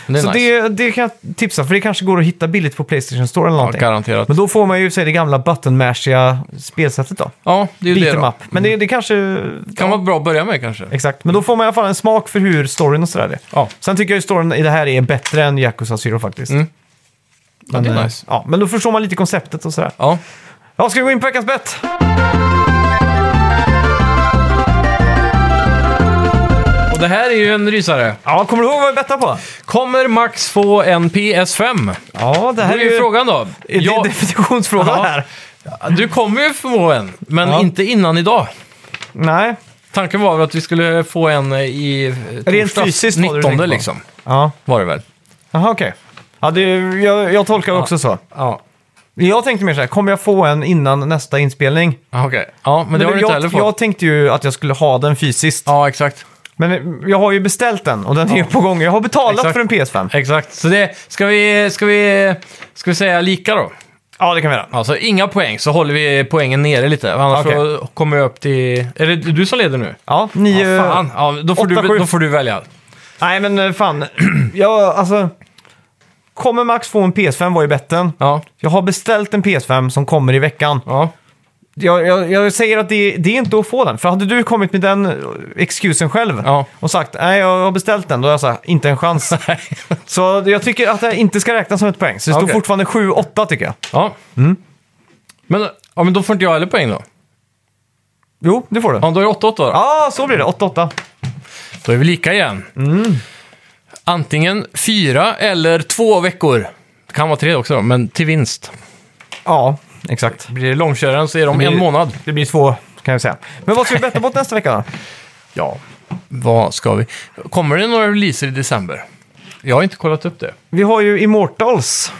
Speaker 2: Det är
Speaker 1: så
Speaker 2: nice.
Speaker 1: det, det kan jag tipsa, för det kanske går att hitta billigt på Playstation Store eller
Speaker 2: ja,
Speaker 1: någonting.
Speaker 2: garanterat.
Speaker 1: men då får man ju i och för sig det gamla buttonmashiga spelsättet då.
Speaker 2: ja, det är ju
Speaker 1: Beat
Speaker 2: det
Speaker 1: em
Speaker 2: då. Mm.
Speaker 1: up. Men det, det kanske...
Speaker 2: Kan vara bra att börja med kanske.
Speaker 1: Exakt, men då får man i alla fall en smak för hur storyn och sådär är.
Speaker 2: Ja.
Speaker 1: Sen tycker jag ju storyn i det här är bättre än Yakuza Zero faktiskt.
Speaker 2: Mm.
Speaker 1: Men,
Speaker 2: det är
Speaker 1: eh,
Speaker 2: nice.
Speaker 1: ja, men då förstår man lite konceptet och sådär.
Speaker 2: Ja,
Speaker 1: Ja, ska vi gå in på veckans bett?
Speaker 2: och det här är ju en rysare.
Speaker 1: Ja, kommer du ihåg vad vi bettade på?
Speaker 2: Kommer Max få en PS5?
Speaker 1: Ja, det
Speaker 2: Det
Speaker 1: här
Speaker 2: är ju frågan då.
Speaker 1: Det är
Speaker 2: Jag-
Speaker 1: definitionsfrågan
Speaker 2: Ja.
Speaker 1: här.
Speaker 2: Du kommer ju få en, men
Speaker 1: Ja.
Speaker 2: inte innan idag.
Speaker 1: Nej.
Speaker 2: Tanken var väl att vi skulle få en i eh,
Speaker 1: Rent
Speaker 2: torsdags,
Speaker 1: fysiskt var det du
Speaker 2: 19
Speaker 1: tänkte på.
Speaker 2: liksom.
Speaker 1: Ja,
Speaker 2: Var det väl?
Speaker 1: jaha okej. Ja, det, jag, jag tolkar också så.
Speaker 2: Ja.
Speaker 1: Jag tänkte mer så här, kommer jag få en innan nästa inspelning?
Speaker 2: Ah, Okej. Ja, men, det har
Speaker 1: du,
Speaker 2: du inte
Speaker 1: jag,
Speaker 2: heller fått.
Speaker 1: jag tänkte ju att jag skulle ha den fysiskt.
Speaker 2: Ja, exakt.
Speaker 1: Men eh, jag har ju beställt den och den är på gång. Jag har betalat
Speaker 2: Exakt.
Speaker 1: för en PS5.
Speaker 2: Exakt. Så det, ska vi, ska vi, ska vi säga lika då?
Speaker 1: Ja, det kan vi göra.
Speaker 2: Alltså inga poäng, så håller vi poängen nere lite. Annars
Speaker 1: Okej.
Speaker 2: så kommer jag upp till... Är det du som leder nu?
Speaker 1: Ja, ni...
Speaker 2: Ja,
Speaker 1: eh,
Speaker 2: fan. Ja, då, får
Speaker 1: åtta, sju.
Speaker 2: du, då får du välja.
Speaker 1: Nej, men eh, fan. jag, alltså... Kommer Max få en PS5 var ju betten.
Speaker 2: Ja.
Speaker 1: Jag har beställt en PS5 som kommer i veckan.
Speaker 2: Ja.
Speaker 1: Jag, jag, jag säger att det, det är inte att få den. För hade du kommit med den eh, excusen själv
Speaker 2: Ja.
Speaker 1: och sagt nej, jag har beställt den, då är jag så här, inte en chans. så jag tycker att det inte ska räknas som ett poäng. Så det står
Speaker 2: Okej.
Speaker 1: fortfarande 7-8 tycker jag.
Speaker 2: ja.
Speaker 1: Mm.
Speaker 2: Men, ja, men då får inte jag heller poäng då.
Speaker 1: Jo, det får du. Ja,
Speaker 2: Ja, då är det 8-8 då.
Speaker 1: ah, så blir det. 8-8.
Speaker 2: Då är vi lika igen. Antingen fyra eller två veckor. Det kan vara tre också då, men till vinst.
Speaker 1: Ja, exakt.
Speaker 2: Blir det långköraren så är de
Speaker 1: blir-
Speaker 2: en månad.
Speaker 1: Det blir två, kan jag säga. Men vad ska vi betta på nästa vecka då?
Speaker 2: Ja. Vad ska vi? Kommer det några releaser i december? Jag har inte kollat upp det.
Speaker 1: Vi har ju Immortals.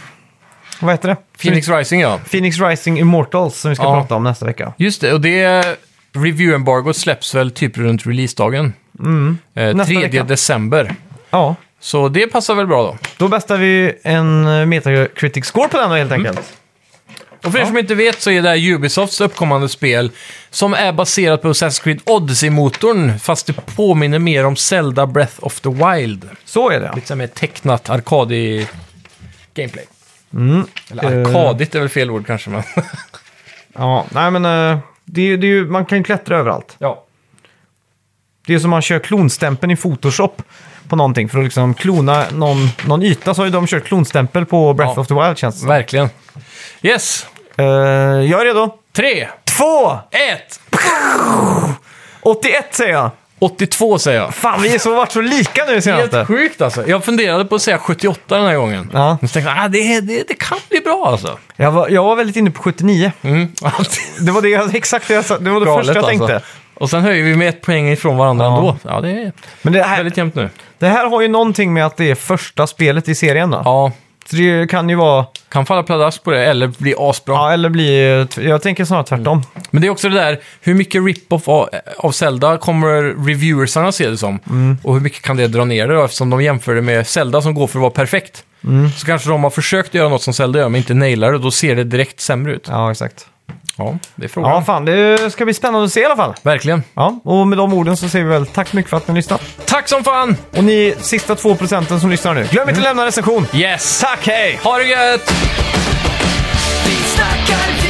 Speaker 1: Vad heter det?
Speaker 2: Phoenix Rising ja.
Speaker 1: Phoenix Rising Immortals som vi ska
Speaker 2: Ja.
Speaker 1: prata om nästa vecka.
Speaker 2: Just det, och det review-embargot släpps väl typ runt releasedagen. Eh,
Speaker 1: Mm. Nästa
Speaker 2: 3
Speaker 1: vecka.
Speaker 2: december.
Speaker 1: Ja,
Speaker 2: Så det passar väl bra då.
Speaker 1: då bestar vi en eh, Metacritic score på den då,
Speaker 2: Mm.
Speaker 1: helt enkelt.
Speaker 2: Och för er
Speaker 1: Ja.
Speaker 2: som inte vet så är det här Ubisofts uppkommande spel som är baserat på Assassin's Creed Odyssey-motorn, fast det påminner mer om Zelda Breath of the Wild.
Speaker 1: Så är det.
Speaker 2: Lite mer tecknat arkadig gameplay.
Speaker 1: Eh.
Speaker 2: Mm. Eller arkadigt är väl fel ord kanske, men...
Speaker 1: Ja, nej men eh, det, är- det är ju, man kan ju klättra överallt.
Speaker 2: ja.
Speaker 1: Det är som man kör klonstämpeln i Photoshop på någonting för att liksom klona någon, någon yta så har ju de kört klonstämpel på Breath
Speaker 2: Ja.
Speaker 1: of the Wild känns det som.
Speaker 2: Verkligen. Yes!
Speaker 1: Eh, Jag är redo.
Speaker 2: Tre,
Speaker 1: Två!
Speaker 2: ett,
Speaker 1: 81 säger jag!
Speaker 2: 82 säger jag.
Speaker 1: Fan, vi är så, varit så lika nu senaste.
Speaker 2: Helt sjukt alltså. Jag funderade på att säga 78 den här gången.
Speaker 1: Ja.
Speaker 2: Men så tänkte jag, ah, det, det, det kan bli bra alltså.
Speaker 1: Jag var, jag var väldigt inne på 79.
Speaker 2: Mm.
Speaker 1: Det var det jag, exakt det jag sa. Det var det första jag tänkte.
Speaker 2: alltså. Och sen höjer vi med ett poäng ifrån varandra
Speaker 1: Ja.
Speaker 2: ändå. Ja, det är
Speaker 1: Men det här,
Speaker 2: väldigt jämnt nu.
Speaker 1: det här har ju någonting med att det är första spelet i serien då.
Speaker 2: Ja,
Speaker 1: Så det kan ju vara...
Speaker 2: kan falla pladask på det eller bli asbra.
Speaker 1: Ja, eller bli... eh, tv- Jag tänker snarare tvärtom.
Speaker 2: Men det är också det där, hur mycket rip-off av, av Zelda kommer reviewersarna se det som?
Speaker 1: Mm.
Speaker 2: Och hur mycket kan det dra ner det då? Eftersom de jämför det med Zelda som går för att vara perfekt.
Speaker 1: Mm.
Speaker 2: Så kanske de har försökt göra något som Zelda gör men inte nailar det, då ser det direkt sämre ut.
Speaker 1: Ja, exakt.
Speaker 2: Ja, det är frågan.
Speaker 1: Ja, fan, det ska bli spännande att se i alla fall.
Speaker 2: Verkligen.
Speaker 1: Ja, och med de orden så säger vi väl tack så mycket för att ni lyssnade.
Speaker 2: Tack som fan!
Speaker 1: Och ni sista 2 procenten som lyssnar nu, glöm inte lämna recension.
Speaker 2: Yes!
Speaker 1: Tack, hej!
Speaker 2: Ha det gött!
Speaker 3: Vi snackar